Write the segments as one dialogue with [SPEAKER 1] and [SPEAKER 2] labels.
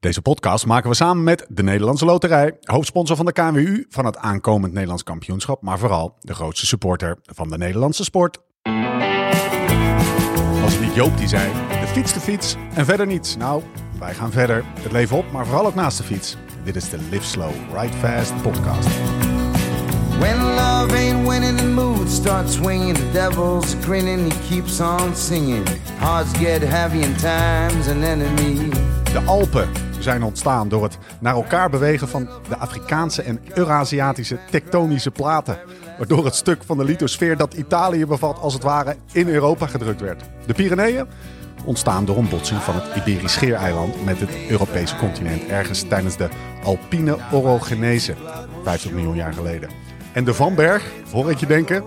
[SPEAKER 1] Deze podcast maken we samen met de Nederlandse Loterij, hoofdsponsor van de KNWU van het aankomend Nederlands kampioenschap, maar vooral de grootste supporter van de Nederlandse sport. Was het niet Joop die zei, de fiets de fiets en verder niets. Nou, wij gaan verder, het leven op, maar vooral ook naast de fiets. Dit is de Live Slow, Ride Fast podcast.
[SPEAKER 2] When love ain't winning, the mood starts swinging. The devil's grinning, he keeps on singing. Hearts get heavy, and time's an enemy.
[SPEAKER 1] De Alpen zijn ontstaan door het naar elkaar bewegen van de Afrikaanse en Eurasiatische tektonische platen. Waardoor het stuk van de lithosfeer dat Italië bevat als het ware in Europa gedrukt werd. De Pyreneeën ontstaan door een botsing van het Iberisch Schiereiland met het Europese continent ergens tijdens de Alpine Orogenese, 50 miljoen jaar geleden. En de Van Berg, hoor ik je denken,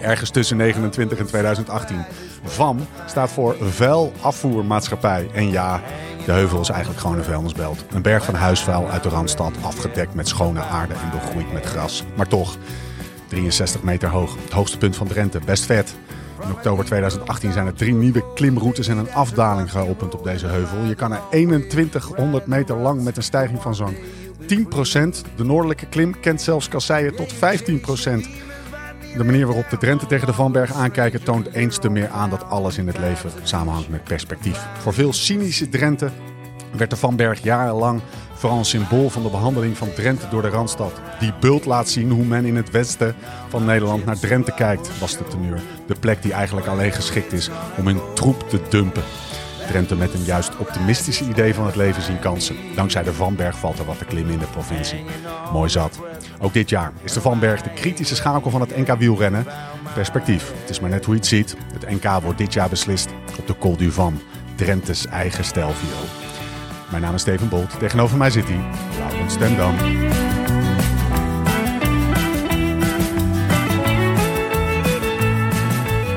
[SPEAKER 1] ergens tussen 29 en 2018. VAM staat voor Vuilafvoermaatschappij. En ja, de heuvel is eigenlijk gewoon een vuilnisbelt. Een berg van huisvuil uit de Randstad, afgedekt met schone aarde en begroeid met gras. Maar toch, 63 meter hoog, het hoogste punt van Drenthe, best vet. In oktober 2018 zijn er drie nieuwe klimroutes en een afdaling geopend op deze heuvel. Je kan er 2100 meter lang met een stijging van zo'n 10%. De noordelijke klim kent zelfs kasseien tot 15%. De manier waarop de Drenthe tegen de Vanberg aankijken toont eens te meer aan dat alles in het leven samenhangt met perspectief. Voor veel cynische Drenthe werd de Vanberg jarenlang vooral een symbool van de behandeling van Drenthe door de Randstad. Die bult laat zien hoe men in het westen van Nederland naar Drenthe kijkt, was de teneur. De plek die eigenlijk alleen geschikt is om hun troep te dumpen. Drenthe met een juist optimistische idee van het leven zien kansen. Dankzij de Vanberg valt er wat te klimmen in de provincie. Mooi zat. Ook dit jaar is de Vanberg de kritische schakel van het NK wielrennen. Perspectief, het is maar net hoe je het ziet. Het NK wordt dit jaar beslist op de Col du Van, Drenthe's eigen stijlviool. Mijn naam is Steven Bolt, tegenover mij zit hij, Laurens ten Dam.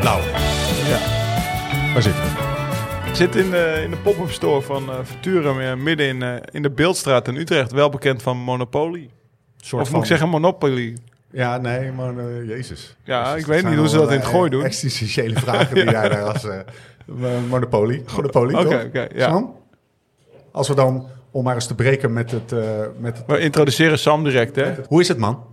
[SPEAKER 1] Lau, ja. waar zitten we?
[SPEAKER 3] Ik zit in de, in de pop-up store van eh Futurum eh, midden in, eh, in de Beeldstraat in Utrecht. Wel bekend van Monopoly.
[SPEAKER 1] Soort
[SPEAKER 3] of moet ik zeggen Monopoly?
[SPEAKER 1] Ja, nee, maar eh, Jezus.
[SPEAKER 3] Ja,
[SPEAKER 1] Dus
[SPEAKER 3] ik
[SPEAKER 1] het
[SPEAKER 3] weet
[SPEAKER 1] zijn
[SPEAKER 3] niet hoe ze
[SPEAKER 1] wel,
[SPEAKER 3] dat in het
[SPEAKER 1] eh,
[SPEAKER 3] gooi doen.
[SPEAKER 1] Existentiële vragen die jij daar als eh, mo- monopolie, monopolie
[SPEAKER 3] Oké,
[SPEAKER 1] toch?
[SPEAKER 3] oké, ja.
[SPEAKER 1] Sam? Als we dan, om maar eens te breken met het, eh, met het...
[SPEAKER 3] We introduceren Sam direct, hè?
[SPEAKER 1] Hoe is het, man?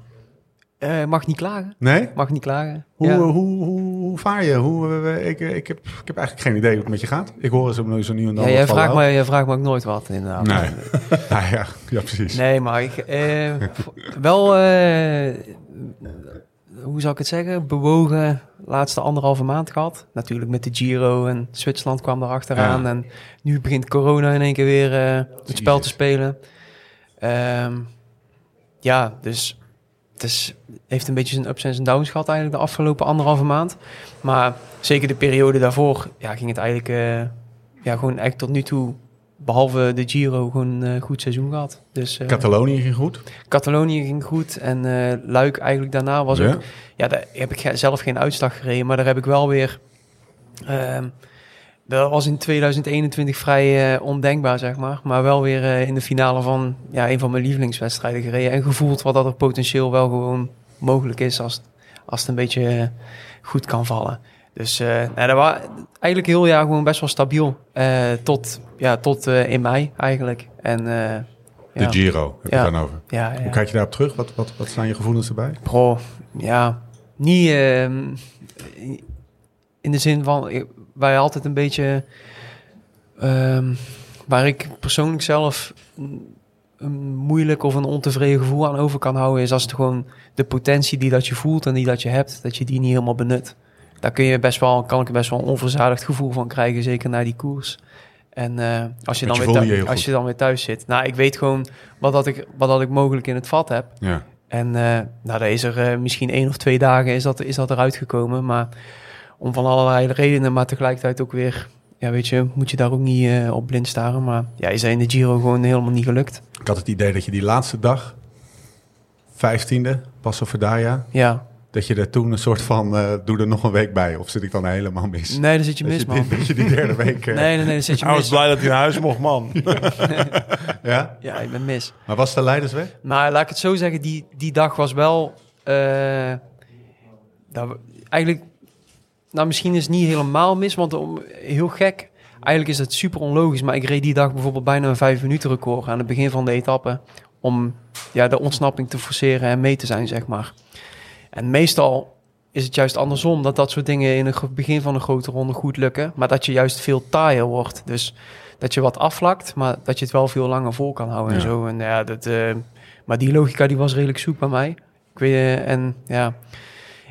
[SPEAKER 4] Eh, mag niet klagen.
[SPEAKER 1] Nee?
[SPEAKER 4] Mag niet klagen.
[SPEAKER 1] Hoe,
[SPEAKER 4] Ja.
[SPEAKER 1] hoe, hoe, hoe vaar je? Hoe, eh, ik, ik, heb, ik heb eigenlijk geen idee hoe het met je gaat. Ik hoor zo nu zo nu en dan
[SPEAKER 4] Ja,
[SPEAKER 1] wat
[SPEAKER 4] jij,
[SPEAKER 1] van
[SPEAKER 4] vraagt
[SPEAKER 1] jou.
[SPEAKER 4] me, jij vraagt me ook nooit wat, inderdaad.
[SPEAKER 1] Nee. Ah, ja, ja, precies.
[SPEAKER 4] Nee, maar ik... eh, v- wel, eh, hoe zou ik het zeggen? Bewogen laatste anderhalve maand gehad. Natuurlijk met de Giro en Zwitserland kwam daar achteraan.
[SPEAKER 1] Ja.
[SPEAKER 4] En nu begint corona in één keer weer eh, het spel te
[SPEAKER 1] Jezus.
[SPEAKER 4] spelen. Ehm, ja, dus het is, heeft een beetje zijn ups en zijn downs gehad eigenlijk de afgelopen anderhalve maand. Maar zeker de periode daarvoor ja, ging het eigenlijk, eh, ja, gewoon eigenlijk tot nu toe, behalve de Giro, gewoon een eh, goed seizoen gehad. Dus eh,
[SPEAKER 1] Catalonië ging goed.
[SPEAKER 4] Catalonië ging goed en eh, Luik eigenlijk daarna was
[SPEAKER 1] Ja.
[SPEAKER 4] ook... Ja, daar heb ik ge- zelf geen uitslag gereden, maar daar heb ik wel weer... ehm, dat was in 2021 vrij eh, ondenkbaar, zeg maar. Maar wel weer eh, in de finale van ja, een van mijn lievelingswedstrijden gereden. En gevoeld wat dat er potentieel wel gewoon mogelijk is als, als het een beetje eh, goed kan vallen. Dus eh nou, dat was eigenlijk heel jaar gewoon best wel stabiel. eh, tot ja, tot eh, in mei eigenlijk. En, eh, ja.
[SPEAKER 1] De Giro, heb je
[SPEAKER 4] Ja.
[SPEAKER 1] dan over.
[SPEAKER 4] Ja, ja.
[SPEAKER 1] Hoe kijk je daarop terug? Wat, wat, wat zijn je gevoelens erbij?
[SPEAKER 4] Bro, ja, niet ehm, in de zin van eh, wij altijd een beetje ehm, waar ik persoonlijk zelf een, een moeilijk of een ontevreden gevoel aan over kan houden is als het gewoon de potentie die dat je voelt en die dat je hebt, dat je die niet helemaal benut. Daar kun je best wel, kan ik er best wel een onverzadigd gevoel van krijgen, zeker na die koers. En eh, als,
[SPEAKER 1] Want
[SPEAKER 4] je
[SPEAKER 1] je
[SPEAKER 4] dan weer
[SPEAKER 1] voelde je
[SPEAKER 4] thui-
[SPEAKER 1] heel
[SPEAKER 4] als
[SPEAKER 1] goed.
[SPEAKER 4] je dan weer thuis zit. Nou, ik weet gewoon wat, dat ik, wat dat ik mogelijk in het vat heb.
[SPEAKER 1] Ja.
[SPEAKER 4] En eh, nou, daar is er eh, misschien één of twee dagen is dat, is dat eruit gekomen. Maar om van allerlei redenen, maar tegelijkertijd ook weer... Ja, weet je, moet je daar ook niet eh, op blind staren. Maar ja, is dat in de Giro gewoon helemaal niet gelukt.
[SPEAKER 1] Ik had het idee dat je die laatste dag, 15e, Passo Verdaya,
[SPEAKER 4] Ja,
[SPEAKER 1] Dat je er toen een soort van, eh, doe er nog een week bij. Of zit ik dan helemaal mis?
[SPEAKER 4] nee, daar zit je
[SPEAKER 1] dat,
[SPEAKER 4] mis,
[SPEAKER 1] je
[SPEAKER 4] man.
[SPEAKER 1] die, dat je die derde week... eh,
[SPEAKER 4] Nee, nee, nee, daar zit je
[SPEAKER 3] Hij was
[SPEAKER 4] mis.
[SPEAKER 3] blij dat hij naar huis mocht, man.
[SPEAKER 1] Ja?
[SPEAKER 4] Ja, ik ben mis.
[SPEAKER 1] Maar was de leiders weg?
[SPEAKER 4] Maar laat ik het zo zeggen, die, die dag was wel... eh, daar, eigenlijk, nou misschien is het niet helemaal mis, want om, heel gek. Eigenlijk is dat super onlogisch, maar ik reed die dag bijvoorbeeld bijna een vijf minuten record aan het begin van de etappe. Om ja, de ontsnapping te forceren en mee te zijn, zeg maar. En meestal is het juist andersom, dat dat soort dingen in het ge- begin van een grote ronde goed lukken. Maar dat je juist veel taaier wordt. Dus dat je wat afvlakt, maar dat je het wel veel langer vol kan houden en
[SPEAKER 3] Ja.
[SPEAKER 4] zo. En ja, dat, eh, maar die logica die was redelijk zoek bij mij. Ik weet, eh, en ja,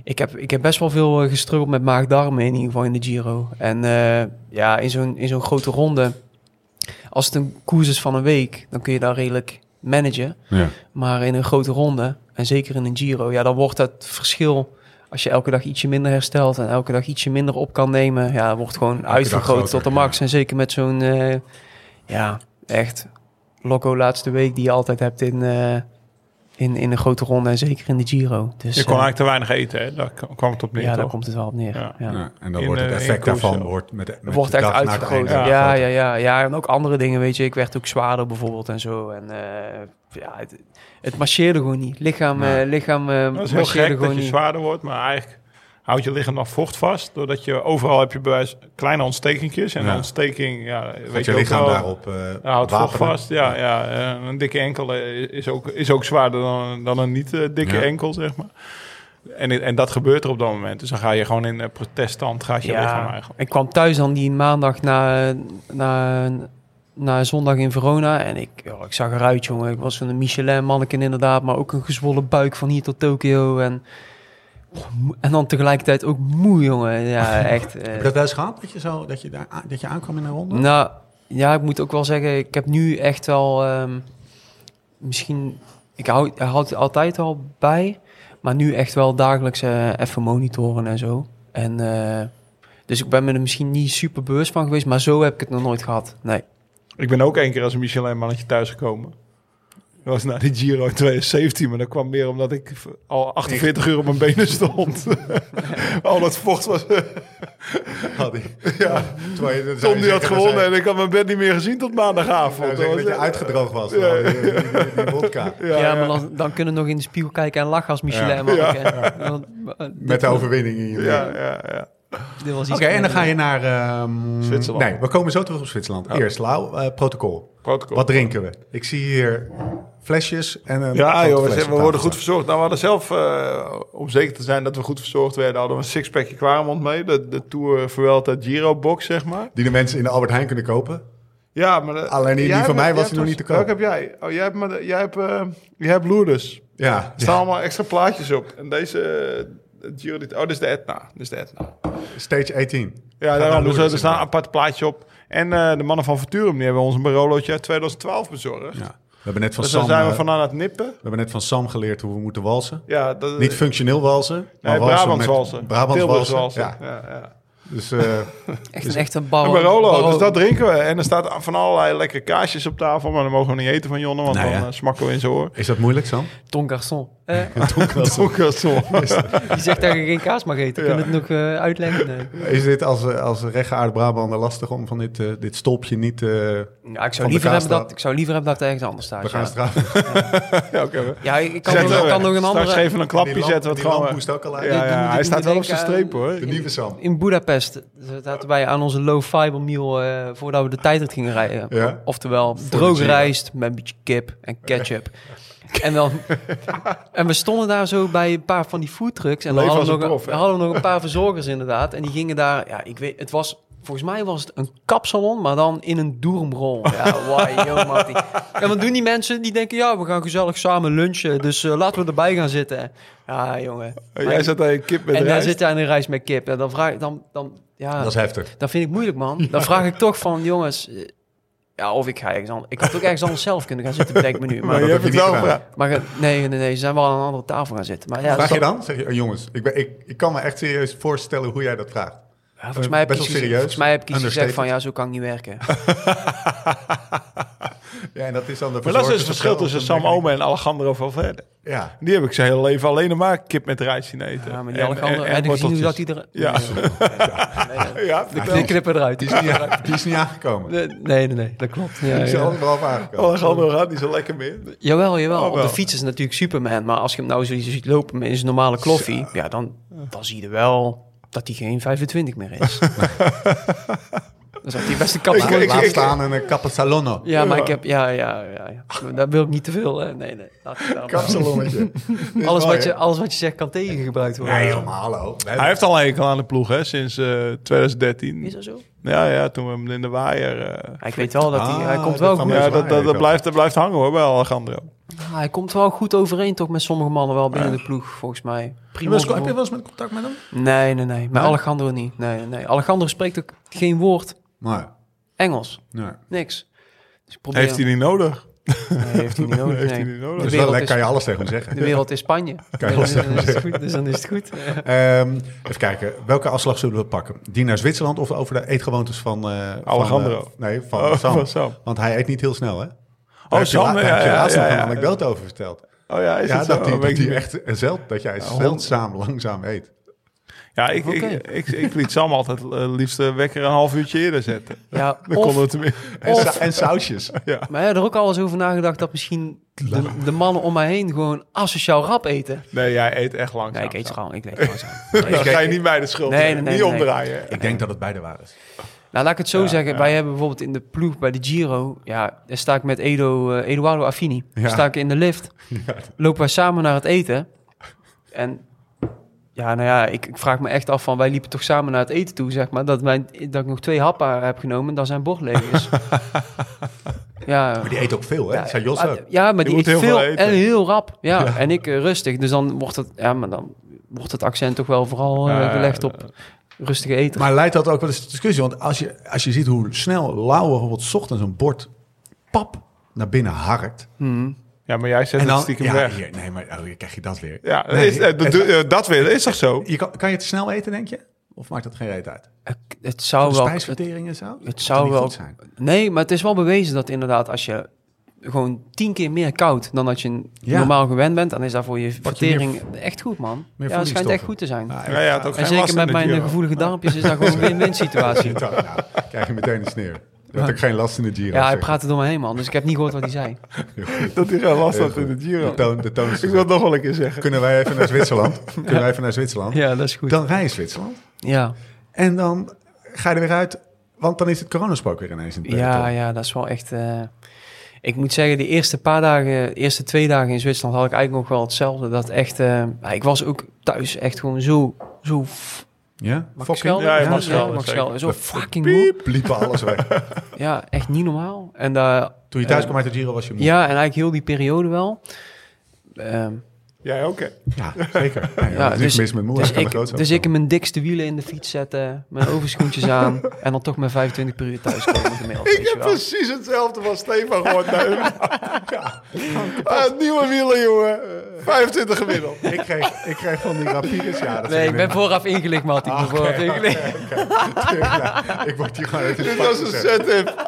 [SPEAKER 4] ik heb, ik heb best wel veel eh, gestruggeld met maag-darmen in ieder geval in de Giro. En eh, ja, in zo'n, in zo'n grote ronde, als het een koers is van een week, dan kun je daar redelijk managen.
[SPEAKER 5] Ja.
[SPEAKER 4] Maar in een grote ronde, en zeker in een Giro, ja, dan wordt dat verschil... Als je elke dag ietsje minder herstelt en elke dag ietsje minder op kan nemen, ja, wordt gewoon uitvergroot
[SPEAKER 1] groter,
[SPEAKER 4] tot de
[SPEAKER 1] ja.
[SPEAKER 4] max. En zeker met zo'n, eh, ja, echt loco laatste week die je altijd hebt in, eh, in, in een grote ronde en zeker in de Giro. Dus,
[SPEAKER 3] Je kon
[SPEAKER 4] eh,
[SPEAKER 3] eigenlijk te weinig eten, hè? Daar k- kwam het op neer,
[SPEAKER 4] ja, daar
[SPEAKER 3] toch?
[SPEAKER 4] komt het wel op neer.
[SPEAKER 3] Ja.
[SPEAKER 4] Ja.
[SPEAKER 5] Ja, en dan
[SPEAKER 3] In,
[SPEAKER 5] wordt het
[SPEAKER 3] eh, in
[SPEAKER 5] effect
[SPEAKER 3] koers
[SPEAKER 5] daarvan
[SPEAKER 3] wel.
[SPEAKER 5] wordt met, met
[SPEAKER 4] wordt
[SPEAKER 5] de
[SPEAKER 4] echt
[SPEAKER 5] dag naar het
[SPEAKER 4] uitvergroot.
[SPEAKER 5] einde
[SPEAKER 4] Ja,
[SPEAKER 3] einde.
[SPEAKER 4] ja,
[SPEAKER 5] groter.
[SPEAKER 4] ja, ja, En ook andere dingen, weet je. Ik werd ook zwaarder bijvoorbeeld en zo. En eh, ja, het, het marcheerde gewoon niet. Lichaam, eh, lichaam eh,
[SPEAKER 3] Dat is heel
[SPEAKER 4] marcheerde
[SPEAKER 3] gek
[SPEAKER 4] gewoon
[SPEAKER 3] dat je
[SPEAKER 4] niet.
[SPEAKER 3] zwaarder wordt, maar eigenlijk houdt je lichaam nog vocht vast. Doordat je overal heb je bij wijze kleine ontstekingjes. En
[SPEAKER 5] Ja.
[SPEAKER 3] een ontsteking, ja, weet
[SPEAKER 5] Dat je
[SPEAKER 3] je, ook
[SPEAKER 5] lichaam
[SPEAKER 3] wel,
[SPEAKER 5] daarop eh
[SPEAKER 3] ja, houdt vocht
[SPEAKER 5] wapenen.
[SPEAKER 3] vast. Ja, ja. En een dikke enkel eh, is ook, is ook zwaarder dan, dan een niet eh, dikke
[SPEAKER 5] Ja.
[SPEAKER 3] enkel, zeg maar. En, en dat gebeurt er op dat moment. Dus dan ga je gewoon in eh, proteststand, gaat je lichaam
[SPEAKER 4] Ja,
[SPEAKER 3] eigenlijk.
[SPEAKER 4] ik kwam thuis dan die maandag na, na, na zondag in Verona. En ik, ja, ik zag eruit, jongen. Ik was een Michelin-manneken inderdaad. Maar ook een gezwollen buik van hier tot Tokio. En, oh, en dan tegelijkertijd ook moe, jongen. Ja, echt. eh.
[SPEAKER 1] Heb je dat wel eens gehad, dat je, zo, dat je, daar, a- dat je aankwam in een ronde?
[SPEAKER 4] Nou, ja, ik moet ook wel zeggen, ik heb nu echt wel ehm, misschien, ik hou, ik houd het altijd al bij, maar nu echt wel dagelijks eh, even monitoren en zo. En eh, dus ik ben me er misschien niet super bewust van geweest, maar zo heb ik het nog nooit gehad. Nee.
[SPEAKER 3] Ik ben ook één keer als een Michelin-mannetje thuisgekomen. Dat was na die Giro in 2017, maar dat kwam meer omdat ik v- al 48 uur op mijn benen stond. al dat vocht was...
[SPEAKER 5] Had hij. Oh, Terwijl je- dan zou
[SPEAKER 3] Tom
[SPEAKER 5] je
[SPEAKER 3] die had
[SPEAKER 5] zeggen,
[SPEAKER 3] gewonnen
[SPEAKER 5] dan
[SPEAKER 3] en ik had mijn bed niet meer gezien tot
[SPEAKER 5] zou je
[SPEAKER 3] maandagavond.
[SPEAKER 5] zeggen
[SPEAKER 3] Dat
[SPEAKER 5] dat je
[SPEAKER 3] was-
[SPEAKER 5] uitgedroogd was. van die- die- die- die vodka.
[SPEAKER 4] Ja,
[SPEAKER 3] Ja, ja.
[SPEAKER 4] maar dan, dan kunnen we nog in de spiegel kijken en lachen als Michelin.
[SPEAKER 3] Ja.
[SPEAKER 4] manneke. Want, eh,
[SPEAKER 5] Met
[SPEAKER 4] dit-
[SPEAKER 5] de overwinning in je
[SPEAKER 3] ja, ja, ja.
[SPEAKER 4] dit was iets
[SPEAKER 1] Oké, en dan
[SPEAKER 4] minder.
[SPEAKER 1] ga je naar... ehm,
[SPEAKER 3] Zwitserland.
[SPEAKER 5] Nee, we komen zo terug op Zwitserland. Eerst, Lau, eh, protocol.
[SPEAKER 3] Protocol.
[SPEAKER 5] Wat drinken we? Ik zie hier flesjes en een
[SPEAKER 3] Ja,
[SPEAKER 5] grote
[SPEAKER 3] joh,
[SPEAKER 5] fles
[SPEAKER 3] we, zijn-
[SPEAKER 5] op
[SPEAKER 3] we
[SPEAKER 5] tafel
[SPEAKER 3] worden
[SPEAKER 5] staan.
[SPEAKER 3] goed verzorgd. Nou, we hadden zelf, eh, om zeker te zijn dat we goed verzorgd werden, hadden we een sixpackje Quaremont mee. De, de Tour Vuelta Giro box, zeg maar.
[SPEAKER 5] Die de mensen in de Albert Heijn kunnen kopen.
[SPEAKER 3] Ja, maar... de-
[SPEAKER 5] Alleen die- die
[SPEAKER 3] jij
[SPEAKER 5] van
[SPEAKER 3] hebt-
[SPEAKER 5] mij
[SPEAKER 3] jij
[SPEAKER 5] was
[SPEAKER 3] hebt
[SPEAKER 5] nog
[SPEAKER 3] ons-
[SPEAKER 5] niet te koop.
[SPEAKER 3] Welke heb jij? Oh, jij hebt, maar, de- jij hebt, eh, jij hebt Lourdes.
[SPEAKER 5] Ja,
[SPEAKER 3] Er staan allemaal extra plaatjes op. En deze... eh, Giro, dit, oh, dit is de Etna. Dit is de Etna.
[SPEAKER 5] stage 18.
[SPEAKER 3] Ja,
[SPEAKER 5] Gaat
[SPEAKER 3] daarom.
[SPEAKER 5] naar
[SPEAKER 3] Dus
[SPEAKER 5] Lourdes
[SPEAKER 3] er staat een
[SPEAKER 5] inderdaad.
[SPEAKER 3] apart plaatje op. En eh, de mannen van Venturum, die hebben ons een barolootje uit 2012 bezorgd.
[SPEAKER 5] Ja. We hebben net van
[SPEAKER 3] Dus
[SPEAKER 5] Sam...
[SPEAKER 3] daar zijn we
[SPEAKER 5] eh,
[SPEAKER 3] van aan het nippen.
[SPEAKER 5] We hebben net van Sam geleerd hoe we moeten walsen.
[SPEAKER 3] Ja, dat,
[SPEAKER 5] Niet functioneel walsen, maar
[SPEAKER 3] Eh, nee,
[SPEAKER 5] walsen
[SPEAKER 3] Brabants
[SPEAKER 5] met-
[SPEAKER 3] walsen.
[SPEAKER 5] Brabants
[SPEAKER 3] Tilburgs
[SPEAKER 5] walsen.
[SPEAKER 3] walsen.
[SPEAKER 5] Ja.
[SPEAKER 3] Ja, ja.
[SPEAKER 5] Dus eh,
[SPEAKER 4] Echt een, echt een bar-
[SPEAKER 3] En Barolo, dus
[SPEAKER 4] barolo-
[SPEAKER 3] dat drinken we. En er staat van allerlei lekkere kaasjes op tafel. Maar dan mogen we niet eten van Jonne, want
[SPEAKER 1] Nou
[SPEAKER 3] dan
[SPEAKER 1] ja.
[SPEAKER 3] eh, smakken we in zijn oor.
[SPEAKER 5] is dat moeilijk, Sam?
[SPEAKER 4] Ton Garçon. Eh,
[SPEAKER 3] Ook wel zo.
[SPEAKER 4] die zegt dat je geen kaas mag eten.
[SPEAKER 3] Ja.
[SPEAKER 4] Kun je het nog eh, uitleggen? Nee.
[SPEAKER 5] Is dit als, eh, als rechtgeaard Brabander lastig om van dit, eh, dit stolpje niet... eh
[SPEAKER 4] Ja, ik,
[SPEAKER 5] Van
[SPEAKER 4] zou
[SPEAKER 5] de
[SPEAKER 4] liever hebben
[SPEAKER 5] Kaasstraat.
[SPEAKER 4] dat, ik zou liever hebben dat het ergens anders staat.
[SPEAKER 5] we
[SPEAKER 4] ja.
[SPEAKER 5] gaan straks...
[SPEAKER 3] Ja, oké. we-
[SPEAKER 4] Ja, ik kan,
[SPEAKER 3] Zetten
[SPEAKER 4] nog,
[SPEAKER 3] we.
[SPEAKER 4] ik kan nog een
[SPEAKER 3] Straks
[SPEAKER 4] andere.
[SPEAKER 3] geven we een klapje,
[SPEAKER 5] Die lamp-
[SPEAKER 3] zetten we het
[SPEAKER 5] die lamp
[SPEAKER 3] gewoon...
[SPEAKER 5] moest ook al uit.
[SPEAKER 3] Ja,
[SPEAKER 4] Dit
[SPEAKER 3] ja,
[SPEAKER 4] moet-
[SPEAKER 3] hij
[SPEAKER 4] dit
[SPEAKER 3] staat
[SPEAKER 4] moet
[SPEAKER 3] wel op zijn
[SPEAKER 4] denken
[SPEAKER 3] streep, hoor.
[SPEAKER 5] De nieuwe Sam.
[SPEAKER 4] In Budapest zaten wij aan onze low fiber meal eh, voordat we de tijdrit gingen rijden.
[SPEAKER 5] Ja.
[SPEAKER 4] Oftewel,
[SPEAKER 5] de
[SPEAKER 4] droge
[SPEAKER 5] Giro.
[SPEAKER 4] rijst met een beetje kip en ketchup. en, dan, en we stonden daar zo bij een paar van die foodtrucks. En dan
[SPEAKER 3] Leef
[SPEAKER 4] hadden,
[SPEAKER 3] als
[SPEAKER 4] we
[SPEAKER 3] een
[SPEAKER 4] nog,
[SPEAKER 3] prof, hè?
[SPEAKER 4] een- hadden we nog een paar verzorgers inderdaad. En die gingen daar, ja, ik weet, het was... Volgens mij was het een kapsalon, maar dan in een doermrol. Ja, wauw, joh, Marty. En wat doen die mensen? Die denken, ja, we gaan gezellig samen lunchen. Dus eh, laten we erbij gaan zitten. Ja, jongen.
[SPEAKER 3] Jij zet daar je kip met
[SPEAKER 4] En daar
[SPEAKER 3] rijst.
[SPEAKER 4] zit hij aan een reis met kip. En dan vraag ik dan, dan ja,
[SPEAKER 5] Dat is
[SPEAKER 4] dat,
[SPEAKER 5] heftig.
[SPEAKER 4] vind ik moeilijk, man. Dan vraag ik toch van, jongens, eh, ja, of ik ga ergens anders. Ik had ook ergens anders zelf kunnen gaan zitten, bedenk me nu.
[SPEAKER 3] Maar
[SPEAKER 4] Maar,
[SPEAKER 3] je
[SPEAKER 5] heb
[SPEAKER 3] hebt
[SPEAKER 5] je
[SPEAKER 3] het
[SPEAKER 5] niet
[SPEAKER 3] wel
[SPEAKER 5] gedaan.
[SPEAKER 3] gevraagd.
[SPEAKER 4] maar eh, nee, nee, nee, ze zijn wel aan een andere tafel gaan zitten. Maar ja,
[SPEAKER 5] Vraag
[SPEAKER 4] dat-
[SPEAKER 5] je dan? Zeg je, oh, jongens, ik, ben, ik, ik kan me echt serieus voorstellen hoe jij dat vraagt.
[SPEAKER 4] ja, volgens mij heb
[SPEAKER 5] Best
[SPEAKER 4] ik iets
[SPEAKER 5] wel
[SPEAKER 4] gezegd-
[SPEAKER 5] serieus.
[SPEAKER 4] Volgens mij heb ik iets gezegd van,
[SPEAKER 5] Understated.
[SPEAKER 4] ja, zo kan ik niet werken.
[SPEAKER 5] Ja, en dat is dan de
[SPEAKER 3] Maar dat is dus
[SPEAKER 5] verzorgers
[SPEAKER 3] het verschil
[SPEAKER 5] op
[SPEAKER 3] tussen
[SPEAKER 5] de
[SPEAKER 3] Sam
[SPEAKER 5] merk-
[SPEAKER 3] Ome en Alejandro Valverde.
[SPEAKER 5] Ja,
[SPEAKER 3] Die heb ik zijn hele leven alleen maar kip met rijst zien eten.
[SPEAKER 4] Ja, maar die Alejandro, en, gezien hoe dat hij er...
[SPEAKER 3] Ja. Ja,
[SPEAKER 4] Ik
[SPEAKER 3] vertel.
[SPEAKER 4] knip eruit.
[SPEAKER 5] die is niet, a- die is niet aangekomen.
[SPEAKER 4] Nee, nee, nee, dat klopt. Ja,
[SPEAKER 5] Die is
[SPEAKER 4] ja.
[SPEAKER 5] er anderhalf
[SPEAKER 1] Oh,
[SPEAKER 5] aangekomen.
[SPEAKER 3] Alejandro gaat niet zo lekker meer.
[SPEAKER 4] Jawel, jawel.
[SPEAKER 3] Oh,
[SPEAKER 4] Op
[SPEAKER 3] wel.
[SPEAKER 4] de fiets is het natuurlijk Superman. Maar als je hem nou zo ziet lopen in zijn normale kloffie... Ja, dan, dan zie je wel dat hij geen 25 meer is. Dan zegt hij beste kapper.
[SPEAKER 3] Ik- ik-
[SPEAKER 1] Laat staan een eh, Capasalono.
[SPEAKER 4] ja, maar ik heb... Ja, ja, ja, ja. Daar wil ik niet te veel. Hè. Nee, nee. Laat het daar maar.
[SPEAKER 5] Kapsalonnetje.
[SPEAKER 4] alles, wat je, alles wat je zegt kan tegengebruikt worden.
[SPEAKER 1] Nee, joh, maar hallo. We
[SPEAKER 3] Hij
[SPEAKER 1] hebben-
[SPEAKER 3] heeft al een hekel aan de ploeg, hè, sinds eh, 2013.
[SPEAKER 4] Is dat zo?
[SPEAKER 3] Ja, ja, toen we hem in de waaier... eh,
[SPEAKER 4] Ja, ik weet wel dat hij...
[SPEAKER 5] Ah,
[SPEAKER 4] hij komt
[SPEAKER 5] dat
[SPEAKER 4] wel
[SPEAKER 5] kan
[SPEAKER 4] goed.
[SPEAKER 5] wel.
[SPEAKER 3] ja,
[SPEAKER 5] de
[SPEAKER 3] dat, dat,
[SPEAKER 5] waaier
[SPEAKER 3] dat,
[SPEAKER 5] wel.
[SPEAKER 3] blijft, dat blijft hangen hoor, bij Alejandro.
[SPEAKER 4] Ah, hij komt wel goed overeen toch met sommige mannen wel binnen de ploeg, volgens mij.
[SPEAKER 1] Heb je
[SPEAKER 4] Prima.
[SPEAKER 1] wel eens- heb je wel eens met contact met hem?
[SPEAKER 4] Nee, nee, nee. Maar Alejandro niet. Nee, nee, nee. Alejandro spreekt ook geen woord
[SPEAKER 1] Nee.
[SPEAKER 4] Engels.
[SPEAKER 1] nee.
[SPEAKER 4] Niks. Dus ik probeer...
[SPEAKER 3] Heeft hij niet nodig. Oh
[SPEAKER 4] Nee, heeft hij niet nodig.
[SPEAKER 3] Heeft hij
[SPEAKER 4] nee.
[SPEAKER 3] niet nodig.
[SPEAKER 4] De
[SPEAKER 5] Dus wel,
[SPEAKER 4] wereld
[SPEAKER 5] daar
[SPEAKER 4] is,
[SPEAKER 5] kan je alles tegen hem zeggen.
[SPEAKER 4] de wereld is Spanje.
[SPEAKER 5] Kan je alles
[SPEAKER 4] dan is het goed. Dus dan is het goed. Ja.
[SPEAKER 5] Ehm, even kijken, welke afslag zullen we pakken? Die naar Zwitserland of over de eetgewoontes van... eh, van,
[SPEAKER 3] Oh, Alejandro.
[SPEAKER 5] eh, nee, van,
[SPEAKER 3] Oh,
[SPEAKER 5] Sam.
[SPEAKER 3] van Sam.
[SPEAKER 5] Want hij eet niet heel snel, hè?
[SPEAKER 3] Oh,
[SPEAKER 5] heb je la-
[SPEAKER 3] Sam, ja,
[SPEAKER 5] daar heb je
[SPEAKER 3] ja,
[SPEAKER 5] laatst nog
[SPEAKER 3] ja,
[SPEAKER 5] een
[SPEAKER 3] ja.
[SPEAKER 5] anekdote over verteld.
[SPEAKER 3] Oh ja, is
[SPEAKER 5] ja,
[SPEAKER 3] dat zo?
[SPEAKER 5] dat, die,
[SPEAKER 3] Oh, weet
[SPEAKER 5] dat,
[SPEAKER 3] ik
[SPEAKER 5] die
[SPEAKER 3] niet.
[SPEAKER 5] echt zeld, dat jij
[SPEAKER 3] honderd.
[SPEAKER 5] zeldzaam langzaam eet.
[SPEAKER 3] Ja, ik,
[SPEAKER 4] Oké.
[SPEAKER 3] ik, ik, ik liet Sam altijd eh, liefst de wekker een half uurtje eerder zetten.
[SPEAKER 4] Ja,
[SPEAKER 3] Dan
[SPEAKER 4] of,
[SPEAKER 3] konden we tenminste...
[SPEAKER 5] En, sa- en sausjes.
[SPEAKER 4] maar ja, er ook al eens over nagedacht dat misschien de, de mannen om mij heen gewoon asociaal rap eten.
[SPEAKER 3] Nee, jij eet echt langzaam.
[SPEAKER 4] Nee, ik eet
[SPEAKER 3] Sam.
[SPEAKER 4] gewoon. Ik eet gewoon zo.
[SPEAKER 3] Dan ga je niet mij de schuld
[SPEAKER 4] Nee,
[SPEAKER 3] geven.
[SPEAKER 4] nee, nee,
[SPEAKER 3] Niet
[SPEAKER 4] nee.
[SPEAKER 3] omdraaien.
[SPEAKER 5] Ik denk dat het beide waren. is.
[SPEAKER 4] Nou, laat ik het zo
[SPEAKER 3] Ja,
[SPEAKER 4] zeggen.
[SPEAKER 3] ja.
[SPEAKER 4] Wij hebben bijvoorbeeld in de ploeg bij de Giro. Ja, daar sta ik met Edo, eh, Eduardo Affini.
[SPEAKER 5] Ja.
[SPEAKER 4] Sta ik in de lift. Lopen wij samen naar het eten. En ja, nou ja, ik, ik vraag me echt af van... Wij liepen toch samen naar het eten toe, zeg maar. Dat, mijn, dat ik nog twee happen heb genomen en dat zijn bord leeg is. ja,
[SPEAKER 5] Maar die eet ook veel, hè?
[SPEAKER 4] ja,
[SPEAKER 5] Zei Jos
[SPEAKER 4] ah,
[SPEAKER 5] ook.
[SPEAKER 4] Ja, maar
[SPEAKER 3] Je
[SPEAKER 4] die
[SPEAKER 3] moet
[SPEAKER 4] eet
[SPEAKER 3] heel
[SPEAKER 4] veel
[SPEAKER 3] veel eten.
[SPEAKER 4] en heel rap. Ja, en ik eh, rustig. Dus dan wordt het, ja, maar dan wordt het accent toch wel vooral eh,
[SPEAKER 3] Ja, ja,
[SPEAKER 4] gelegd
[SPEAKER 3] ja.
[SPEAKER 4] op rustig eten.
[SPEAKER 1] Maar leidt dat ook wel eens tot discussie? Want als je, als je ziet hoe snel Lauwe bijvoorbeeld 's ochtends een bord
[SPEAKER 5] Pap naar binnen harkt.
[SPEAKER 3] Ja, maar jij zet het stiekem
[SPEAKER 1] ja,
[SPEAKER 3] weg.
[SPEAKER 1] hier, nee, maar oh, hier krijg je dat weer.
[SPEAKER 3] Ja,
[SPEAKER 1] Nee,
[SPEAKER 3] is, eh, dat, doe- eh, dat weer. Is toch zo?
[SPEAKER 1] Je kan, kan je het snel eten, denk je? Of maakt dat geen reet uit?
[SPEAKER 4] Ik- het zou Oh, wel... het-
[SPEAKER 1] Spijsvertering en zo?
[SPEAKER 4] Het zou
[SPEAKER 1] niet
[SPEAKER 4] wel
[SPEAKER 1] goed zijn.
[SPEAKER 4] Nee, maar het is wel bewezen dat inderdaad als je gewoon tien keer meer koud dan dat je
[SPEAKER 1] Ja.
[SPEAKER 4] normaal gewend bent, dan is dat voor je
[SPEAKER 1] Pak je meer
[SPEAKER 4] vertering echt goed, man.
[SPEAKER 1] meer
[SPEAKER 4] Ja, het schijnt echt
[SPEAKER 1] voedingsstoffen.
[SPEAKER 4] goed te zijn.
[SPEAKER 1] Nou,
[SPEAKER 3] Ja, ja, het ook
[SPEAKER 4] en
[SPEAKER 3] geen
[SPEAKER 4] zeker
[SPEAKER 3] last in
[SPEAKER 4] met
[SPEAKER 3] de
[SPEAKER 4] mijn eh,
[SPEAKER 3] Giro.
[SPEAKER 4] gevoelige darmpjes is dat gewoon een win-win situatie.
[SPEAKER 5] Zo, nou, krijg je meteen een sneer. Je had ook geen last in de Giro.
[SPEAKER 4] Ja, hij
[SPEAKER 5] zeg.
[SPEAKER 4] praatte door me heen, man. Dus ik heb niet gehoord wat hij zei.
[SPEAKER 3] Dat hij geen last had
[SPEAKER 5] Heel
[SPEAKER 3] in
[SPEAKER 5] goed.
[SPEAKER 3] de Giro.
[SPEAKER 5] De toon, de toon is
[SPEAKER 3] Ik wil het nog wel een keer zeggen.
[SPEAKER 5] Kunnen wij even naar Zwitserland? Kunnen wij even naar Zwitserland?
[SPEAKER 4] Ja, dat is goed.
[SPEAKER 1] Dan rij je Zwitserland.
[SPEAKER 4] Ja,
[SPEAKER 5] En dan ga je er weer uit, want dan is het coronaspook weer ineens in het
[SPEAKER 4] ja,
[SPEAKER 5] peloton.
[SPEAKER 4] ja dat is wel echt... eh, Ik moet zeggen, de eerste paar dagen, de eerste twee dagen in Zwitserland had ik eigenlijk nog wel hetzelfde. Dat echt, eh, ik was ook thuis echt gewoon zo, zo
[SPEAKER 1] Ja?
[SPEAKER 4] Mag ik
[SPEAKER 5] Fucking-
[SPEAKER 4] schelden?
[SPEAKER 3] Ja, je
[SPEAKER 4] Ja,
[SPEAKER 3] mag
[SPEAKER 4] ja,
[SPEAKER 3] schelden,
[SPEAKER 4] mag
[SPEAKER 3] zeker.
[SPEAKER 4] schelden. Zo fucking moe.
[SPEAKER 5] Piep, liepen alles weg.
[SPEAKER 4] Ja, echt niet normaal. En, eh,
[SPEAKER 5] Toen je thuis
[SPEAKER 4] eh,
[SPEAKER 5] kwam uit de Giro was je moe.
[SPEAKER 4] Ja, en eigenlijk heel die periode wel. Ehm,
[SPEAKER 3] Jij ook, hè?
[SPEAKER 5] Ja, zeker. Nee,
[SPEAKER 4] Ja,
[SPEAKER 5] ja, dus,
[SPEAKER 4] dus-
[SPEAKER 5] mis met moe.
[SPEAKER 4] dus,
[SPEAKER 5] dat kan
[SPEAKER 4] ik,
[SPEAKER 5] groot zijn.
[SPEAKER 4] dus ik in mijn dikste wielen in de fiets zetten, mijn overschoentjes aan en dan toch mijn 25 per uur thuis komen gemiddeld. weet
[SPEAKER 3] Ik
[SPEAKER 4] je
[SPEAKER 3] heb
[SPEAKER 4] wel.
[SPEAKER 3] precies hetzelfde van Stefan gehoord. nou. Ah, nieuwe wielen, jongen. 25 gemiddeld.
[SPEAKER 5] ik, kreeg, ik kreeg van die rapides. Ja, dat
[SPEAKER 4] Nee,
[SPEAKER 5] is
[SPEAKER 4] ik ben vooraf ingelicht, maat. Ik ben vooraf ingelicht.
[SPEAKER 5] Ja, ik word hier gewoon uit
[SPEAKER 3] Dit
[SPEAKER 5] het
[SPEAKER 3] was een setup.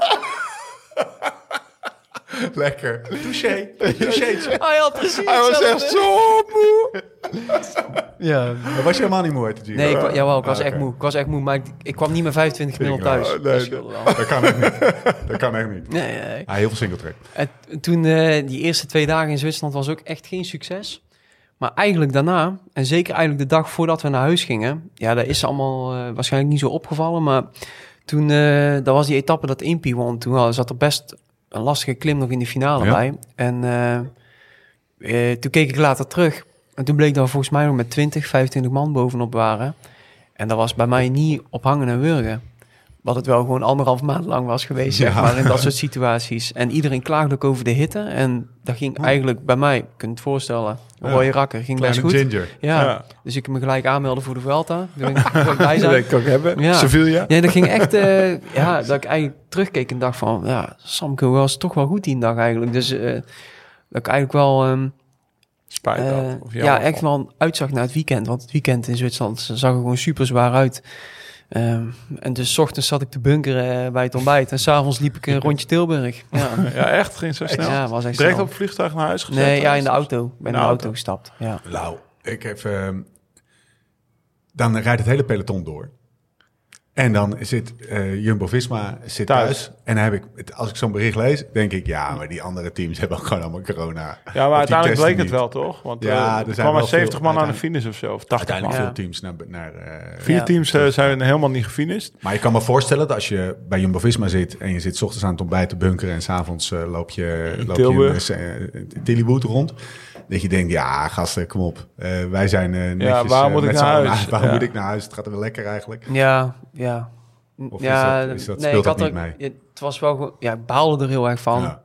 [SPEAKER 5] Lekker. Touché. Touché.
[SPEAKER 4] Hij had precies
[SPEAKER 3] Hij was echt
[SPEAKER 4] hetzelfde.
[SPEAKER 3] zo moe.
[SPEAKER 4] Ja.
[SPEAKER 5] Maar was je helemaal niet moe uit de Giro?
[SPEAKER 4] Nee, ik, wa- jawel, ik was
[SPEAKER 5] Ah,
[SPEAKER 4] echt
[SPEAKER 5] oké.
[SPEAKER 4] moe. Ik was echt moe, maar ik, ik kwam niet met 25 gemiddeld
[SPEAKER 5] Ik, nou,
[SPEAKER 4] thuis.
[SPEAKER 3] nee,
[SPEAKER 4] Dat
[SPEAKER 3] nee.
[SPEAKER 4] scheelde wel.
[SPEAKER 5] Dat kan echt niet. Dat kan echt niet.
[SPEAKER 4] Nee, nee, nee.
[SPEAKER 5] Ah, heel veel singletrack.
[SPEAKER 4] En t- toen, eh, die eerste twee dagen in Zwitserland was ook echt geen succes. Maar eigenlijk daarna, en zeker eigenlijk de dag voordat we naar huis gingen... Ja, dat is allemaal eh, waarschijnlijk niet zo opgevallen. Maar toen, eh dat was die etappe dat Impy won. Toen had- zat er best een lastige klim nog in de finale
[SPEAKER 5] Ja.
[SPEAKER 4] bij. En eh, eh, toen keek ik later terug. En toen bleek dat we volgens mij nog met 20, 25 man bovenop waren. En dat was bij mij niet op hangen en wurgen. Wat het wel gewoon anderhalf maand lang was geweest, zeg
[SPEAKER 5] Ja.
[SPEAKER 4] maar, in dat soort situaties. En iedereen klaagde ook over de hitte. En dat ging eigenlijk bij mij, je kunt het voorstellen,
[SPEAKER 5] Ja.
[SPEAKER 4] rode rakker, ging best
[SPEAKER 5] Kleine
[SPEAKER 4] goed.
[SPEAKER 5] ginger.
[SPEAKER 4] Ja.
[SPEAKER 3] Ja.
[SPEAKER 4] dus ik me gelijk aanmelden voor de Vuelta. Toen ben ik er ook bij
[SPEAKER 3] Dat
[SPEAKER 4] zijn.
[SPEAKER 3] denk ik ook hebben.
[SPEAKER 4] Ja.
[SPEAKER 3] Sevilla.
[SPEAKER 4] Nee, dat ging echt, eh, ja, dat ik eigenlijk terugkeek en dacht van, ja, Samke was toch wel goed die dag eigenlijk. Dus eh, dat ik eigenlijk wel, ehm,
[SPEAKER 3] Spijt dat.
[SPEAKER 4] eh,
[SPEAKER 3] Of
[SPEAKER 4] ja,
[SPEAKER 3] jammer.
[SPEAKER 4] echt wel een uitzag naar het weekend. Want het weekend in Zwitserland zag er gewoon super zwaar uit. Ehm, en dus 's ochtends zat ik te bunkeren eh, bij het ontbijt. En s'avonds liep ik een rondje Tilburg. Ja,
[SPEAKER 3] Ja, echt. Ging zo snel.
[SPEAKER 4] ja was echt
[SPEAKER 3] Direct
[SPEAKER 4] snel.
[SPEAKER 3] op vliegtuig naar huis gezet.
[SPEAKER 4] Nee, ja, in de auto. Ik Ben in de
[SPEAKER 3] de
[SPEAKER 4] auto
[SPEAKER 3] auto.
[SPEAKER 4] gestapt. Ja.
[SPEAKER 1] Nou,
[SPEAKER 5] Lau, ik heb... ehm, dan rijdt het hele peloton door.
[SPEAKER 1] En dan zit eh, Jumbo-Visma zit
[SPEAKER 3] Thuis.
[SPEAKER 1] thuis. En dan heb ik, het- als ik zo'n bericht lees, denk ik... ja, maar die andere teams hebben ook gewoon allemaal corona. Of
[SPEAKER 3] Ja,
[SPEAKER 1] die
[SPEAKER 3] maar uiteindelijk
[SPEAKER 1] testen
[SPEAKER 3] bleek het
[SPEAKER 1] niet.
[SPEAKER 3] wel, toch? Want eh,
[SPEAKER 1] Ja, er
[SPEAKER 3] er
[SPEAKER 1] zijn
[SPEAKER 3] kwamen
[SPEAKER 1] wel veel-
[SPEAKER 3] 70 man aan de
[SPEAKER 1] uiteindelijk-
[SPEAKER 3] finish of zo. Of 80 man.
[SPEAKER 1] Uiteindelijk
[SPEAKER 4] Ja.
[SPEAKER 1] veel teams naar... naar eh,
[SPEAKER 3] Vier
[SPEAKER 4] Ja.
[SPEAKER 3] teams eh, zijn helemaal niet gefinished.
[SPEAKER 1] Maar je kan me voorstellen dat als je bij Jumbo-Visma zit... en je zit 's ochtends aan het ontbijt te bunkeren... en s'avonds avonds eh, loop je, loop
[SPEAKER 3] Tilburg.
[SPEAKER 1] je in, eh, in Tillywood rond... dat je denkt, ja, gasten, kom op. Eh, wij zijn eh netjes...
[SPEAKER 3] waar
[SPEAKER 1] eh,
[SPEAKER 3] moet ik
[SPEAKER 1] met
[SPEAKER 3] naar
[SPEAKER 1] z'n allen-
[SPEAKER 3] huis?
[SPEAKER 1] Waar
[SPEAKER 3] Ja.
[SPEAKER 1] moet ik naar huis? Het gaat wel lekker eigenlijk.
[SPEAKER 4] Ja, ja.
[SPEAKER 1] Of is dat- is dat- speelt dat niet
[SPEAKER 4] ook-
[SPEAKER 1] mee?
[SPEAKER 4] ja, Het was wel gewoon- ja, ik baalde er heel erg van.
[SPEAKER 1] Ja.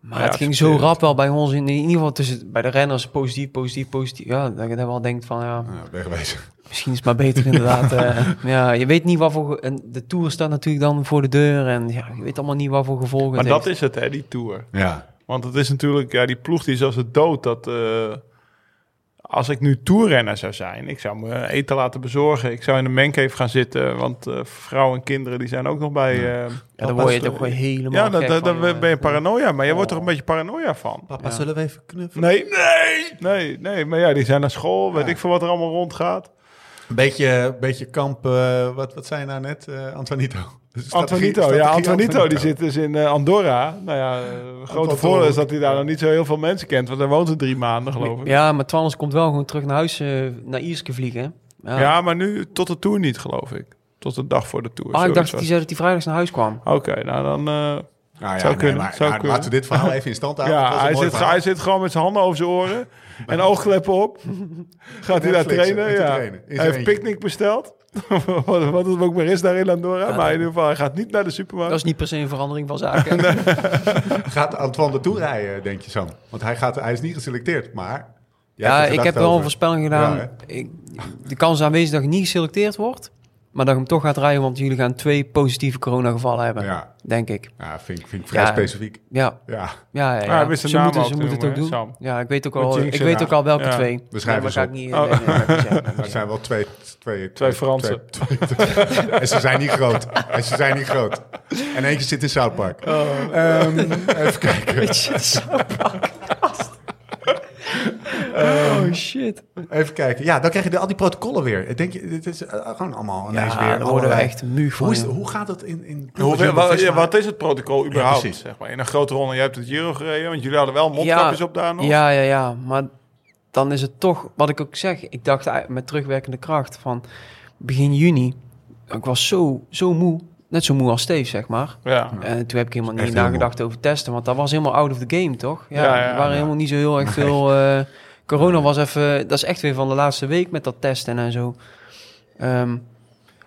[SPEAKER 4] Maar
[SPEAKER 3] Ja,
[SPEAKER 4] het ging zo
[SPEAKER 3] accepteer
[SPEAKER 4] rap wel bij ons, in, in ieder geval tussen, bij de renners, positief, positief, positief. Ja, dat je dan wel denkt van, ja,
[SPEAKER 1] Nou, wegwezen.
[SPEAKER 4] misschien is het maar beter inderdaad. eh. ja, je weet niet wat voor, ge- en de Tour staat natuurlijk dan voor de deur en ja, je weet allemaal niet wat voor gevolgen
[SPEAKER 3] Maar
[SPEAKER 4] het
[SPEAKER 3] dat
[SPEAKER 4] heeft.
[SPEAKER 3] is het, hè, die Tour.
[SPEAKER 1] Ja,
[SPEAKER 3] Want het is natuurlijk, ja, die ploeg die is als het dood. Dat, eh, als ik nu toerrenner zou zijn, ik zou me eten laten bezorgen. Ik zou in de mencave gaan zitten, want eh, vrouwen en kinderen die zijn ook nog bij... eh,
[SPEAKER 4] Ja, daar word je, daar word je helemaal
[SPEAKER 3] ja,
[SPEAKER 4] gek
[SPEAKER 3] daar
[SPEAKER 4] van, eh. Oh. jongen.
[SPEAKER 3] ben je paranoia. Maar je wordt er een beetje paranoia van.
[SPEAKER 1] Papa, zullen we even knuffelen?
[SPEAKER 3] Nee, nee, nee, nee. Maar ja, die zijn naar school. Weet ik veel wat er allemaal rondgaat.
[SPEAKER 1] Een beetje, beetje kamp, eh, wat, wat zei je nou net, eh, Antonito? Strategie-
[SPEAKER 3] Antonito,
[SPEAKER 1] strategie
[SPEAKER 3] ja, Antonito, die zit dus in eh, Andorra. Nou ja, eh, grote voordeel is dat hij daar nog niet zo heel veel mensen kent, want hij woont er drie maanden, geloof ik. Ja,
[SPEAKER 4] Ja, maar Twans komt wel gewoon terug naar huis, eh, naar Ierske vliegen. hè. Ja.
[SPEAKER 3] maar nu tot de tour niet, geloof ik. Tot de dag voor de tour.
[SPEAKER 4] ah, ik
[SPEAKER 3] zoiets
[SPEAKER 4] dacht
[SPEAKER 3] was.
[SPEAKER 4] dat hij zei dat hij vrijdags naar huis kwam.
[SPEAKER 3] Oké, nou dan. eh,
[SPEAKER 1] Nou ja,
[SPEAKER 3] Zou
[SPEAKER 1] nee,
[SPEAKER 3] kunnen,
[SPEAKER 1] maar,
[SPEAKER 3] zou
[SPEAKER 1] maar
[SPEAKER 3] kunnen.
[SPEAKER 1] Laten we dit verhaal even in stand houden.
[SPEAKER 3] ja, hij zit, hij zit gewoon met zijn handen over zijn oren en oogkleppen op. Gaat hij
[SPEAKER 1] Netflixen,
[SPEAKER 3] daar trainen?
[SPEAKER 1] met te
[SPEAKER 3] Ja.
[SPEAKER 1] trainen, in
[SPEAKER 3] Hij
[SPEAKER 1] zijn
[SPEAKER 3] heeft
[SPEAKER 1] eentje.
[SPEAKER 3] picknick besteld. wat, wat het ook maar is daar in Andorra. maar in ieder geval, hij gaat niet naar de supermarkt.
[SPEAKER 4] Dat is niet per se een verandering van zaken.
[SPEAKER 1] Gaat Antoine de Tour rijden, denk je zo? Want hij, gaat, hij is niet geselecteerd, maar... jij hebt
[SPEAKER 4] Ja,
[SPEAKER 1] het er
[SPEAKER 4] ik
[SPEAKER 1] laatst
[SPEAKER 4] heb wel een
[SPEAKER 1] over.
[SPEAKER 4] voorspelling gedaan.
[SPEAKER 1] Ja,
[SPEAKER 4] ik, de kans is aanwezig dat ik niet geselecteerd word. Maar dat ik hem toch gaat rijden, want jullie gaan twee positieve coronagevallen hebben.
[SPEAKER 1] Ja.
[SPEAKER 4] Denk ik.
[SPEAKER 1] Ja, vind, ik- vind ik vrij
[SPEAKER 4] Ja.
[SPEAKER 1] specifiek.
[SPEAKER 4] Ja,
[SPEAKER 1] Ja,
[SPEAKER 4] ja, ja.
[SPEAKER 1] Ah,
[SPEAKER 3] hij
[SPEAKER 4] ja.
[SPEAKER 3] wist de
[SPEAKER 4] Ze
[SPEAKER 3] naam
[SPEAKER 4] moeten,
[SPEAKER 3] al
[SPEAKER 4] ze
[SPEAKER 3] te
[SPEAKER 4] moeten het ook doen.
[SPEAKER 3] noemen, hè,
[SPEAKER 4] Ja, ik weet ook
[SPEAKER 3] Met
[SPEAKER 4] al,
[SPEAKER 3] Jinx
[SPEAKER 4] ik weet
[SPEAKER 3] erna.
[SPEAKER 4] ook al welke
[SPEAKER 3] Ja.
[SPEAKER 4] twee.
[SPEAKER 1] We schrijven
[SPEAKER 4] maar
[SPEAKER 1] ze
[SPEAKER 4] ga ik
[SPEAKER 1] op.
[SPEAKER 4] niet. nee, nee, dat ga ik niet zeggen.
[SPEAKER 1] dat zijn wel twee... Twee,
[SPEAKER 3] Fransen.
[SPEAKER 1] twee- twee- en ze zijn niet groot. En ze zijn niet groot. En eentje zit in South Park. Ehm, even kijken.
[SPEAKER 4] Weet je, het is zo podcast.
[SPEAKER 1] Eh.
[SPEAKER 4] Oh shit.
[SPEAKER 1] Even kijken. Ja, dan krijg je de- al die protocollen weer. Ik Denk je, dit is eh, gewoon allemaal ineens
[SPEAKER 4] Ja,
[SPEAKER 1] weer.
[SPEAKER 4] daar Ah, worden we
[SPEAKER 1] allerlei-
[SPEAKER 4] echt nu van.
[SPEAKER 1] Hoe, is,
[SPEAKER 4] joh.
[SPEAKER 1] hoe gaat dat in... in
[SPEAKER 3] Hoe,
[SPEAKER 1] Jumbo-Visma?
[SPEAKER 3] wat, ja, wat is het protocol überhaupt?
[SPEAKER 1] precies.
[SPEAKER 3] zeg maar? In een grote ronde, jij hebt het Giro gereden, want jullie hadden wel mondkapjes op daar nog.
[SPEAKER 4] Ja, ja, ja. Maar dan is het toch, wat ik ook zeg, ik dacht eigenlijk met terugwerkende kracht van begin juni, ik was zo, zo moe, net zo moe als Steve, zeg maar.
[SPEAKER 3] Ja.
[SPEAKER 4] En Eh, toen heb ik helemaal
[SPEAKER 1] echt
[SPEAKER 4] niet
[SPEAKER 1] heel
[SPEAKER 4] nagedacht over testen, want dat was helemaal out of the game, toch? Ja,
[SPEAKER 3] Ja, ja,
[SPEAKER 4] er waren
[SPEAKER 3] ja.
[SPEAKER 4] helemaal niet zo heel erg veel... eh, corona was even, dat is echt weer van de laatste week met dat testen en zo. Ehm,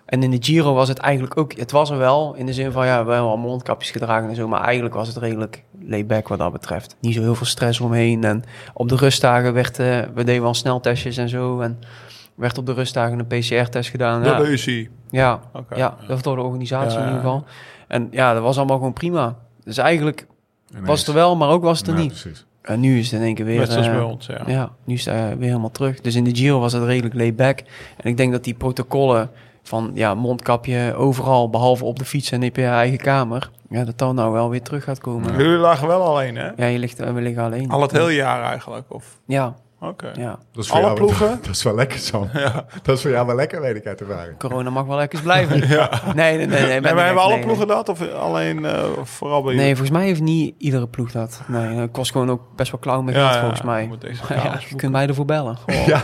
[SPEAKER 4] en in de Giro was het eigenlijk ook, het was er wel, in de zin van, ja, we hebben wel mondkapjes gedragen en zo, maar eigenlijk was het redelijk laid-back wat dat betreft. Niet zo heel veel stress omheen en op de rustdagen werd, eh, we deden wel sneltestjes en zo en werd op de rustdagen een PCR-test gedaan.
[SPEAKER 3] Dat
[SPEAKER 4] Ja,
[SPEAKER 3] is hij.
[SPEAKER 4] ja,
[SPEAKER 3] Oké.
[SPEAKER 4] ja, dat was door de organisatie
[SPEAKER 3] Ja,
[SPEAKER 4] in
[SPEAKER 3] ja.
[SPEAKER 4] ieder geval. En ja, dat was allemaal gewoon prima. Dus eigenlijk
[SPEAKER 1] Ineens.
[SPEAKER 4] was het er wel, maar ook was het er
[SPEAKER 1] Ja,
[SPEAKER 4] niet.
[SPEAKER 1] precies.
[SPEAKER 4] En nu is het in één keer weer...
[SPEAKER 3] Net zoals
[SPEAKER 4] eh,
[SPEAKER 3] bij ons, ja.
[SPEAKER 4] ja, nu is het eh, weer helemaal terug. Dus in de Giro was het redelijk laid back. En ik denk dat die protocollen van ja, mondkapje overal, behalve op de fiets en in je eigen kamer, ja, dat dat nou wel weer terug gaat komen. Ja,
[SPEAKER 3] Jullie lagen wel alleen, hè?
[SPEAKER 4] je ligt, eh, we liggen alleen.
[SPEAKER 3] Al het hele jaar eigenlijk. Of...
[SPEAKER 4] Ja,
[SPEAKER 3] Oké.
[SPEAKER 4] ja.
[SPEAKER 1] Dat is
[SPEAKER 3] Alle
[SPEAKER 1] jou wel-
[SPEAKER 3] ploegen?
[SPEAKER 1] Dat is wel lekker, Sam. Dat is voor jou wel lekker, weet ik uit ervaring.
[SPEAKER 4] Corona mag wel lekker blijven. Nee, nee, nee. nee,
[SPEAKER 3] En wij
[SPEAKER 4] nee,
[SPEAKER 3] hebben
[SPEAKER 4] nee,
[SPEAKER 3] alle
[SPEAKER 4] nee.
[SPEAKER 3] ploegen dat? Of alleen eh, vooral bij
[SPEAKER 4] Nee, volgens mij heeft niet iedere ploeg dat. Nee, dat kost gewoon ook best wel klauw mee
[SPEAKER 3] Ja,
[SPEAKER 4] geld,
[SPEAKER 3] ja,
[SPEAKER 4] volgens mij.
[SPEAKER 3] moet deze
[SPEAKER 4] Maar ja,
[SPEAKER 3] chaos
[SPEAKER 4] je kunt mij ervoor bellen. Goh.
[SPEAKER 1] Ja.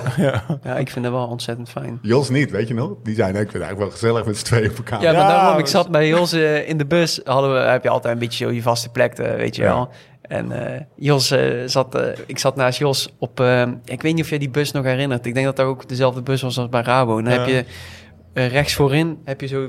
[SPEAKER 4] Ja, ik vind dat wel ontzettend fijn.
[SPEAKER 1] Jos niet, weet je nog? Die zei, nee, ik vind het eigenlijk wel gezellig met z'n tweeën op elkaar.
[SPEAKER 4] Ja, maar
[SPEAKER 3] Ja,
[SPEAKER 4] daarom, ik
[SPEAKER 3] dus-
[SPEAKER 4] zat bij Jos eh, in de bus, hadden we, heb je altijd een beetje zo je vaste plek, eh, weet je
[SPEAKER 1] Ja.
[SPEAKER 4] wel. En eh, Jos eh, zat, eh, ik zat naast Jos op, eh, ik weet niet of jij die bus nog herinnert. Ik denk dat dat ook dezelfde bus was als bij Rabo. Dan heb
[SPEAKER 3] Ja.
[SPEAKER 4] je eh, rechts voorin, heb je zo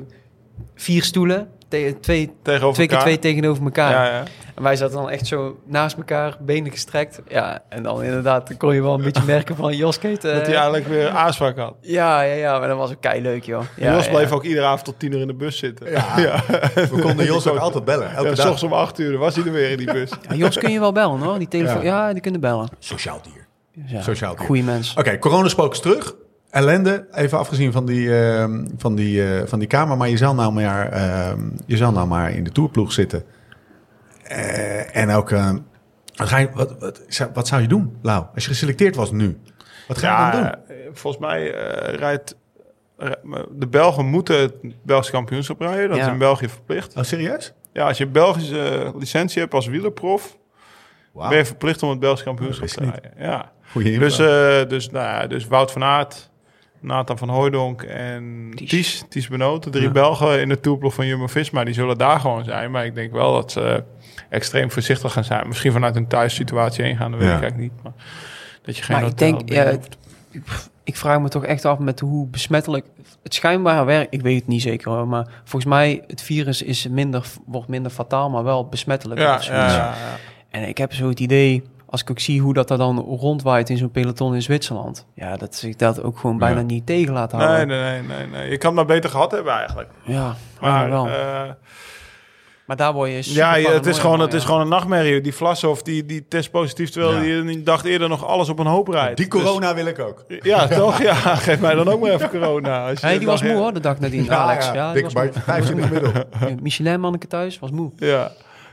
[SPEAKER 4] vier stoelen, te- twee,
[SPEAKER 3] Tegenover
[SPEAKER 4] twee keer
[SPEAKER 3] elkaar.
[SPEAKER 4] twee tegenover elkaar.
[SPEAKER 3] Ja, ja.
[SPEAKER 4] En wij zaten dan echt zo naast elkaar, benen gestrekt. Ja, en dan inderdaad dan kon je wel een beetje merken van Jos Keet. eh,
[SPEAKER 3] Dat hij eigenlijk weer aanspraak had.
[SPEAKER 4] ja, ja, ja, maar dat was ook kei leuk, joh. Ja,
[SPEAKER 3] Jos
[SPEAKER 4] ja.
[SPEAKER 3] bleef ook iedere avond tot tien uur in de bus zitten.
[SPEAKER 1] Ja. We konden Jos ook altijd bellen, elke
[SPEAKER 3] Ja,
[SPEAKER 1] dag.
[SPEAKER 3] Soms om acht uur was hij er weer in die bus.
[SPEAKER 4] Ja, Jos kun je wel bellen, hoor. Die telefoon, ja, die kunnen bellen.
[SPEAKER 1] Sociaal dier.
[SPEAKER 4] Dus ja,
[SPEAKER 1] Sociaal dier.
[SPEAKER 4] Goeie mens.
[SPEAKER 1] Oké, coronaspook is terug. Ellende, even afgezien van die, ehm, van die, eh, van die kamer. Maar je zal nou maar, ehm, je zal nou maar in de toerploeg zitten. Eh, en ook, ehm, wat, ga je, wat, wat, zou- wat zou je doen, Lau? Als je geselecteerd was nu, wat ga je dan doen?
[SPEAKER 3] eh, volgens mij eh, rijdt de Belgen moeten het Belgisch kampioenschap rijden. Dat
[SPEAKER 4] Ja.
[SPEAKER 3] is in België verplicht.
[SPEAKER 1] Oh, serieus?
[SPEAKER 3] Ja, als je een Belgische eh, licentie hebt als wielerprof,
[SPEAKER 1] Wauw.
[SPEAKER 3] ben je verplicht om het Belgisch kampioenschap
[SPEAKER 1] Dat
[SPEAKER 3] te
[SPEAKER 1] wist ik
[SPEAKER 3] rijden. Ja.
[SPEAKER 1] Goeie info.
[SPEAKER 3] Dus, eh, dus, nou, ja, dus Wout van Aert, Nathan van Hooijdonk en
[SPEAKER 4] Ties.
[SPEAKER 3] Ties, Ties Benoot, de drie Belgen in de toerploeg van Jumbo-Visma, die zullen daar gewoon zijn. Maar ik denk wel dat ze eh, extreem voorzichtig gaan zijn. Misschien vanuit hun thuissituatie heen gaan, dat weet
[SPEAKER 1] Ja.
[SPEAKER 3] ik eigenlijk niet. Maar dat je geen
[SPEAKER 4] Maar ik
[SPEAKER 3] hotel
[SPEAKER 4] denk,
[SPEAKER 3] binnen
[SPEAKER 4] ja,
[SPEAKER 3] hoeft.
[SPEAKER 4] Pff, Ik vraag me toch echt af met hoe besmettelijk het schijnbare werk. Ik weet het niet zeker hoor, maar volgens mij het virus is minder, wordt minder fataal, maar wel besmettelijk.
[SPEAKER 3] ja,
[SPEAKER 4] of
[SPEAKER 3] ja,
[SPEAKER 4] zoiets.
[SPEAKER 3] ja, ja.
[SPEAKER 4] En ik heb zo het idee, als ik ook zie hoe dat er dan rondwaait in zo'n peloton in Zwitserland. Ja, dat zich dat ook gewoon bijna
[SPEAKER 1] Ja.
[SPEAKER 4] niet tegen laat houden.
[SPEAKER 3] Nee, nee, nee, nee, nee. Je kan dat beter gehad hebben eigenlijk.
[SPEAKER 4] Ja, maar,
[SPEAKER 3] Maar
[SPEAKER 4] wel.
[SPEAKER 3] eh,
[SPEAKER 4] maar daar word je super
[SPEAKER 3] ja, ja, het, is
[SPEAKER 4] paranoia
[SPEAKER 3] gewoon,
[SPEAKER 4] van,
[SPEAKER 3] het is
[SPEAKER 4] ja.
[SPEAKER 3] gewoon een nachtmerrie. Die Vlashoff, die, die test positief, terwijl
[SPEAKER 1] Ja.
[SPEAKER 3] die een dag eerder nog alles op een hoop rijdt.
[SPEAKER 1] Die corona wil ik ook.
[SPEAKER 3] Dus- ja, toch? Ja, geef mij dan ook maar even corona. Als je
[SPEAKER 4] Hey,
[SPEAKER 3] de
[SPEAKER 4] die
[SPEAKER 3] dag
[SPEAKER 4] was moe
[SPEAKER 3] eerder-
[SPEAKER 4] hoor, de dag nadien, Nou, Alex. Ja, die
[SPEAKER 1] dik
[SPEAKER 4] was
[SPEAKER 1] buik, 25 middel.
[SPEAKER 4] moe. Michelin manneke thuis, was moe.
[SPEAKER 3] Ja.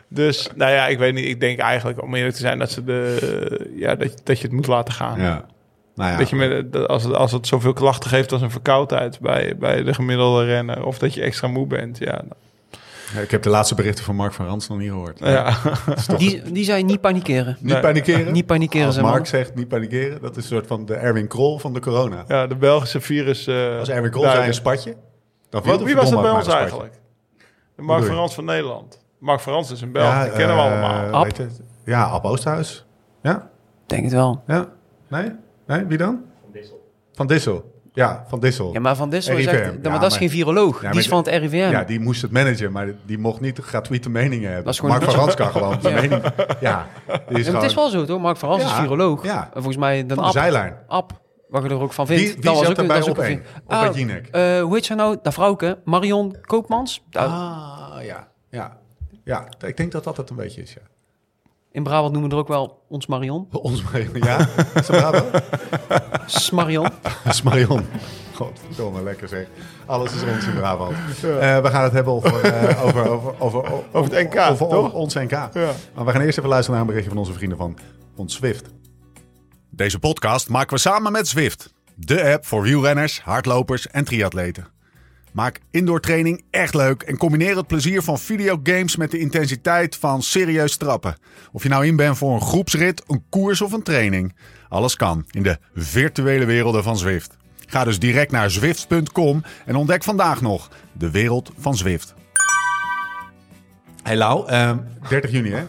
[SPEAKER 3] Dus, nou ja, ik weet niet. Ik denk eigenlijk, om eerlijk te zijn, dat, ze de, ja, dat, dat je het moet laten gaan.
[SPEAKER 1] Ja. Nou ja.
[SPEAKER 3] Dat je met, dat als, het, als het zoveel klachten geeft als een verkoudheid bij, bij de gemiddelde renner... of dat je extra moe bent, ja.
[SPEAKER 1] Ik heb de laatste berichten van Mark van Rans nog niet gehoord.
[SPEAKER 3] ja.
[SPEAKER 4] Die, die zei niet panikeren.
[SPEAKER 1] Niet panikeren.
[SPEAKER 4] Niet panikeren,
[SPEAKER 1] Als
[SPEAKER 4] zei
[SPEAKER 1] Mark
[SPEAKER 4] Mark.
[SPEAKER 1] zegt niet panikeren, dat is een soort van de Erwin Krol van de corona.
[SPEAKER 3] Ja, de Belgische virus... eh,
[SPEAKER 1] Als Erwin Krol
[SPEAKER 3] duiken.
[SPEAKER 1] zei een spatje, dan viel
[SPEAKER 3] Wat,
[SPEAKER 1] de
[SPEAKER 3] wie was dat
[SPEAKER 1] verdomme
[SPEAKER 3] bij
[SPEAKER 1] ook
[SPEAKER 3] ons
[SPEAKER 1] maar een
[SPEAKER 3] eigenlijk? De Mark
[SPEAKER 1] Wat bedoel
[SPEAKER 3] Frans van Nederland. Mark Frans is een Belg,
[SPEAKER 1] spatje.
[SPEAKER 3] dat kennen we
[SPEAKER 1] eh,
[SPEAKER 3] allemaal.
[SPEAKER 1] hoe
[SPEAKER 4] Ab.
[SPEAKER 1] heet het? Ja, Ab Oosthuis. Ja,
[SPEAKER 4] Denk het wel.
[SPEAKER 1] ja. Nee? Nee, wie dan? Van Dissel. Van Dissel. Ja, Van Dissel.
[SPEAKER 4] Ja, maar Van Dissel is
[SPEAKER 1] RIVM,
[SPEAKER 4] echt...
[SPEAKER 1] ja,
[SPEAKER 4] maar dat is
[SPEAKER 1] maar-
[SPEAKER 4] geen viroloog.
[SPEAKER 1] maar
[SPEAKER 4] die is
[SPEAKER 1] de-
[SPEAKER 4] van het RIVM.
[SPEAKER 1] Ja, die moest het managen, maar die mocht niet gratuite meningen hebben.
[SPEAKER 4] Dat is gewoon
[SPEAKER 1] Mark van Rans kan gewoon zijn
[SPEAKER 4] Ja.
[SPEAKER 1] mening. Ja, die is
[SPEAKER 4] Ja, maar
[SPEAKER 1] gewoon
[SPEAKER 4] het is wel zo, toch? Mark van Rans is
[SPEAKER 1] Ja,
[SPEAKER 4] viroloog.
[SPEAKER 1] ja.
[SPEAKER 4] En volgens mij de
[SPEAKER 1] van de
[SPEAKER 4] app,
[SPEAKER 1] zijlijn.
[SPEAKER 4] app, wat je er ook van vindt.
[SPEAKER 1] Wie, wie zat er bij
[SPEAKER 4] dat is
[SPEAKER 1] op één?
[SPEAKER 4] een-
[SPEAKER 1] Op
[SPEAKER 4] Ah,
[SPEAKER 1] bij Jinek.
[SPEAKER 4] eh, hoe heet zij nou? Dat vrouwke, Marion Koopmans. Nou, Daar-
[SPEAKER 1] Ah, ja. Ja. Ja, ik denk dat dat het een beetje is, ja.
[SPEAKER 4] In Brabant noemen we er ook wel ons Marion.
[SPEAKER 1] Ons Marion. Ja, is dat Brabo?
[SPEAKER 4] S Marion.
[SPEAKER 1] Dat is Marion. Godverdomme, lekker zeg. Alles is rond in Brabant. Eh, we gaan het hebben over, eh, over, over, over,
[SPEAKER 3] Over het NK,
[SPEAKER 1] Over,
[SPEAKER 3] toch?
[SPEAKER 1] ons NK. Maar we gaan eerst even luisteren naar een berichtje van onze vrienden van ons Zwift.
[SPEAKER 5] Deze podcast maken we samen met Zwift. De app voor wielrenners, hardlopers en triatleten. Maak indoor training echt leuk en combineer het plezier van videogames met de intensiteit van serieus trappen. Of je nou in bent voor een groepsrit, een koers of een training. Alles kan in de virtuele werelden van Zwift. Ga dus direct naar zwift.com en ontdek vandaag nog de wereld van Zwift.
[SPEAKER 1] Hey Lau, ehm, 30 juni hè?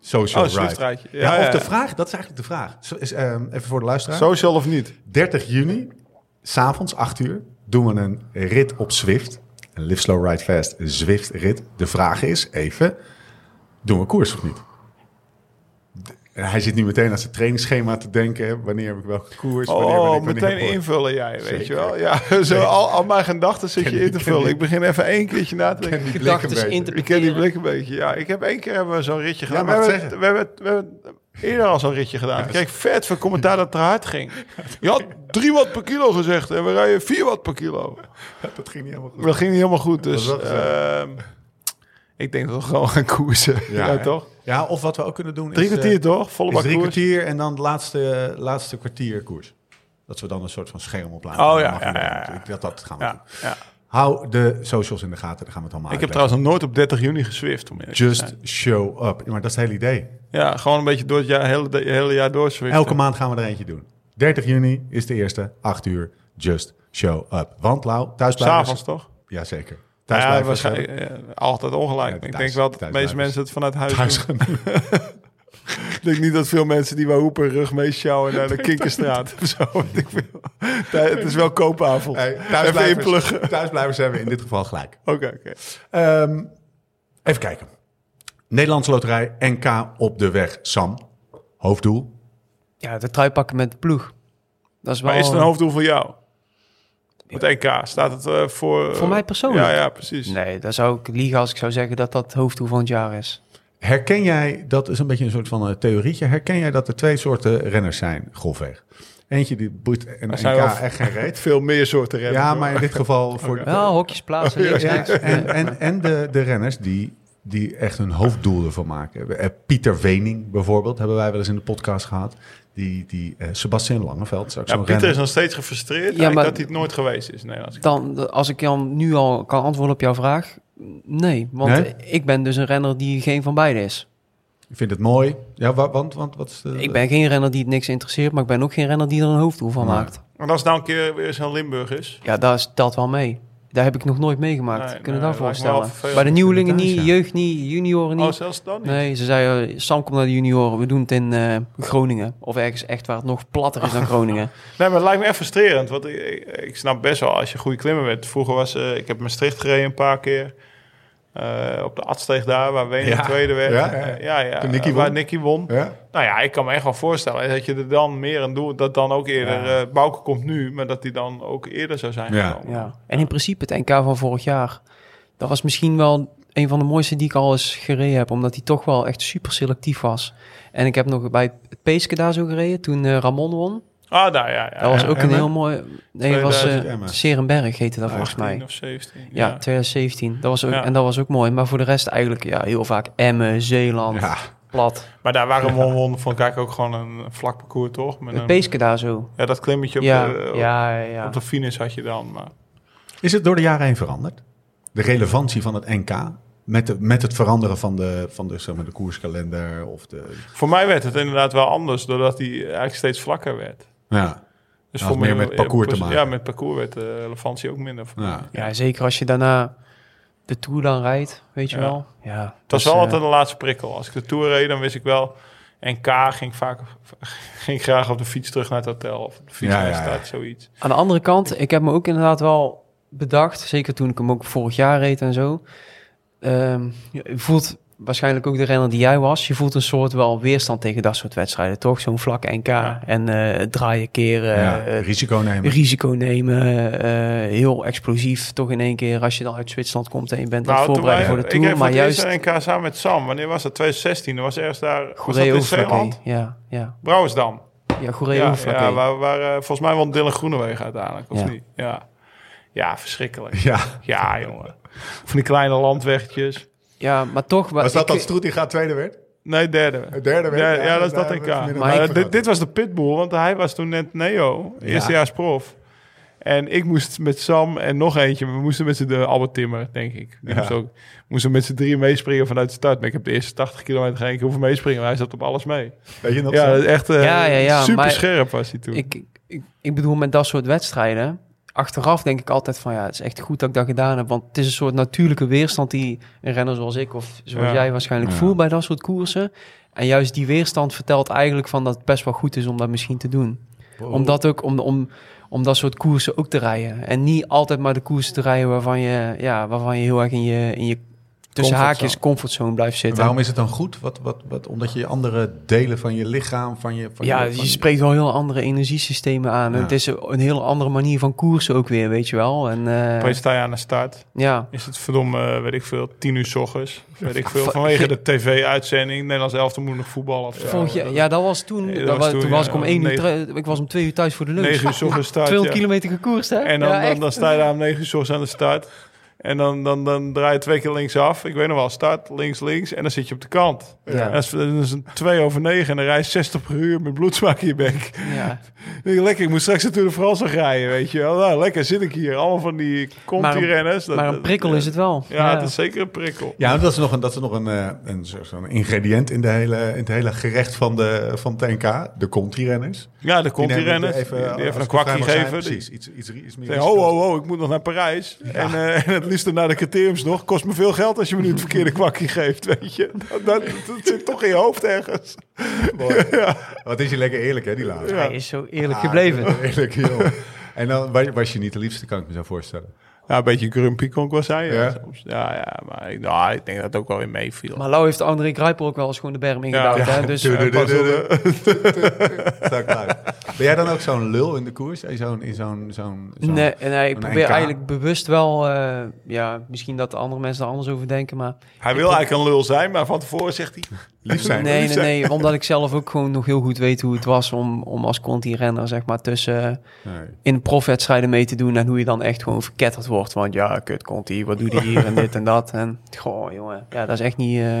[SPEAKER 1] Social
[SPEAKER 3] Oh,
[SPEAKER 1] ride.
[SPEAKER 3] Zwiftrijtje.
[SPEAKER 1] Ja,
[SPEAKER 3] Ja,
[SPEAKER 1] of
[SPEAKER 3] ja.
[SPEAKER 1] de vraag, dat is eigenlijk de vraag. Zo- is, ehm, even voor de luisteraar.
[SPEAKER 3] Social of niet?
[SPEAKER 1] 30 juni, s'avonds 8 uur, doen we een rit op Zwift. Een Live Slow Ride Fast Zwift rit. De vraag is even, doen we koers of niet? De- Hij zit nu meteen aan zijn trainingsschema te denken. hè. Wanneer heb ik welke koers? Dus Wanneer ben
[SPEAKER 3] Oh,
[SPEAKER 1] ik wanneer
[SPEAKER 3] meteen
[SPEAKER 1] heb ik-
[SPEAKER 3] invullen jij, weet
[SPEAKER 1] Zeker.
[SPEAKER 3] je wel. Ja, zo, al, al mijn gedachten zit je in te vullen. Ik begin even één keertje na te denken.
[SPEAKER 1] blik een
[SPEAKER 4] Gedachten
[SPEAKER 1] beetje.
[SPEAKER 3] Ik ken die
[SPEAKER 4] interpreteren.
[SPEAKER 3] blik een beetje. Ja, ik heb één keer hebben we zo'n ritje gedaan.
[SPEAKER 1] maar
[SPEAKER 3] we,
[SPEAKER 1] het
[SPEAKER 3] hebben, het- we, hebben, het- we hebben het eerder al zo'n ritje gedaan. Ik kreeg vet veel commentaar dat het te hard ging. Je had 3 watt per kilo gezegd en we rijden 4 watt per kilo.
[SPEAKER 1] Dat ging niet helemaal goed.
[SPEAKER 3] Dat ging niet helemaal goed, dus
[SPEAKER 1] Dat was wel
[SPEAKER 3] ehm, ik denk dat we gewoon gaan koersen.
[SPEAKER 1] Ja,
[SPEAKER 3] ja
[SPEAKER 1] hè?
[SPEAKER 3] toch?
[SPEAKER 1] Ja, of wat we ook kunnen doen
[SPEAKER 3] Drie
[SPEAKER 1] is, eh,
[SPEAKER 3] kwartier toch? Volle
[SPEAKER 1] is
[SPEAKER 3] bak
[SPEAKER 1] drie
[SPEAKER 3] koers.
[SPEAKER 1] kwartier en dan het laatste, laatste kwartier koers. Dat we dan een soort van scherm opladen.
[SPEAKER 3] Oh,
[SPEAKER 1] Dan
[SPEAKER 3] ja,
[SPEAKER 1] mag
[SPEAKER 3] ja,
[SPEAKER 1] iedereen
[SPEAKER 3] ja, ja.
[SPEAKER 1] natuurlijk. Dat, dat gaan we doen.
[SPEAKER 3] Ja, ja.
[SPEAKER 1] Ah, Hou de socials in de gaten, daar gaan we het allemaal
[SPEAKER 3] Ik heb
[SPEAKER 1] uitleggen.
[SPEAKER 3] trouwens nog nooit op 30 juni geswift. Om eerlijk te
[SPEAKER 1] Just
[SPEAKER 3] zijn.
[SPEAKER 1] show up. Ja, maar dat is het hele idee.
[SPEAKER 3] Ja, gewoon een beetje door het jaar, hele, de- hele jaar door swiften.
[SPEAKER 1] Elke maand gaan we er eentje doen. 30 juni is de eerste, 8 uur, just show up. Want Lau, thuisblijven...
[SPEAKER 3] S'avonds toch?
[SPEAKER 1] Jazeker.
[SPEAKER 3] Ja,
[SPEAKER 1] Thuisblijven is-
[SPEAKER 3] waarschijnlijk eh, altijd ongelijk.
[SPEAKER 1] Ja,
[SPEAKER 3] ik
[SPEAKER 1] thuis-
[SPEAKER 3] denk wel dat de
[SPEAKER 1] thuisblijvers.
[SPEAKER 3] meeste mensen het vanuit huis
[SPEAKER 1] Thuis
[SPEAKER 3] doen. Ik denk niet dat veel mensen die wij hoepen rug mee sjouwen naar de Kinkerstraat of zo. weet ik veel. Nee, Het is wel koopavond.
[SPEAKER 1] Hey,
[SPEAKER 3] Even
[SPEAKER 1] thuisblijvers,
[SPEAKER 3] inpluggen.
[SPEAKER 1] thuisblijvers hebben in dit geval gelijk.
[SPEAKER 3] Oké, oké.
[SPEAKER 1] Ehm, even kijken. Nederlandse Loterij NK op de weg. Sam, hoofddoel.
[SPEAKER 4] Ja, de trui pakken met de ploeg. Dat is wel...
[SPEAKER 3] Maar is het een hoofddoel voor jou? Het NK, staat het eh, voor...
[SPEAKER 4] Voor mij persoonlijk?
[SPEAKER 3] Ja, ja, precies.
[SPEAKER 4] Nee, daar zou ik liegen als ik zou zeggen dat dat hoofddoel van het jaar is.
[SPEAKER 1] Herken jij, dat is een beetje een soort van eh, theorietje, herken jij dat er twee soorten renners zijn, grofweg? Eentje die boeit een NK
[SPEAKER 3] zijn wel-
[SPEAKER 1] echt geen reet.
[SPEAKER 3] Veel meer soorten renners.
[SPEAKER 1] Ja,
[SPEAKER 3] hoor.
[SPEAKER 4] Oh.
[SPEAKER 1] maar in dit geval voor
[SPEAKER 4] Ja, hokjes plaatsen. niks,
[SPEAKER 1] Ja,
[SPEAKER 4] niks.
[SPEAKER 1] en, en, en de, de renners die die echt hun hoofddoel ervan maken. Eh, Pieter Wening bijvoorbeeld, hebben wij wel eens in de podcast gehad. Die, die eh, Sebastian Langeveld, zou ik
[SPEAKER 3] Ja,
[SPEAKER 1] zo
[SPEAKER 3] Pieter is nog steeds gefrustreerd
[SPEAKER 4] Ja,
[SPEAKER 3] eigenlijk
[SPEAKER 4] maar-
[SPEAKER 3] dat hij het nooit geweest is. Nee, als ik...
[SPEAKER 4] Dan, als ik dan nu al kan antwoorden op jouw vraag, nee. Want
[SPEAKER 1] Nee?
[SPEAKER 4] ik ben dus een renner die geen van beide is.
[SPEAKER 1] Ik vind het mooi. Ja, wa- want, want wat is de...
[SPEAKER 4] Ik ben geen renner die het niks interesseert, maar ik ben ook geen renner die er een hoofddoel van
[SPEAKER 1] Nee.
[SPEAKER 4] maakt.
[SPEAKER 3] Want als het nou een keer weer zo'n Limburg is.
[SPEAKER 4] Ja, daar telt wel mee. Daar heb ik nog nooit meegemaakt.
[SPEAKER 3] Nee,
[SPEAKER 4] Kunnen we
[SPEAKER 3] nee,
[SPEAKER 4] daar
[SPEAKER 3] lijkt me wel
[SPEAKER 4] voorstellen.
[SPEAKER 3] vervelend
[SPEAKER 4] Bij de nieuwelingen
[SPEAKER 1] inderdaad,
[SPEAKER 4] niet,
[SPEAKER 1] ja.
[SPEAKER 4] jeugd niet, junioren niet.
[SPEAKER 3] Oh, zelfs dan niet.
[SPEAKER 4] Nee, ze zeiden, eh, Sam komt naar de junioren, we doen het in eh, Groningen. Of ergens echt waar het nog platter is dan Groningen.
[SPEAKER 3] Nee, maar het lijkt me echt frustrerend. Want ik, ik, ik snap best wel als je goede klimmer bent. Vroeger was, eh, ik heb Maastricht gereden een paar keer. Eh, op de Adsteeg daar, waar Wenen
[SPEAKER 1] Ja.
[SPEAKER 3] tweede werd.
[SPEAKER 1] Ja,
[SPEAKER 3] Ja,
[SPEAKER 1] ja.
[SPEAKER 3] ja,
[SPEAKER 1] Toen Nicky
[SPEAKER 3] eh, waar
[SPEAKER 1] won.
[SPEAKER 3] Nicky won.
[SPEAKER 1] Ja?
[SPEAKER 3] Nou ja, ik kan me echt wel voorstellen dat je er dan meer aan doet. Dat dan ook eerder,
[SPEAKER 1] Ja.
[SPEAKER 3] eh Bouke komt nu, maar dat die dan ook eerder zou zijn
[SPEAKER 1] Ja.
[SPEAKER 3] gekomen.
[SPEAKER 4] ja. En in principe het NK van vorig jaar. Dat was misschien wel een van de mooiste die ik al eens gereden heb. Omdat die toch wel echt super selectief was. En ik heb nog bij het Peeske daar zo gereden, toen eh, Ramon won.
[SPEAKER 3] Ah, daar ja. ja
[SPEAKER 4] Dat was
[SPEAKER 3] ja.
[SPEAKER 4] ook een
[SPEAKER 1] Emmen?
[SPEAKER 4] heel mooi... Nee, het was
[SPEAKER 1] 2000
[SPEAKER 4] eh
[SPEAKER 1] Emmen.
[SPEAKER 4] Serenberg heette dat volgens
[SPEAKER 3] 18
[SPEAKER 4] mij.
[SPEAKER 3] of 17.
[SPEAKER 4] Ja,
[SPEAKER 3] ja.
[SPEAKER 4] 2017. Dat was ook,
[SPEAKER 3] Ja.
[SPEAKER 4] En dat was ook mooi. Maar voor de rest eigenlijk ja, heel vaak Emmen, Zeeland,
[SPEAKER 1] Ja.
[SPEAKER 4] plat.
[SPEAKER 3] Maar daar waren we won, vond ik eigenlijk ook gewoon een vlak parcours, toch? Met
[SPEAKER 4] Het
[SPEAKER 3] een,
[SPEAKER 4] Peeske daar zo.
[SPEAKER 3] ja, dat klimmetje op,
[SPEAKER 4] ja,
[SPEAKER 3] de, op,
[SPEAKER 4] ja, ja.
[SPEAKER 3] op de finish had je dan. Maar.
[SPEAKER 1] Is het door de jaren heen veranderd? De relevantie van het NK met, de, met het veranderen van de, van de, zeg maar, de koerskalender of de...
[SPEAKER 3] Voor mij werd het inderdaad wel anders, doordat hij eigenlijk steeds vlakker werd.
[SPEAKER 1] Ja,
[SPEAKER 3] Dus
[SPEAKER 1] Dat had meer met parcours te maken.
[SPEAKER 3] Ja, met parcours werd de relevantie ook minder. voor mij.
[SPEAKER 1] ja.
[SPEAKER 4] ja, zeker als je daarna de Tour dan rijdt, weet je
[SPEAKER 3] Ja.
[SPEAKER 4] wel. Ja,
[SPEAKER 3] Het was
[SPEAKER 4] dus,
[SPEAKER 3] wel
[SPEAKER 4] eh,
[SPEAKER 3] altijd de laatste prikkel. Als ik de Tour reed, dan wist ik wel... En K ging ik vaak ging ik graag op de fiets terug naar het hotel. Of op de fiets
[SPEAKER 1] Ja,
[SPEAKER 3] naar de
[SPEAKER 1] ja, ja.
[SPEAKER 3] stad, zoiets.
[SPEAKER 4] Aan de andere kant, ik heb me ook inderdaad wel bedacht, zeker toen ik hem ook vorig jaar reed en zo. ehm, je voelt waarschijnlijk ook de renner die jij was. Je voelt een soort wel weerstand tegen dat soort wedstrijden, toch? Zo'n vlak NK
[SPEAKER 3] Ja.
[SPEAKER 4] en eh, draaien keren,
[SPEAKER 1] Ja,
[SPEAKER 4] eh,
[SPEAKER 1] risico nemen.
[SPEAKER 4] risico nemen, eh, heel explosief. Toch in één keer als je dan uit Zwitserland komt en je bent aan het
[SPEAKER 3] Nou, toen
[SPEAKER 4] voorbereiden
[SPEAKER 3] wij-
[SPEAKER 4] voor de
[SPEAKER 3] ik
[SPEAKER 4] Tour.
[SPEAKER 3] reed voor
[SPEAKER 4] Maar
[SPEAKER 3] het eerst
[SPEAKER 4] juist
[SPEAKER 3] een NK samen met Sam. Wanneer was dat? 2016. Er was ergens daar... Was dat
[SPEAKER 4] Goeree
[SPEAKER 3] in
[SPEAKER 4] overvlakken.
[SPEAKER 3] Zeeland?
[SPEAKER 4] Ja, ja.
[SPEAKER 3] Brouwersdam.
[SPEAKER 4] Ja, Goeree
[SPEAKER 3] Ja,
[SPEAKER 4] overvlakken.
[SPEAKER 3] ja, waar, waar, eh, volgens mij won Dylan Groenewegen uiteindelijk, of
[SPEAKER 4] Ja.
[SPEAKER 3] niet? Ja. ja, verschrikkelijk.
[SPEAKER 1] Ja.
[SPEAKER 3] Ja, jongen. Van die kleine landwegjes.
[SPEAKER 4] Ja, maar toch... wa-
[SPEAKER 1] Was dat
[SPEAKER 4] ik-
[SPEAKER 1] dat Stroetinga tweede werd?
[SPEAKER 3] Nee, derde.
[SPEAKER 1] Derde werd?
[SPEAKER 3] Ja, ja, dat is
[SPEAKER 1] daar
[SPEAKER 3] dat
[SPEAKER 1] hebben
[SPEAKER 3] NK.
[SPEAKER 1] we het
[SPEAKER 3] Maar,
[SPEAKER 1] vanmiddag
[SPEAKER 3] eh,
[SPEAKER 1] over
[SPEAKER 3] dit, dit was de pitbull, want hij was toen net Neo,
[SPEAKER 1] Ja.
[SPEAKER 3] eerstejaars prof. En ik moest met Sam en nog eentje, we moesten met z'n de Albert Timmer, denk ik. Die
[SPEAKER 1] Ja.
[SPEAKER 3] moest ook, moesten met z'n drieën meespringen vanuit de start. Maar ik heb de eerste 80 kilometer geen keer hoeven meespringen, maar hij zat op alles mee.
[SPEAKER 1] gehad. Weet je nog?
[SPEAKER 3] ja,
[SPEAKER 1] zo?
[SPEAKER 3] dat is echt eh,
[SPEAKER 4] Ja, ja, ja,
[SPEAKER 3] super
[SPEAKER 4] maar-
[SPEAKER 3] scherp was hij toen.
[SPEAKER 4] Ik, ik- ik, ik bedoel, met dat soort wedstrijden... Achteraf denk ik altijd van ja, het is echt goed dat ik dat gedaan heb. Want het is een soort natuurlijke weerstand die een renner zoals ik of zoals
[SPEAKER 3] Ja.
[SPEAKER 4] jij waarschijnlijk
[SPEAKER 1] Ja.
[SPEAKER 4] voelt bij dat soort koersen. En juist die weerstand vertelt eigenlijk van dat het best wel goed is om dat misschien te doen.
[SPEAKER 1] Wow.
[SPEAKER 4] Om dat ook om, om, om dat soort koersen ook te rijden. En niet altijd maar de koersen te rijden waarvan je, ja, waarvan je heel erg in je, in je tussen
[SPEAKER 1] Comfortzone.
[SPEAKER 4] haakjes comfortzone blijft
[SPEAKER 1] En
[SPEAKER 4] zitten.
[SPEAKER 1] Waarom is het dan goed? Wat, wat, wat, omdat je je andere delen van je lichaam, van je... Van
[SPEAKER 4] Ja,
[SPEAKER 1] je, van
[SPEAKER 4] je spreekt wel heel andere energiesystemen aan. En
[SPEAKER 1] Ja.
[SPEAKER 4] het is een hele andere manier van koersen ook weer, weet je wel. En eh,
[SPEAKER 3] Opeens sta je aan de start.
[SPEAKER 4] ja,
[SPEAKER 3] Is het verdomme, eh, weet ik veel, tien uur s ochtends. Weet ik veel,
[SPEAKER 4] Va-
[SPEAKER 3] vanwege
[SPEAKER 4] ge-
[SPEAKER 3] de tv-uitzending. Nederlands elftal moet nog voetballen of zo.
[SPEAKER 4] vorig jaar, ja, dat was toen.
[SPEAKER 3] Ja,
[SPEAKER 4] dat was, toen
[SPEAKER 3] ja,
[SPEAKER 4] was ik om één uur,
[SPEAKER 3] negen-
[SPEAKER 4] tra- ik was om twee uur thuis voor de lunch.
[SPEAKER 3] Negen uur s ochtends start,
[SPEAKER 4] 200
[SPEAKER 3] ja.
[SPEAKER 4] kilometer gekoerst, hè?
[SPEAKER 3] En dan,
[SPEAKER 4] Ja,
[SPEAKER 3] dan,
[SPEAKER 4] echt.
[SPEAKER 3] dan sta je daar om 9 uur 's ochtends aan de start. En dan, dan, dan draai je twee keer linksaf. Ik weet nog wel, start, links, links. En dan zit je op de kant.
[SPEAKER 4] Ja.
[SPEAKER 3] En Dat, is, dat is een 2 over 9 en dan rij je 60 per uur met bloedsmaak in je bek.
[SPEAKER 4] ja.
[SPEAKER 3] Ik denk, lekker, ik moet straks natuurlijk vooral zo rijden, weet je wel. Nou, lekker, zit ik hier. Allemaal van die
[SPEAKER 4] Maar een-
[SPEAKER 3] conti-renners. Dat-
[SPEAKER 4] Maar een
[SPEAKER 3] dat-
[SPEAKER 4] prikkel is het wel.
[SPEAKER 3] Ja, het is zeker een prikkel.
[SPEAKER 1] Ja, dat is nog een, dat is nog een, eh, een, zo- zo'n ingrediënt in, de hele, in het hele gerecht van, de, van het NK. De contirenners.
[SPEAKER 3] Ja, de conti-renners.
[SPEAKER 1] Die nemen
[SPEAKER 3] Die
[SPEAKER 4] eh,
[SPEAKER 1] als
[SPEAKER 3] even een
[SPEAKER 1] ik het vrij
[SPEAKER 3] kwakje
[SPEAKER 1] mag zijn,
[SPEAKER 3] geven. Die-
[SPEAKER 1] Precies, iets, iets, iets meer.
[SPEAKER 3] Zeg,
[SPEAKER 1] risico.
[SPEAKER 3] ho, ho, ho, ik moet nog naar Parijs. En, eh, en het liefst naar de criteriums nog. Kost me veel geld als je me nu het verkeerde kwakje geeft, weet je. Dat, dat, dat zit toch in je hoofd ergens.
[SPEAKER 1] Mooi. Wat is je lekker eerlijk, hè, die laatste.
[SPEAKER 4] Hij is zo eerlijk gebleven.
[SPEAKER 1] Ah, eerlijk, joh. En dan wa- was je niet de liefste, kan ik me zo voorstellen.
[SPEAKER 3] Ja, een beetje grumpy kon ik wel zijn. Ja,
[SPEAKER 1] Ja.
[SPEAKER 3] ja. Soms. ja, ja maar ik, nou, ik denk dat het ook wel weer meeviel.
[SPEAKER 4] Maar Lau heeft André Grijpel ook wel eens gewoon de berm ingebouwd.
[SPEAKER 3] Ja,
[SPEAKER 4] hè? Dus,
[SPEAKER 1] Doe, doe, doe,
[SPEAKER 3] eh, pas
[SPEAKER 1] doe,
[SPEAKER 3] op,
[SPEAKER 1] doe. Sta ik klaar. Ben jij dan ook zo'n lul in de koers? In zo'n... In zo'n, zo'n, zo'n-
[SPEAKER 4] eh, Nee, nee, ik
[SPEAKER 1] een
[SPEAKER 4] probeer
[SPEAKER 1] NK.
[SPEAKER 4] eigenlijk bewust wel, eh, ja, misschien dat de andere mensen er anders over denken, maar
[SPEAKER 3] hij wil eigenlijk een lul zijn, maar van tevoren zegt hij...
[SPEAKER 1] Lief zijn.
[SPEAKER 4] nee,
[SPEAKER 3] lief
[SPEAKER 4] nee, nee, omdat ik zelf ook gewoon nog heel goed weet hoe het was om, om als conti-renner, zeg maar, tussen eh,
[SPEAKER 1] Nee.
[SPEAKER 4] in profwedstrijden mee te doen en hoe je dan echt gewoon verketterd wordt wordt. Want ja, kut Conti, wat doe die hier en dit en dat. En goh, jongen, ja, dat is echt niet, eh,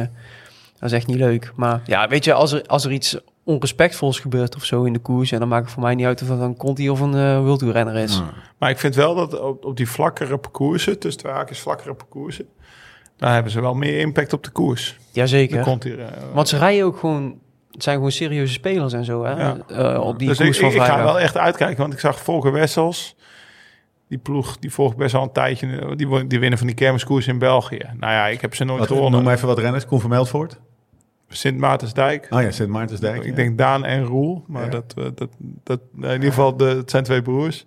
[SPEAKER 4] dat is echt niet leuk. Maar ja, weet je, als er, als er iets onrespectvols gebeurt of zo in de koers... en dan maakt het voor mij niet uit of dat een Conti of een eh World Tour renner is.
[SPEAKER 3] Maar ik vind wel dat op, op die vlakkere parcoursen, tussen twee haakjes vlakkere parcoursen, daar hebben ze wel meer impact op de koers. Dan
[SPEAKER 4] Jazeker.
[SPEAKER 3] komt hier, eh,
[SPEAKER 4] Want ze rijden ook gewoon... Het zijn gewoon serieuze spelers en zo, hè?
[SPEAKER 3] Ja.
[SPEAKER 4] eh, op die
[SPEAKER 3] dus
[SPEAKER 4] koers
[SPEAKER 3] ik,
[SPEAKER 4] van
[SPEAKER 3] ik, ik ga
[SPEAKER 4] vrijdag.
[SPEAKER 3] wel echt uitkijken, want ik zag Volker Wessels. Die ploeg, die volgt best al een tijdje. eh, Die, won- die winnen van die kermiskoers in België. Nou ja, ik heb ze nooit
[SPEAKER 1] Wat,
[SPEAKER 3] gewonnen.
[SPEAKER 1] noem maar even wat renners. Koen van Meldvoort.
[SPEAKER 3] Sint Maartensdijk.
[SPEAKER 1] Oh ja, Sint Maartensdijk.
[SPEAKER 3] ik
[SPEAKER 1] ja.
[SPEAKER 3] denk Daan en Roel. Maar
[SPEAKER 1] Ja.
[SPEAKER 3] dat, eh, dat, dat, nou, in ieder geval, de, het zijn twee broers.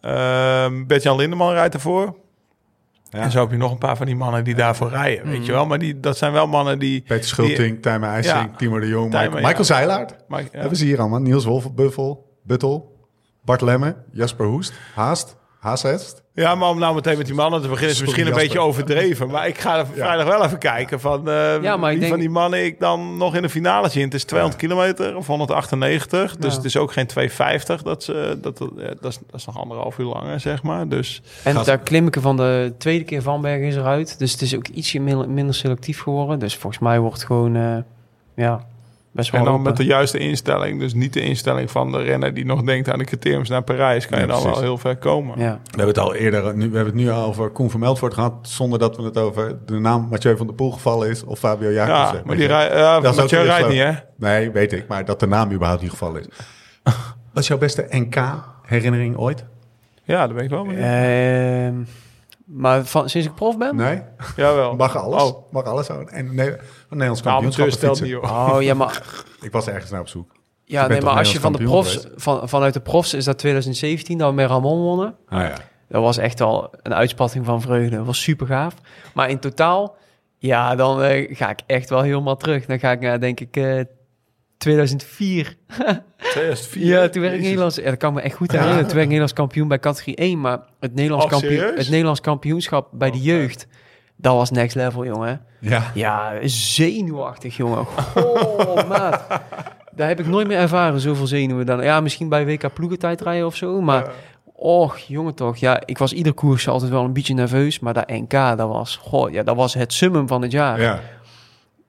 [SPEAKER 3] Ehm Bert-Jan Lindeman rijdt ervoor.
[SPEAKER 1] Ja. Mm.
[SPEAKER 3] En zo heb je nog een paar van die mannen die daarvoor rijden. Weet je wel? Maar die, dat zijn wel mannen die...
[SPEAKER 1] Peter Schulting, Tijmen IJsing,
[SPEAKER 3] Ja.
[SPEAKER 1] Timo de Jong,
[SPEAKER 3] Tijmen,
[SPEAKER 1] Michael,
[SPEAKER 3] ja.
[SPEAKER 1] Michael Zeilaert.
[SPEAKER 3] Maar, ja.
[SPEAKER 1] Hebben ze hier allemaal. Niels Wolfbuffel, Buttel, Bart Lemme, Jasper Hoest, Haast, Haasest.
[SPEAKER 3] Ja, maar om nou meteen met die mannen te beginnen is
[SPEAKER 1] Sorry,
[SPEAKER 3] misschien een
[SPEAKER 1] Jasper.
[SPEAKER 3] beetje overdreven. Maar ik ga er vrijdag wel even kijken van eh,
[SPEAKER 4] Ja, maar ik
[SPEAKER 3] wie
[SPEAKER 4] denk-
[SPEAKER 3] van die mannen ik dan nog in de finale zie. Het is 200 kilometer of 198, dus
[SPEAKER 4] Ja.
[SPEAKER 3] het is ook geen 250. Dat, ze, dat, dat, eh, dat, is, dat is nog anderhalf uur langer, zeg maar. Dus
[SPEAKER 4] En
[SPEAKER 1] Gast.
[SPEAKER 4] daar klimmen van de tweede keer Van Bergen is eruit. Dus het is ook ietsje mil- minder selectief geworden. Dus volgens mij wordt het gewoon eh, ja, best wel
[SPEAKER 3] en dan
[SPEAKER 4] open.
[SPEAKER 3] met de juiste instelling, dus niet de instelling van de renner die nog denkt aan de criteriums naar Parijs, kan
[SPEAKER 1] Ja,
[SPEAKER 3] je dan
[SPEAKER 1] precies.
[SPEAKER 3] wel heel ver komen.
[SPEAKER 4] ja.
[SPEAKER 1] We hebben het al eerder, nu, we hebben het nu al over Koen van Meldvoort gehad, zonder dat we het over de naam Mathieu van der Poel gevallen is of Fabio Jacobs.
[SPEAKER 3] Ja,
[SPEAKER 1] zeg
[SPEAKER 3] maar
[SPEAKER 1] maar.
[SPEAKER 3] die rij, eh,
[SPEAKER 1] Dat is ook
[SPEAKER 3] Mathieu
[SPEAKER 1] weer
[SPEAKER 3] rijdt
[SPEAKER 1] zo.
[SPEAKER 3] niet, hè?
[SPEAKER 1] Nee, weet ik, maar dat de naam überhaupt niet gevallen is. Wat is jouw beste NK-herinnering ooit?
[SPEAKER 3] Ja, dat weet ik wel. Ja.
[SPEAKER 4] Ehm, maar van, sinds ik prof ben?
[SPEAKER 1] Nee?
[SPEAKER 3] Jawel.
[SPEAKER 1] Mag alles?
[SPEAKER 3] Oh,
[SPEAKER 1] Mag alles? Oh, En nee, Nederlands
[SPEAKER 3] nou, amateur
[SPEAKER 1] kampioenschap
[SPEAKER 3] stelt
[SPEAKER 1] fietsen. Ah,
[SPEAKER 3] niet, hoor.
[SPEAKER 4] Oh ja, maar,
[SPEAKER 1] Ik was ergens naar op zoek.
[SPEAKER 4] ja,
[SPEAKER 1] bent
[SPEAKER 4] nee,
[SPEAKER 1] toch
[SPEAKER 4] maar als je
[SPEAKER 1] Nederlands
[SPEAKER 4] van de
[SPEAKER 1] kampioen
[SPEAKER 4] profs, van, vanuit de profs is dat 2017 dat we met Ramon wonnen.
[SPEAKER 1] Ah ja.
[SPEAKER 4] Dat was echt al een uitspatting van vreugde. Dat was super gaaf. Maar in totaal, ja, dan eh, ga ik echt wel helemaal terug. Dan ga ik naar, denk ik, eh 2004
[SPEAKER 3] 2004.
[SPEAKER 4] Ja, toen werd ik
[SPEAKER 3] Jezus.
[SPEAKER 4] Nederlands. Ja, dat kan ik me echt goed herinneren. Toen werd ik Nederlands kampioen bij categorie 1. Maar het Nederlands,
[SPEAKER 3] Oh,
[SPEAKER 4] kampioen,
[SPEAKER 3] serieus?
[SPEAKER 4] het Nederlands kampioenschap bij de jeugd. Dat was next level, jongen.
[SPEAKER 1] Ja.
[SPEAKER 4] Ja, zenuwachtig, jongen. Goh, maat. Daar heb ik nooit meer ervaren, zoveel zenuwen dan. Ja, misschien bij WK ploegentijdrijden of zo. Maar, och, jongen toch. Ja, ik was ieder koers altijd wel een beetje nerveus. Maar dat NK, dat was, goh, ja, dat was het summum van het jaar. Ja,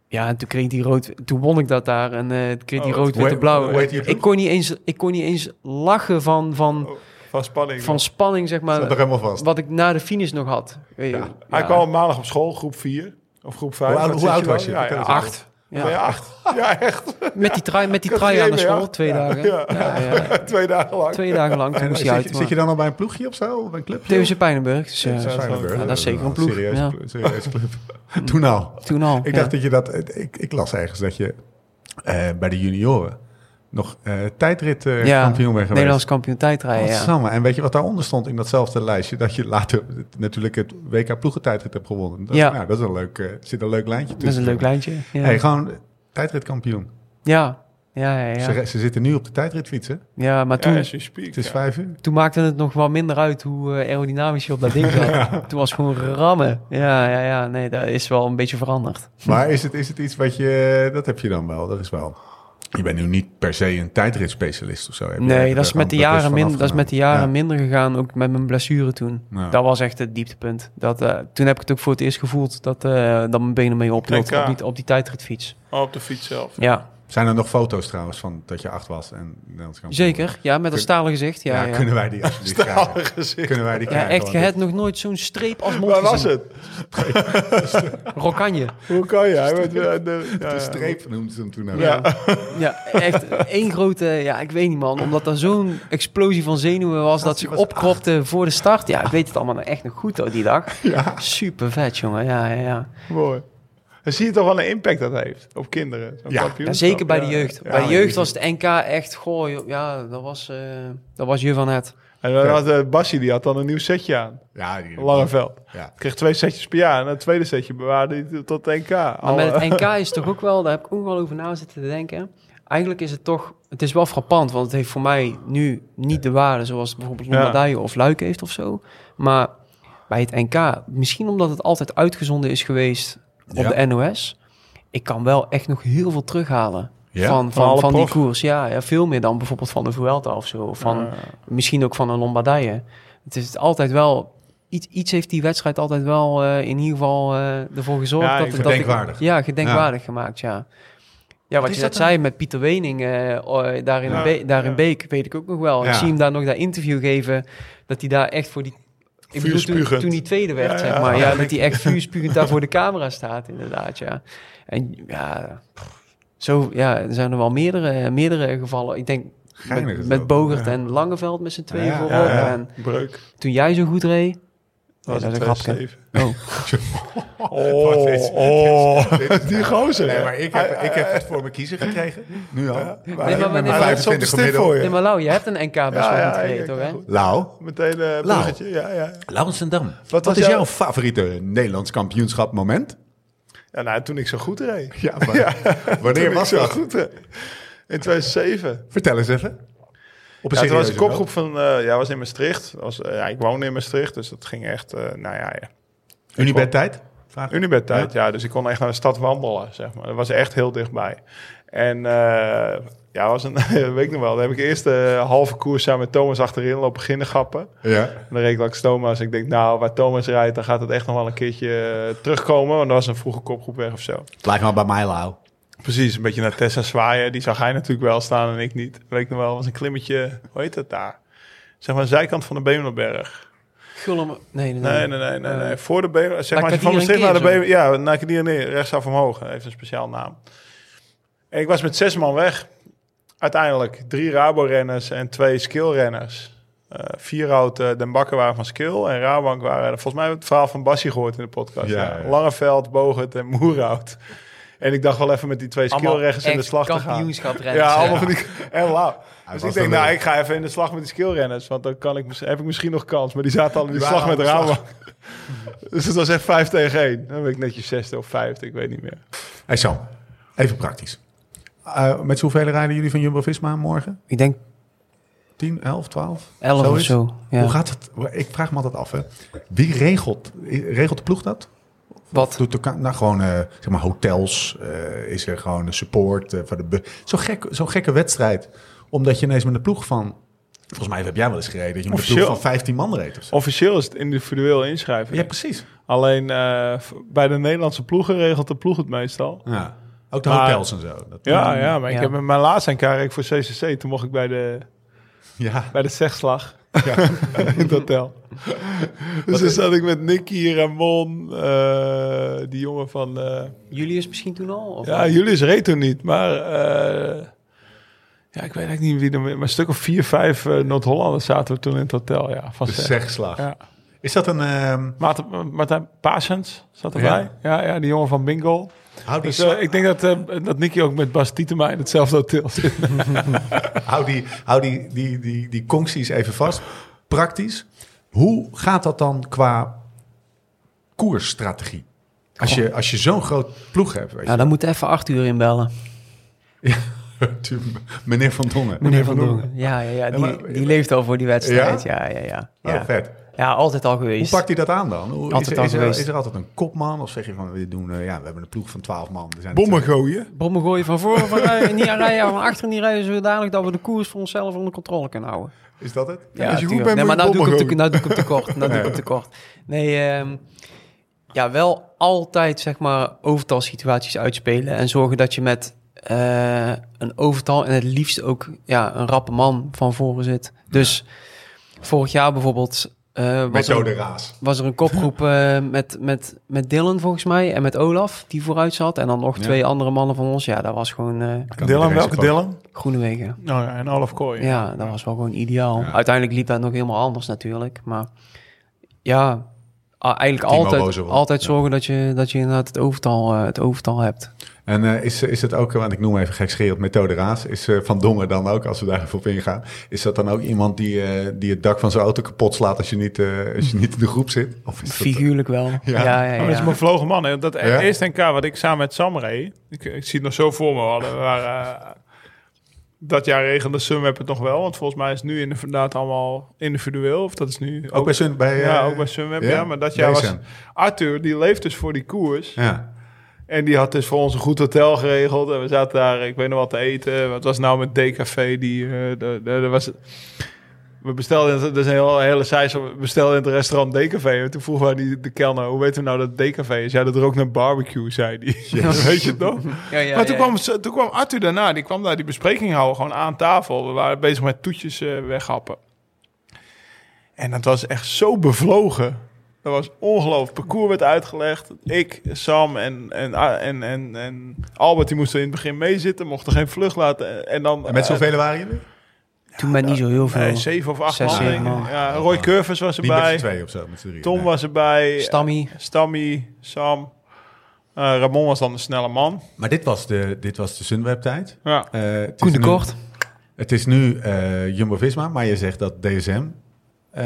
[SPEAKER 1] ja.
[SPEAKER 4] en toen kreeg ik die rood... Toen won ik dat daar. En eh, toen kreeg ik die
[SPEAKER 3] Oh, wat-
[SPEAKER 4] rood-witte-blauw.
[SPEAKER 1] Hoe heet die Oh,
[SPEAKER 4] Ik kon niet eens, ik kon niet eens lachen van, van,
[SPEAKER 3] Van spanning.
[SPEAKER 4] van spanning, zeg
[SPEAKER 1] Zat er
[SPEAKER 4] maar.
[SPEAKER 1] helemaal vast.
[SPEAKER 4] Wat ik na de finish nog had. Weet je, ja.
[SPEAKER 3] Hij kwam maandag op school, groep 4 of groep 5.
[SPEAKER 1] Hoe oud- hoe oud was je?
[SPEAKER 3] Ja, ja,
[SPEAKER 1] Vertel eens.
[SPEAKER 3] acht.
[SPEAKER 4] Ja.
[SPEAKER 3] Ben je acht? Ja, echt.
[SPEAKER 4] Met die trui, met die
[SPEAKER 3] Kan
[SPEAKER 4] trui
[SPEAKER 3] geen
[SPEAKER 4] aan de
[SPEAKER 3] meer, ja.
[SPEAKER 4] school, twee dagen.
[SPEAKER 3] Ja.
[SPEAKER 4] Ja, ja.
[SPEAKER 3] Twee dagen lang.
[SPEAKER 4] Twee dagen lang, toen
[SPEAKER 1] En
[SPEAKER 4] moest
[SPEAKER 1] zit,
[SPEAKER 4] hij uit.
[SPEAKER 1] je, zit je dan al bij een ploegje of zo? Of bij een club?
[SPEAKER 4] TVC Pijnenburg, dus, eh,
[SPEAKER 1] Ja, Feyenoord,
[SPEAKER 3] ja,
[SPEAKER 1] hè?
[SPEAKER 4] dat is zeker een ploeg,
[SPEAKER 1] serieuze
[SPEAKER 4] ja.
[SPEAKER 1] ploeg, serieuze club. nou. Toen al.
[SPEAKER 4] toen al.
[SPEAKER 1] Ik
[SPEAKER 4] ja.
[SPEAKER 1] dacht dat je dat... Ik, ik las ergens dat je eh, bij de junioren nog eh, tijdrit eh,
[SPEAKER 4] Ja,
[SPEAKER 1] kampioen bent geweest.
[SPEAKER 4] Nederlands kampioen tijdrijden, ja.
[SPEAKER 1] Godsamme. En weet je wat daaronder stond in datzelfde lijstje? Dat je later het- natuurlijk het WK ploegentijdrit hebt gewonnen. Dat,
[SPEAKER 4] Ja.
[SPEAKER 1] nou, dat is een leuk, eh, zit een leuk lijntje
[SPEAKER 4] Dat is
[SPEAKER 1] tussen.
[SPEAKER 4] een leuk lijntje. Ja,
[SPEAKER 1] Hey, gewoon tijdritkampioen.
[SPEAKER 4] ja, ja, ja. ja.
[SPEAKER 1] Ze, ze zitten nu op de tijdritfietsen.
[SPEAKER 4] Ja, maar
[SPEAKER 3] Ja,
[SPEAKER 4] toen,
[SPEAKER 3] as you speak,
[SPEAKER 1] Het is
[SPEAKER 3] ja.
[SPEAKER 1] vijf uur.
[SPEAKER 4] toen maakte het nog wel minder uit hoe eh, aerodynamisch je op dat ding zat. Toen was het gewoon rammen. Ja, ja, ja. Nee, dat is wel een beetje veranderd.
[SPEAKER 1] Maar is het, is het iets wat je... Dat heb je dan wel. Dat is wel... Je bent nu niet per se een tijdritspecialist of zo. Heb je
[SPEAKER 4] Nee,
[SPEAKER 1] er
[SPEAKER 4] dat is,
[SPEAKER 1] gewoon
[SPEAKER 4] met de
[SPEAKER 1] bewust
[SPEAKER 4] jaren
[SPEAKER 1] van
[SPEAKER 4] minder. dat is met de
[SPEAKER 1] afgenomen?
[SPEAKER 4] jaren
[SPEAKER 1] Ja.
[SPEAKER 4] minder gegaan, ook met mijn blessure toen.
[SPEAKER 1] Ja.
[SPEAKER 4] Dat was echt het dieptepunt. Dat, eh, toen heb ik het ook voor het eerst gevoeld dat, eh, dat mijn benen mee ophielden
[SPEAKER 3] NK.
[SPEAKER 4] op die, op die tijdritfiets.
[SPEAKER 3] Oh, op de fiets zelf.
[SPEAKER 4] Ja,
[SPEAKER 1] Zijn er nog foto's trouwens van dat je acht was en Nederlands kampioen?
[SPEAKER 4] zeker. Ja, met dat
[SPEAKER 1] Kun-
[SPEAKER 4] stalen gezicht.
[SPEAKER 1] Ja,
[SPEAKER 4] Ja, ja,
[SPEAKER 1] kunnen wij die alsjeblieft krijgen?
[SPEAKER 3] gezicht.
[SPEAKER 1] Kunnen wij die
[SPEAKER 4] Ja,
[SPEAKER 1] krijgen?
[SPEAKER 4] echt, je
[SPEAKER 1] Want
[SPEAKER 4] hebt nog nooit zo'n streep als mond
[SPEAKER 3] Waar was
[SPEAKER 4] gezien.
[SPEAKER 3] het?
[SPEAKER 4] Rokanje.
[SPEAKER 3] Hoe kan je? Hij werd, eh, de, ja,
[SPEAKER 1] dit-
[SPEAKER 3] ja.
[SPEAKER 1] De streep noemden ze hem toen ook.
[SPEAKER 3] Ja.
[SPEAKER 4] Ja, echt één grote... Ja, ik weet niet, man. Omdat er zo'n explosie van zenuwen was dat ze
[SPEAKER 1] was
[SPEAKER 4] opkropte voor de start. Ja, ik weet het allemaal echt nog goed, hoor, die dag.
[SPEAKER 1] Ja.
[SPEAKER 4] Super vet, jongen. Ja, ja, ja.
[SPEAKER 3] Mooi. Dan zie je toch wel een impact dat heeft op kinderen. zo'n
[SPEAKER 1] Ja.
[SPEAKER 4] Ja,
[SPEAKER 3] kampioenschap.
[SPEAKER 4] zeker bij de
[SPEAKER 3] Ja.
[SPEAKER 4] jeugd.
[SPEAKER 3] Ja.
[SPEAKER 4] bij de jeugd was het NK echt, goh, joh, ja, dat was, eh, dat was je van het.
[SPEAKER 3] En dan had eh, Bassie, die had dan een nieuw setje aan.
[SPEAKER 1] Ja, die-
[SPEAKER 3] Langeveld.
[SPEAKER 1] Ja.
[SPEAKER 3] Kreeg twee setjes per jaar. En dat tweede setje bewaarde hij tot 1K.
[SPEAKER 4] Maar met het NK is toch ook wel, daar heb ik ook wel over na zitten te denken. Eigenlijk is het toch, het is wel frappant, want het heeft voor mij nu niet de waarde zoals het bijvoorbeeld
[SPEAKER 3] Ja.
[SPEAKER 4] Lombardije of Luik heeft of zo. Maar bij het NK, misschien omdat het altijd uitgezonden is geweest op
[SPEAKER 1] Ja.
[SPEAKER 4] de NOS, ik kan wel echt nog heel veel terughalen.
[SPEAKER 1] Ja,
[SPEAKER 4] van,
[SPEAKER 3] van
[SPEAKER 4] van,
[SPEAKER 3] alle
[SPEAKER 4] van die
[SPEAKER 3] prof.
[SPEAKER 4] koers, ja, ja. Veel meer dan bijvoorbeeld van de Vuelta of zo. Of van, Misschien ook van een Lombardije. Het is altijd wel iets, iets heeft die wedstrijd altijd wel eh, in ieder geval eh, ervoor gezorgd.
[SPEAKER 3] Ja,
[SPEAKER 4] dat,
[SPEAKER 3] ik-
[SPEAKER 4] dat
[SPEAKER 1] gedenkwaardig.
[SPEAKER 4] ja, gedenkwaardig gemaakt, ja. Ja, wat
[SPEAKER 1] is
[SPEAKER 4] je
[SPEAKER 1] dat
[SPEAKER 4] net zei met Pieter Wening eh, oh, daar in,
[SPEAKER 3] Ja,
[SPEAKER 4] Be- daar in
[SPEAKER 3] ja.
[SPEAKER 4] Beek, weet ik ook nog wel.
[SPEAKER 1] Ja.
[SPEAKER 4] Ik zie hem daar nog dat interview geven, dat hij daar echt voor die... Ik bedoel, toen,
[SPEAKER 3] Vuurspugend.
[SPEAKER 4] toen hij tweede werd,
[SPEAKER 3] Ja,
[SPEAKER 4] zeg
[SPEAKER 3] ja.
[SPEAKER 4] maar. Ja, dat hij echt vuurspugend daar voor de camera staat, inderdaad, ja. En ja, zo, ja, er zijn er wel meerdere, meerdere gevallen. Ik denk
[SPEAKER 1] Geinig
[SPEAKER 4] met,
[SPEAKER 1] is
[SPEAKER 4] met
[SPEAKER 1] dat.
[SPEAKER 4] Bogert
[SPEAKER 1] Ja.
[SPEAKER 4] en Langeveld met z'n tweeën
[SPEAKER 1] Ja,
[SPEAKER 4] voorop.
[SPEAKER 1] ja, ja.
[SPEAKER 4] En
[SPEAKER 3] Breuk.
[SPEAKER 4] toen jij zo goed reed...
[SPEAKER 3] Dat
[SPEAKER 4] Ja,
[SPEAKER 3] was
[SPEAKER 4] dat
[SPEAKER 3] een
[SPEAKER 4] is een grapje.
[SPEAKER 3] 2-7.
[SPEAKER 4] Oh.
[SPEAKER 3] Oh,
[SPEAKER 1] dit is-
[SPEAKER 3] oh. die gozer.
[SPEAKER 1] Nee, maar ik heb, ik heb het voor mijn kiezer gekregen. Nu al.
[SPEAKER 4] maar
[SPEAKER 1] Met
[SPEAKER 4] wanneer-
[SPEAKER 1] mijn
[SPEAKER 4] maar
[SPEAKER 3] op
[SPEAKER 4] dat is
[SPEAKER 3] de
[SPEAKER 1] 25
[SPEAKER 3] stip
[SPEAKER 1] gemiddeld.
[SPEAKER 3] voor je.
[SPEAKER 4] Nee, maar Lau, je hebt een NK best wel
[SPEAKER 3] ja,
[SPEAKER 4] goed gereden,
[SPEAKER 3] ik-
[SPEAKER 4] toch,
[SPEAKER 3] ik-
[SPEAKER 4] hè?
[SPEAKER 1] Lau,
[SPEAKER 3] Meteen eh bruggetje. Ja, ja.
[SPEAKER 1] Laurensendam. Wat,
[SPEAKER 3] was
[SPEAKER 1] is
[SPEAKER 3] jouw-
[SPEAKER 1] jouw favoriete Nederlands kampioenschap moment?
[SPEAKER 3] ja nou, toen ik zo goed reed.
[SPEAKER 1] Ja, maar- wanneer
[SPEAKER 3] Toen
[SPEAKER 1] was
[SPEAKER 3] ik zo
[SPEAKER 1] dat?
[SPEAKER 3] goed reed. In 2007.
[SPEAKER 1] Vertel eens even. Op
[SPEAKER 3] Ja, het was een
[SPEAKER 1] serieuze
[SPEAKER 3] kopgroep van... eh ja, was in Maastricht. Dat Was, eh, ja, ik woonde in Maastricht, dus dat ging echt... eh nou ja, ja.
[SPEAKER 1] noot. Unibed tijd? Vraag.
[SPEAKER 3] Unibed tijd, ja. Dus ik kon echt naar de stad wandelen, zeg maar. Dat was echt heel dichtbij. En eh, ja, was een, weet ik nog wel. Dan heb ik eerst de halve koers samen met Thomas achterin lopen beginnen gappen.
[SPEAKER 1] Ja.
[SPEAKER 3] En dan reed ik langs Thomas. Ik denk, nou, waar Thomas rijdt, dan gaat het echt nog wel een keertje eh, terugkomen. Want dat was een vroege kopgroep weg of zo.
[SPEAKER 1] Het lijkt me wel bij mij, Lau.
[SPEAKER 3] Precies, een beetje naar Tessa zwaaien. Die zag hij natuurlijk wel staan en ik niet. Weet ik nog wel, was een klimmetje, hoe heet dat daar? Zeg maar de zijkant van de Bemelenberg.
[SPEAKER 4] Gullum... Nee, nee,
[SPEAKER 3] Nee, nee, nee, nee.
[SPEAKER 4] eh,
[SPEAKER 3] nee. Voor de Bemelenberg. Zeg
[SPEAKER 4] Maar
[SPEAKER 3] maar, als je van
[SPEAKER 4] kwartier
[SPEAKER 3] Maastricht
[SPEAKER 4] en
[SPEAKER 3] naar de
[SPEAKER 4] keer
[SPEAKER 3] Bemelenberg... Ja, naar Kadier neer, rechtsaf omhoog. Dat heeft een speciaal naam. En ik was met zes man weg. Uiteindelijk drie Rabo-renners en twee Skill-renners. Eh Vierhout, eh, Den Bakker waren van Skill en Rabank waren... Volgens mij hebben we het verhaal van Bassie gehoord in de podcast.
[SPEAKER 1] Ja,
[SPEAKER 3] Ja,
[SPEAKER 1] ja.
[SPEAKER 3] Langeveld, Bogert en Moerhout. En ik dacht wel even met die twee
[SPEAKER 4] Allemaal
[SPEAKER 3] skillrechts in de
[SPEAKER 4] echt
[SPEAKER 3] slag te gaan.
[SPEAKER 4] kampioenschaprenners,
[SPEAKER 3] Ja,
[SPEAKER 4] hè?
[SPEAKER 3] allemaal van die... En lauw.
[SPEAKER 1] Hij
[SPEAKER 3] Dus
[SPEAKER 1] was
[SPEAKER 3] ik denk,
[SPEAKER 1] dan
[SPEAKER 3] nou,
[SPEAKER 1] weer-
[SPEAKER 3] ik ga even in de slag met die skillrenners. Want dan kan ik, mis- heb ik misschien nog kans. Maar die zaten al in de
[SPEAKER 1] Die
[SPEAKER 3] slag
[SPEAKER 1] waren
[SPEAKER 3] met
[SPEAKER 1] al in de
[SPEAKER 3] Rabank. dus het was echt vijf tegen één. Dan ben ik netjes zesde of vijfde, ik weet niet meer.
[SPEAKER 1] Hey Sam, even praktisch. Eh, met hoeveel rijden jullie van Jumbo-Visma morgen?
[SPEAKER 4] Ik denk
[SPEAKER 1] 10, 11, 12?
[SPEAKER 4] 11 of
[SPEAKER 1] Zoiets?
[SPEAKER 4] zo. Ja.
[SPEAKER 1] Hoe gaat het? Ik vraag me altijd af. Hè. Wie regelt, regelt de ploeg dat?
[SPEAKER 4] Wat?
[SPEAKER 1] Doet de, ka- nou, gewoon eh, zeg maar hotels. eh, is er gewoon een support eh, voor de. bu- Zo gek, zo'n gekke wedstrijd. Omdat je ineens met een ploeg van. Volgens mij heb jij wel eens gereden. Dat je met een ploeg
[SPEAKER 3] Officieel.
[SPEAKER 1] van 15 man reed. Of zo.
[SPEAKER 3] Officieel is het individueel inschrijven.
[SPEAKER 1] Ja, precies.
[SPEAKER 3] Alleen eh, v- bij de Nederlandse ploegen regelt de ploeg het meestal.
[SPEAKER 1] Ja. Ook de
[SPEAKER 3] Maar-
[SPEAKER 1] hotels en zo. Dat-
[SPEAKER 3] Ja, Mm, ja, maar ik
[SPEAKER 4] Ja.
[SPEAKER 3] heb met mijn laatste NK reed ik voor CCC. Toen mocht ik bij de,
[SPEAKER 1] ja.
[SPEAKER 3] bij de zegslag in het hotel. dus toen zat ik met Nicky, Ramon, eh, die jongen van... eh,
[SPEAKER 4] Julius misschien toen al? Of
[SPEAKER 3] ja, Julius reed toen niet, maar... eh, ja, ik weet eigenlijk niet wie er... Maar een stuk of vier, vijf eh, Noord-Hollanders zaten we toen in het hotel, ja. Van
[SPEAKER 1] De
[SPEAKER 3] Zeg.
[SPEAKER 1] zegslag.
[SPEAKER 3] Ja.
[SPEAKER 1] Is dat een. ehm
[SPEAKER 3] Maarten, eh, Martijn Paasens zat erbij. Ja. Ja, die jongen van Bingo.
[SPEAKER 1] hou, die
[SPEAKER 3] Dus eh,
[SPEAKER 1] sla-
[SPEAKER 3] ik denk dat, eh dat Nicky ook met Bas Tietema in hetzelfde hotel zit.
[SPEAKER 1] hou, die, hou die, die, die, die concties even vast. Praktisch. Hoe gaat dat dan qua koersstrategie? Als je, als je zo'n groot ploeg hebt. Weet je.
[SPEAKER 4] Nou, dan moet even 8 uur inbellen.
[SPEAKER 1] Meneer Van Dongen.
[SPEAKER 4] Ja, ja, ja.
[SPEAKER 1] Ja, maar-
[SPEAKER 4] Die, die leeft al voor die wedstrijd. Ja, ja, ja.
[SPEAKER 1] Oh,
[SPEAKER 4] Ja, ja.
[SPEAKER 1] vet.
[SPEAKER 4] altijd al
[SPEAKER 1] Hoe
[SPEAKER 4] geweest.
[SPEAKER 1] pakt hij dat aan dan? Hoe,
[SPEAKER 4] Altijd
[SPEAKER 1] is,
[SPEAKER 4] al
[SPEAKER 1] is, er,
[SPEAKER 4] geweest.
[SPEAKER 1] is er altijd een kopman? Of zeg je van, we, doen, eh, ja, we hebben een ploeg van 12 man. Er zijn
[SPEAKER 3] gooien.
[SPEAKER 4] Bommen gooien van voren, van rijden, niet aan rijden, van achteren niet rijden, zodanig dat we de koers voor onszelf onder controle kunnen houden.
[SPEAKER 1] Is dat het?
[SPEAKER 4] Ja,
[SPEAKER 3] als je goed bent,
[SPEAKER 4] tuurlijk. nee,
[SPEAKER 3] moet
[SPEAKER 4] maar
[SPEAKER 3] je
[SPEAKER 4] nou doe,
[SPEAKER 3] bommen
[SPEAKER 4] ik hem te, nou doe ik hem tekort. Nou doe ik hem tekort. Nee, ehm, ja, wel altijd zeg maar overtalsituaties uitspelen en zorgen dat je met eh, een overtal en het liefst ook ja, een rappe man van voren zit. Dus vorig jaar bijvoorbeeld eh was,
[SPEAKER 1] Methode
[SPEAKER 4] er,
[SPEAKER 1] raas.
[SPEAKER 4] was er een kopgroep eh, met, met, met Dylan volgens mij en met Olaf die vooruit zat en dan nog
[SPEAKER 1] Ja.
[SPEAKER 4] twee andere mannen van ons. Ja, dat was gewoon eh
[SPEAKER 3] Dylan, welke Dylan?
[SPEAKER 4] Groenewegen.
[SPEAKER 3] Nou ja, en Olaf Kooi.
[SPEAKER 4] Ja, dat was wel gewoon ideaal.
[SPEAKER 1] Ja.
[SPEAKER 4] Uiteindelijk liep dat nog helemaal anders natuurlijk. Maar ja, a- eigenlijk
[SPEAKER 1] Timo
[SPEAKER 4] altijd,
[SPEAKER 1] Bozeman.
[SPEAKER 4] altijd
[SPEAKER 1] Ja.
[SPEAKER 4] zorgen dat je, dat je inderdaad het overtal, eh, het overtal hebt.
[SPEAKER 1] En eh, is, is het ook, want ik noem even gekscherend methode raas, is eh, Van Dongen dan ook, als we daar even op ingaan, is dat dan ook iemand die, eh, die het dak van zijn auto kapot slaat als je niet, eh, als je niet in de groep zit? Of is dat-
[SPEAKER 4] Figuurlijk wel. Ja, ja, ja.
[SPEAKER 3] Oh, Maar dat is een bevlogen man. Hè. Dat e-
[SPEAKER 1] Ja.
[SPEAKER 3] eerste NK wat ik samen met Sam reed... Ik, ik zie het nog zo voor me. We hadden, we waren, eh, dat jaar regende Sunweb het nog wel. Want volgens mij is het nu inderdaad allemaal individueel. Of dat is nu...
[SPEAKER 1] Ook bij Sun? Bij,
[SPEAKER 3] ja,
[SPEAKER 1] eh,
[SPEAKER 3] ook bij Sunweb,
[SPEAKER 1] ja?
[SPEAKER 3] ja. Maar dat jaar
[SPEAKER 1] Bij
[SPEAKER 3] was...
[SPEAKER 1] Sun.
[SPEAKER 3] Arthur, die leeft dus voor die koers.
[SPEAKER 1] Ja.
[SPEAKER 3] En die had dus voor ons een goed hotel geregeld. En we zaten daar, ik weet nog wat te eten. Wat was nou met DKV? Die, eh, de- de- de was, We bestelden, in- dat is een heel, hele saaise, we bestelden in het restaurant DKV. En toen vroeg wij die, de kelner, hoe weten we nou dat het DKV is? Ja, dat rookt naar barbecue, zei die. Weet je het nog?
[SPEAKER 4] Ja, ja,
[SPEAKER 3] maar toen,
[SPEAKER 4] ja.
[SPEAKER 3] Kwam, ze- toen kwam Arthur daarna, die kwam daar die bespreking houden, gewoon aan tafel. We waren bezig met toetjes eh, weghappen. En dat was echt zo bevlogen. Dat was ongelooflijk. Parcours werd uitgelegd. Ik, Sam en, en, en, en, en Albert, die moesten in het begin meezitten, mochten geen vlucht laten. En dan,
[SPEAKER 1] En met
[SPEAKER 3] eh,
[SPEAKER 1] zoveel waren jullie?
[SPEAKER 4] Toen ben niet zo heel veel.
[SPEAKER 3] Nee, zeven of acht
[SPEAKER 4] Zes,
[SPEAKER 3] man.
[SPEAKER 4] zeven
[SPEAKER 3] denk ik.
[SPEAKER 4] man.
[SPEAKER 3] Ja, Roy Curvers was
[SPEAKER 1] Niet met z'n
[SPEAKER 3] erbij.
[SPEAKER 1] tweeën of zo, met z'n drieën.
[SPEAKER 3] Tom
[SPEAKER 1] Nee.
[SPEAKER 3] was erbij.
[SPEAKER 4] Stammy.
[SPEAKER 3] Stammy, Sam. Eh, Ramon was dan de snelle man.
[SPEAKER 1] Maar dit was de, dit was de Sunweb-tijd.
[SPEAKER 3] Ja.
[SPEAKER 1] Eh, het
[SPEAKER 4] Koen
[SPEAKER 1] is
[SPEAKER 4] de
[SPEAKER 1] nu-
[SPEAKER 4] Kort.
[SPEAKER 1] Het is nu eh, Jumbo-Visma, maar je zegt dat DSM... eh,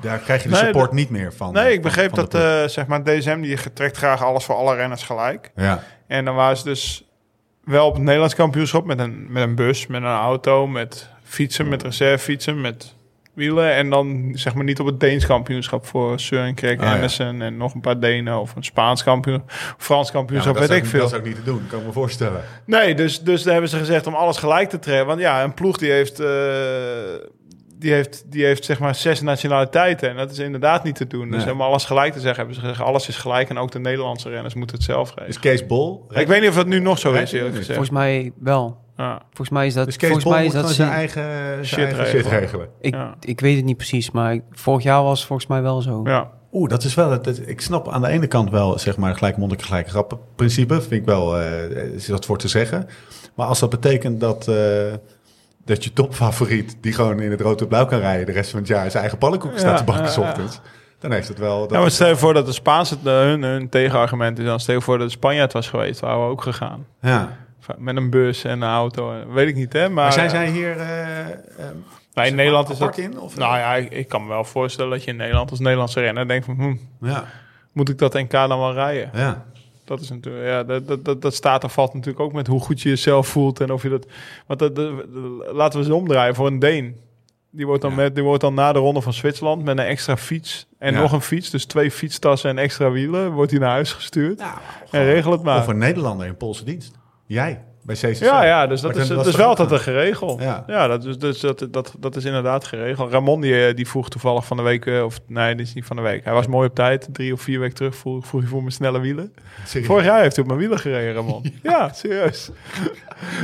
[SPEAKER 1] daar krijg je de
[SPEAKER 3] Nee,
[SPEAKER 1] support
[SPEAKER 3] dat-
[SPEAKER 1] niet meer van.
[SPEAKER 3] Nee, ik
[SPEAKER 1] van-
[SPEAKER 3] begreep
[SPEAKER 1] van de
[SPEAKER 3] dat
[SPEAKER 1] ploeg.
[SPEAKER 3] eh, zeg maar DSM die trekt graag alles voor alle renners gelijk.
[SPEAKER 1] ja.
[SPEAKER 3] En dan waren ze dus wel op het Nederlands kampioenschap met een, met een bus, met een auto, met fietsen, met reservefietsen, met wielen. En dan zeg maar niet op het Deens kampioenschap voor Sørenkrek,
[SPEAKER 1] Ah, ja.
[SPEAKER 3] Andersen en nog een paar Denen of een Spaans kampioen, Frans
[SPEAKER 1] Ja,
[SPEAKER 3] kampioenschap,
[SPEAKER 1] maar dat
[SPEAKER 3] weet
[SPEAKER 1] is
[SPEAKER 3] ik
[SPEAKER 1] ook-
[SPEAKER 3] veel.
[SPEAKER 1] Dat is ook niet te doen, kan ik me voorstellen.
[SPEAKER 3] Nee, dus, dus daar hebben ze gezegd om alles gelijk te trekken. Want ja, een ploeg die heeft, eh, die heeft, die heeft zeg maar zes nationaliteiten. En dat is inderdaad niet te doen. Dus
[SPEAKER 1] Nee.
[SPEAKER 3] om alles gelijk te zeggen, hebben ze gezegd alles is gelijk. En ook de Nederlandse renners moeten het zelf regelen.
[SPEAKER 1] Is Dus Kees Bol...
[SPEAKER 3] ik weet niet of dat nu nog zo
[SPEAKER 1] Rijdt
[SPEAKER 3] is,
[SPEAKER 1] hij
[SPEAKER 3] eerlijk
[SPEAKER 1] niet?
[SPEAKER 3] gezegd.
[SPEAKER 4] Volgens mij wel.
[SPEAKER 3] Ja,
[SPEAKER 4] Volgens mij is dat.
[SPEAKER 1] Dus Kees
[SPEAKER 4] volgens
[SPEAKER 1] Bol
[SPEAKER 4] mij is
[SPEAKER 1] moet
[SPEAKER 4] dat.
[SPEAKER 1] gewoon zijn
[SPEAKER 4] zin-
[SPEAKER 1] eigen, zijn
[SPEAKER 3] Shit
[SPEAKER 1] eigen
[SPEAKER 3] regelen.
[SPEAKER 1] shit regelen.
[SPEAKER 4] Ik,
[SPEAKER 3] Ja.
[SPEAKER 4] ik weet het niet precies, maar ik- vorig jaar was het volgens mij wel zo.
[SPEAKER 3] ja.
[SPEAKER 1] Oeh, dat is wel. het- het- ik snap aan de ene kant wel, zeg maar, gelijk monnik, gelijk grappen principe. Vind ik wel, eh, is dat voor te zeggen. Maar als dat betekent dat, eh, dat je topfavoriet, die gewoon in het rood en blauw kan rijden, de rest van het jaar zijn eigen pannenkoeken staat
[SPEAKER 3] Ja,
[SPEAKER 1] te bakken
[SPEAKER 3] ja,
[SPEAKER 1] 's
[SPEAKER 3] ja.
[SPEAKER 1] ochtends. Dan heeft het wel. Dat
[SPEAKER 3] ja maar stel je voor dat de Spaanse eh, hun, hun tegenargument is. Dan stel je voor dat de Spanjaard was geweest. Waren we ook gegaan.
[SPEAKER 1] ja.
[SPEAKER 3] Met een bus en een auto. Weet ik niet, hè. Maar,
[SPEAKER 1] Maar zijn
[SPEAKER 3] eh,
[SPEAKER 1] zij hier eh, ehm,
[SPEAKER 3] nou, in Nederland is
[SPEAKER 1] apart
[SPEAKER 3] dat...
[SPEAKER 1] in? Of,
[SPEAKER 3] Nou ja, ik, ik kan me wel voorstellen dat je in Nederland als Nederlandse renner denkt van... hm,
[SPEAKER 1] ja,
[SPEAKER 3] moet ik dat NK dan wel rijden?
[SPEAKER 1] ja.
[SPEAKER 3] Dat is natuurlijk, ja, dat, dat, dat, dat staat en valt natuurlijk ook met hoe goed je jezelf voelt en of je dat. Want dat, dat- laten we eens omdraaien voor een Deen. Die wordt, dan
[SPEAKER 1] Ja.
[SPEAKER 3] met, die wordt dan na de ronde van Zwitserland met een extra fiets en
[SPEAKER 1] Ja.
[SPEAKER 3] nog een fiets, dus twee fietstassen en extra wielen, wordt hij naar huis gestuurd. en regel het maar.
[SPEAKER 1] Of een Nederlander in Poolse dienst. Jij bij CCC.
[SPEAKER 3] Ja, ja, dus dat
[SPEAKER 1] Maar
[SPEAKER 3] is,
[SPEAKER 1] dan
[SPEAKER 3] dat
[SPEAKER 1] was
[SPEAKER 3] is
[SPEAKER 1] er
[SPEAKER 3] wel
[SPEAKER 1] ook
[SPEAKER 3] altijd
[SPEAKER 1] een-
[SPEAKER 3] een geregel.
[SPEAKER 1] Ja.
[SPEAKER 3] Ja, dat, is, dus dat, dat, dat is inderdaad geregeld. Ramon die, eh, die vroeg toevallig van de week, eh, of nee, dit is niet van de week. Hij was mooi op tijd, drie of vier weken terug vroeg, vroeg hij voor mijn snelle wielen.
[SPEAKER 1] Serieus.
[SPEAKER 3] Vorig jaar heeft hij op mijn wielen gereden, Ramon. ja, serieus.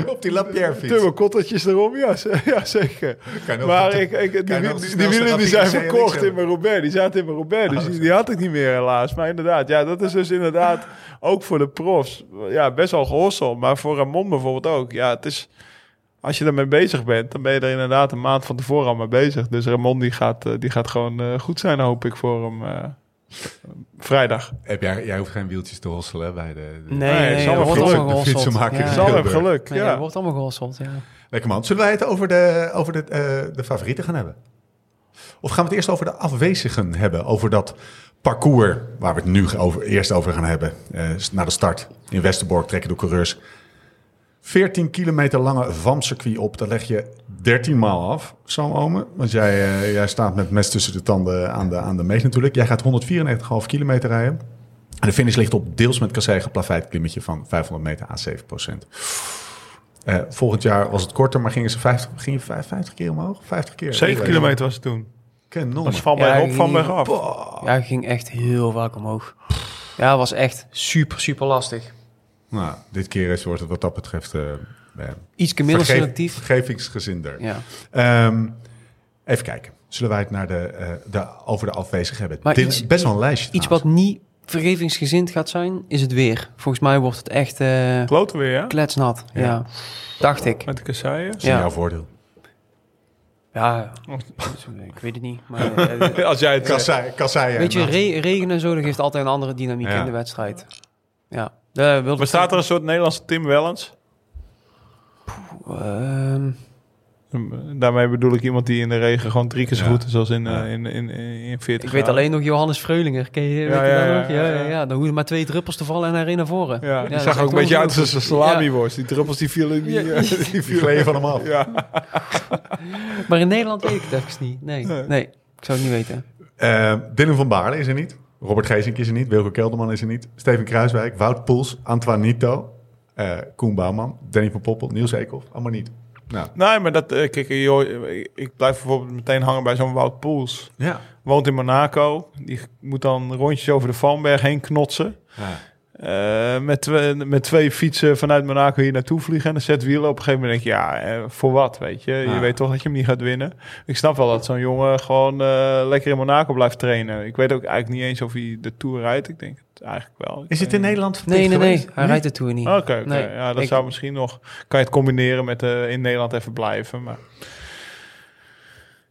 [SPEAKER 1] op die Lapierre fiets.
[SPEAKER 3] Turbo kottertjes erom, ja, ze- ja zeker.
[SPEAKER 1] Kan ook
[SPEAKER 3] maar
[SPEAKER 1] de-
[SPEAKER 3] ik, ik, die,
[SPEAKER 1] kan
[SPEAKER 3] die-
[SPEAKER 1] ook de
[SPEAKER 3] die
[SPEAKER 1] snelste
[SPEAKER 3] wielen
[SPEAKER 1] Rapide
[SPEAKER 3] die zijn
[SPEAKER 1] CLX
[SPEAKER 3] verkocht
[SPEAKER 1] hebben.
[SPEAKER 3] in mijn Robert. Die zaten in mijn Robert, dus die, die had ik niet meer helaas. Maar inderdaad, ja, dat is dus inderdaad ook voor de profs ja, best wel gehossel. Maar voor Ramon bijvoorbeeld ook. Ja, het is, als je ermee bezig bent, dan ben je er inderdaad een maand van tevoren al mee bezig. Dus Ramon die gaat, eh, die gaat gewoon eh, goed zijn, hoop ik, voor hem eh, vrijdag.
[SPEAKER 1] Heb jij, jij hoeft geen wieltjes te hosselen bij de. de-
[SPEAKER 3] Nee,
[SPEAKER 4] Nee, nee,
[SPEAKER 3] het is
[SPEAKER 4] er
[SPEAKER 3] allemaal
[SPEAKER 4] wordt
[SPEAKER 1] geluk.
[SPEAKER 4] allemaal
[SPEAKER 1] De
[SPEAKER 4] gehosseld.
[SPEAKER 1] fietsenmaker is
[SPEAKER 4] Ja.
[SPEAKER 1] heel
[SPEAKER 3] Zal
[SPEAKER 1] Heel
[SPEAKER 3] hem
[SPEAKER 1] erg.
[SPEAKER 3] geluk,
[SPEAKER 4] Nee,
[SPEAKER 3] ja.
[SPEAKER 4] er wordt allemaal gehosseld, ja.
[SPEAKER 1] Lekker man. Zullen wij het over de, over de, eh, de favorieten gaan hebben? Of gaan we het eerst over de afwezigen hebben? Over dat parcours waar we het nu over, eerst over gaan hebben. Eh na de start in Westerbork trekken de coureurs 14 kilometer lange VAM-circuit op. Dat leg je 13 maal af, Sam Omen. Want jij, eh, jij staat met mes tussen de tanden aan de, aan de meet natuurlijk. Jij gaat 194,5 kilometer rijden. En de finish ligt op deels met kassei geplaveid klimmetje van 500 meter aan 7 procent. Eh, volgend jaar was het korter, maar gingen ze 50, gingen 50 keer omhoog? 50 keer.
[SPEAKER 3] 7
[SPEAKER 1] Ik
[SPEAKER 3] kilometer was het toen.
[SPEAKER 1] weet het.
[SPEAKER 3] Dat
[SPEAKER 1] Kanonnen.
[SPEAKER 3] is van bij
[SPEAKER 4] Ja,
[SPEAKER 3] op, van bij af.
[SPEAKER 4] Ja, ik ging echt heel vaak omhoog. Ja, het was echt super, super lastig.
[SPEAKER 1] Nou, dit keer is, wordt het wat dat betreft... eh, eh,
[SPEAKER 4] Iets minder
[SPEAKER 1] vergeef-
[SPEAKER 4] selectief.
[SPEAKER 1] Vergevingsgezinder.
[SPEAKER 4] Ja.
[SPEAKER 1] Ehm, even kijken. Zullen wij het naar de, eh, de, over de afwezigen hebben?
[SPEAKER 4] Maar
[SPEAKER 1] Dit
[SPEAKER 4] iets-
[SPEAKER 1] is best wel een lijstje.
[SPEAKER 4] Iets wat
[SPEAKER 1] trouwens.
[SPEAKER 4] niet vergevingsgezind gaat zijn, is het weer. Volgens mij wordt het echt eh,
[SPEAKER 3] Kloten weer, ja?
[SPEAKER 4] kletsnat. Ja. Dacht ik.
[SPEAKER 3] Met de kasseien.
[SPEAKER 1] Dat is in
[SPEAKER 4] ja.
[SPEAKER 1] jouw voordeel.
[SPEAKER 4] Ja, ik weet het niet. Maar, eh,
[SPEAKER 3] Als jij het
[SPEAKER 1] Kassei, kassei
[SPEAKER 4] weet je,
[SPEAKER 1] en- eh,
[SPEAKER 4] re- regen en zo, dat geeft altijd een andere dynamiek
[SPEAKER 1] Ja.
[SPEAKER 4] in de wedstrijd. Ja. Eh, wilde-
[SPEAKER 3] Bestaat er een soort Nederlandse Tim Wellens?
[SPEAKER 4] Ehm,
[SPEAKER 3] Ehm, Daarmee bedoel ik iemand die in de regen gewoon drie keer zo
[SPEAKER 1] Ja.
[SPEAKER 3] goed is als in, eh,
[SPEAKER 1] Ja.
[SPEAKER 3] in, in, in, in 40
[SPEAKER 4] ik weet
[SPEAKER 3] graden.
[SPEAKER 4] alleen nog Johannes Vreulinger. Ken je, weet
[SPEAKER 3] Ja,
[SPEAKER 4] je
[SPEAKER 3] ja,
[SPEAKER 4] dat
[SPEAKER 3] ja,
[SPEAKER 4] nog? ja,
[SPEAKER 3] ja,
[SPEAKER 4] ja,
[SPEAKER 3] ja.
[SPEAKER 4] ja. Dan hoeven maar twee druppels te vallen en hij reed naar voren.
[SPEAKER 3] Ja, die
[SPEAKER 4] dat
[SPEAKER 3] zag
[SPEAKER 4] is
[SPEAKER 3] er ook
[SPEAKER 4] echt
[SPEAKER 3] een beetje uit als
[SPEAKER 4] ongelooflijk.
[SPEAKER 3] een salami
[SPEAKER 4] Ja.
[SPEAKER 3] worst. Die druppels die vielen niet.
[SPEAKER 4] Ja.
[SPEAKER 3] eh, die
[SPEAKER 1] Die
[SPEAKER 3] vielen.
[SPEAKER 1] gleden van hem af.
[SPEAKER 3] Ja.
[SPEAKER 4] Maar in Nederland weet ik het even niet. Nee, nee. Ik zou het niet weten.
[SPEAKER 1] Eh, Dylan van Baarle is er niet. Robert Geesink is er niet. Wilco Kelderman is er niet. Steven Kruiswijk, Wout Poels, Antoine Nito, eh, Koen Bouwman, Danny van Poppel, Niels Eekhoff. Allemaal niet. Nou,
[SPEAKER 3] Nee, maar dat, eh, kijk, je hoort- ik blijf bijvoorbeeld meteen hangen bij zo'n Wout Poels.
[SPEAKER 1] ja.
[SPEAKER 3] Woont in Monaco. Die moet dan rondjes over de Valmberg heen knotsen.
[SPEAKER 1] ja.
[SPEAKER 3] Eh, met, twee, met twee fietsen vanuit Monaco hier naartoe vliegen. En dan zet wielen op een gegeven moment. Denk je, ja, eh, voor wat? Weet je, je
[SPEAKER 1] Ja.
[SPEAKER 3] weet toch dat je hem niet gaat winnen. Ik snap wel dat zo'n jongen gewoon eh, lekker in Monaco blijft trainen. Ik weet ook eigenlijk niet eens of hij de tour rijdt. Ik denk het eigenlijk wel. Ik
[SPEAKER 1] Is het in
[SPEAKER 3] weet niet.
[SPEAKER 1] Nederland
[SPEAKER 4] Nee,
[SPEAKER 1] verplicht
[SPEAKER 4] nee, nee.
[SPEAKER 1] geweest?
[SPEAKER 4] Hij rijdt de Tour niet.
[SPEAKER 3] Oké, oké.
[SPEAKER 4] Nee,
[SPEAKER 3] ja, dat
[SPEAKER 4] ik-
[SPEAKER 3] zou misschien nog. Kan je het combineren met eh, in Nederland even blijven. Maar...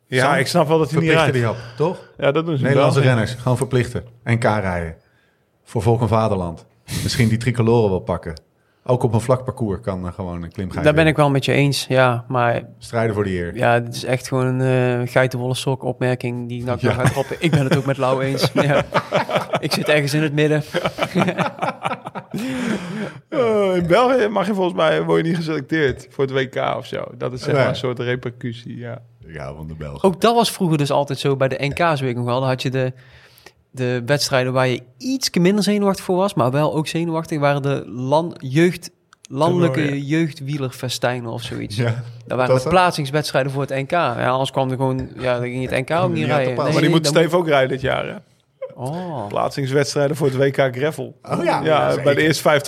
[SPEAKER 3] Ja,
[SPEAKER 1] Sam,
[SPEAKER 3] ik snap wel dat hij niet
[SPEAKER 1] Verplichten
[SPEAKER 3] rijdt.
[SPEAKER 1] die op, toch?
[SPEAKER 3] Ja, dat doen ze
[SPEAKER 1] Nederlandse
[SPEAKER 3] wel.
[SPEAKER 1] renners, gewoon verplichten. NK rijden. Voor volk en vaderland. Misschien die tricoloren wel pakken. Ook op een vlak parcours kan er gewoon een klim gaan.
[SPEAKER 4] Daar ben ik wel met je eens, ja. Maar
[SPEAKER 1] Strijden voor de eer.
[SPEAKER 4] ja, het is echt gewoon een eh, geitenwolle sok opmerking die ik nou
[SPEAKER 1] Ja.
[SPEAKER 4] ga droppen. Ik ben het ook met Lau eens. Ja. Ik zit ergens in het midden.
[SPEAKER 3] Eh, in België mag je volgens mij word je niet geselecteerd voor het WK of zo. Dat is zeg
[SPEAKER 1] Nee.
[SPEAKER 3] maar een soort repercussie. Ja.
[SPEAKER 1] Ja, van de Belgen.
[SPEAKER 4] Ook dat was vroeger dus altijd zo bij de NK's, weet ik nog wel. Dan had je de, de wedstrijden waar je iets minder zenuwachtig voor was, maar wel ook zenuwachtig, waren de land, jeugd, landelijke
[SPEAKER 3] Toernooien.
[SPEAKER 4] jeugdwielerfestijnen of zoiets.
[SPEAKER 1] Ja.
[SPEAKER 4] Dat
[SPEAKER 1] dat
[SPEAKER 4] waren de
[SPEAKER 1] dan?
[SPEAKER 4] plaatsingswedstrijden voor het NK. Ja, anders kwam er gewoon, ja, dan ging het NK ook
[SPEAKER 1] niet
[SPEAKER 4] niet
[SPEAKER 1] aan te
[SPEAKER 4] rijden.
[SPEAKER 1] passen.
[SPEAKER 3] maar die
[SPEAKER 4] nee,
[SPEAKER 3] moet
[SPEAKER 4] dan
[SPEAKER 3] Steve ook rijden dit jaar. Hè?
[SPEAKER 4] Oh.
[SPEAKER 3] Plaatsingswedstrijden voor het WK Gravel.
[SPEAKER 1] Oh ja,
[SPEAKER 3] ja,
[SPEAKER 1] zeker.
[SPEAKER 3] bij de eerste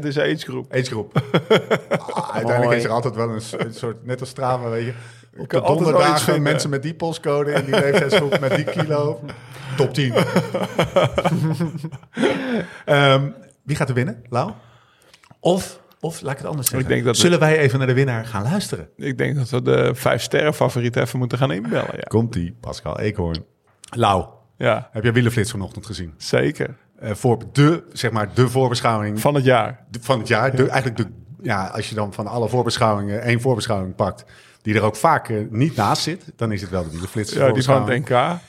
[SPEAKER 3] 50% is age groep.
[SPEAKER 1] Agegroep. Ah, uiteindelijk
[SPEAKER 4] Mooi.
[SPEAKER 1] is er altijd wel een, s- een soort, net als Strava, weet je. Op de
[SPEAKER 3] kan altijd wel iets
[SPEAKER 1] donderdagen
[SPEAKER 3] vinden.
[SPEAKER 1] mensen met die postcode in die leeftijdsgroep met die kilo. Top 10. Ehm, wie gaat er winnen? Lau? Of, of laat ik het anders zeggen.
[SPEAKER 3] denk dat-
[SPEAKER 1] Zullen wij even naar de winnaar gaan luisteren?
[SPEAKER 3] Ik denk dat we de vijf sterren favoriet even moeten gaan inbellen. Ja,
[SPEAKER 1] Komt-ie, Pascal Eekhoorn. Lau,
[SPEAKER 3] ja
[SPEAKER 1] heb jij Wielenflits vanochtend gezien?
[SPEAKER 3] zeker.
[SPEAKER 1] Eh, voor de, zeg maar, de voorbeschouwing
[SPEAKER 3] Van het jaar.
[SPEAKER 1] de- van het jaar. De, eigenlijk de, ja, als je dan van alle voorbeschouwingen één voorbeschouwing pakt, die er ook vaak eh, niet naast zit, dan is het wel de Wielenflits.
[SPEAKER 3] Ja, die van
[SPEAKER 1] voorbeschouwing.
[SPEAKER 3] het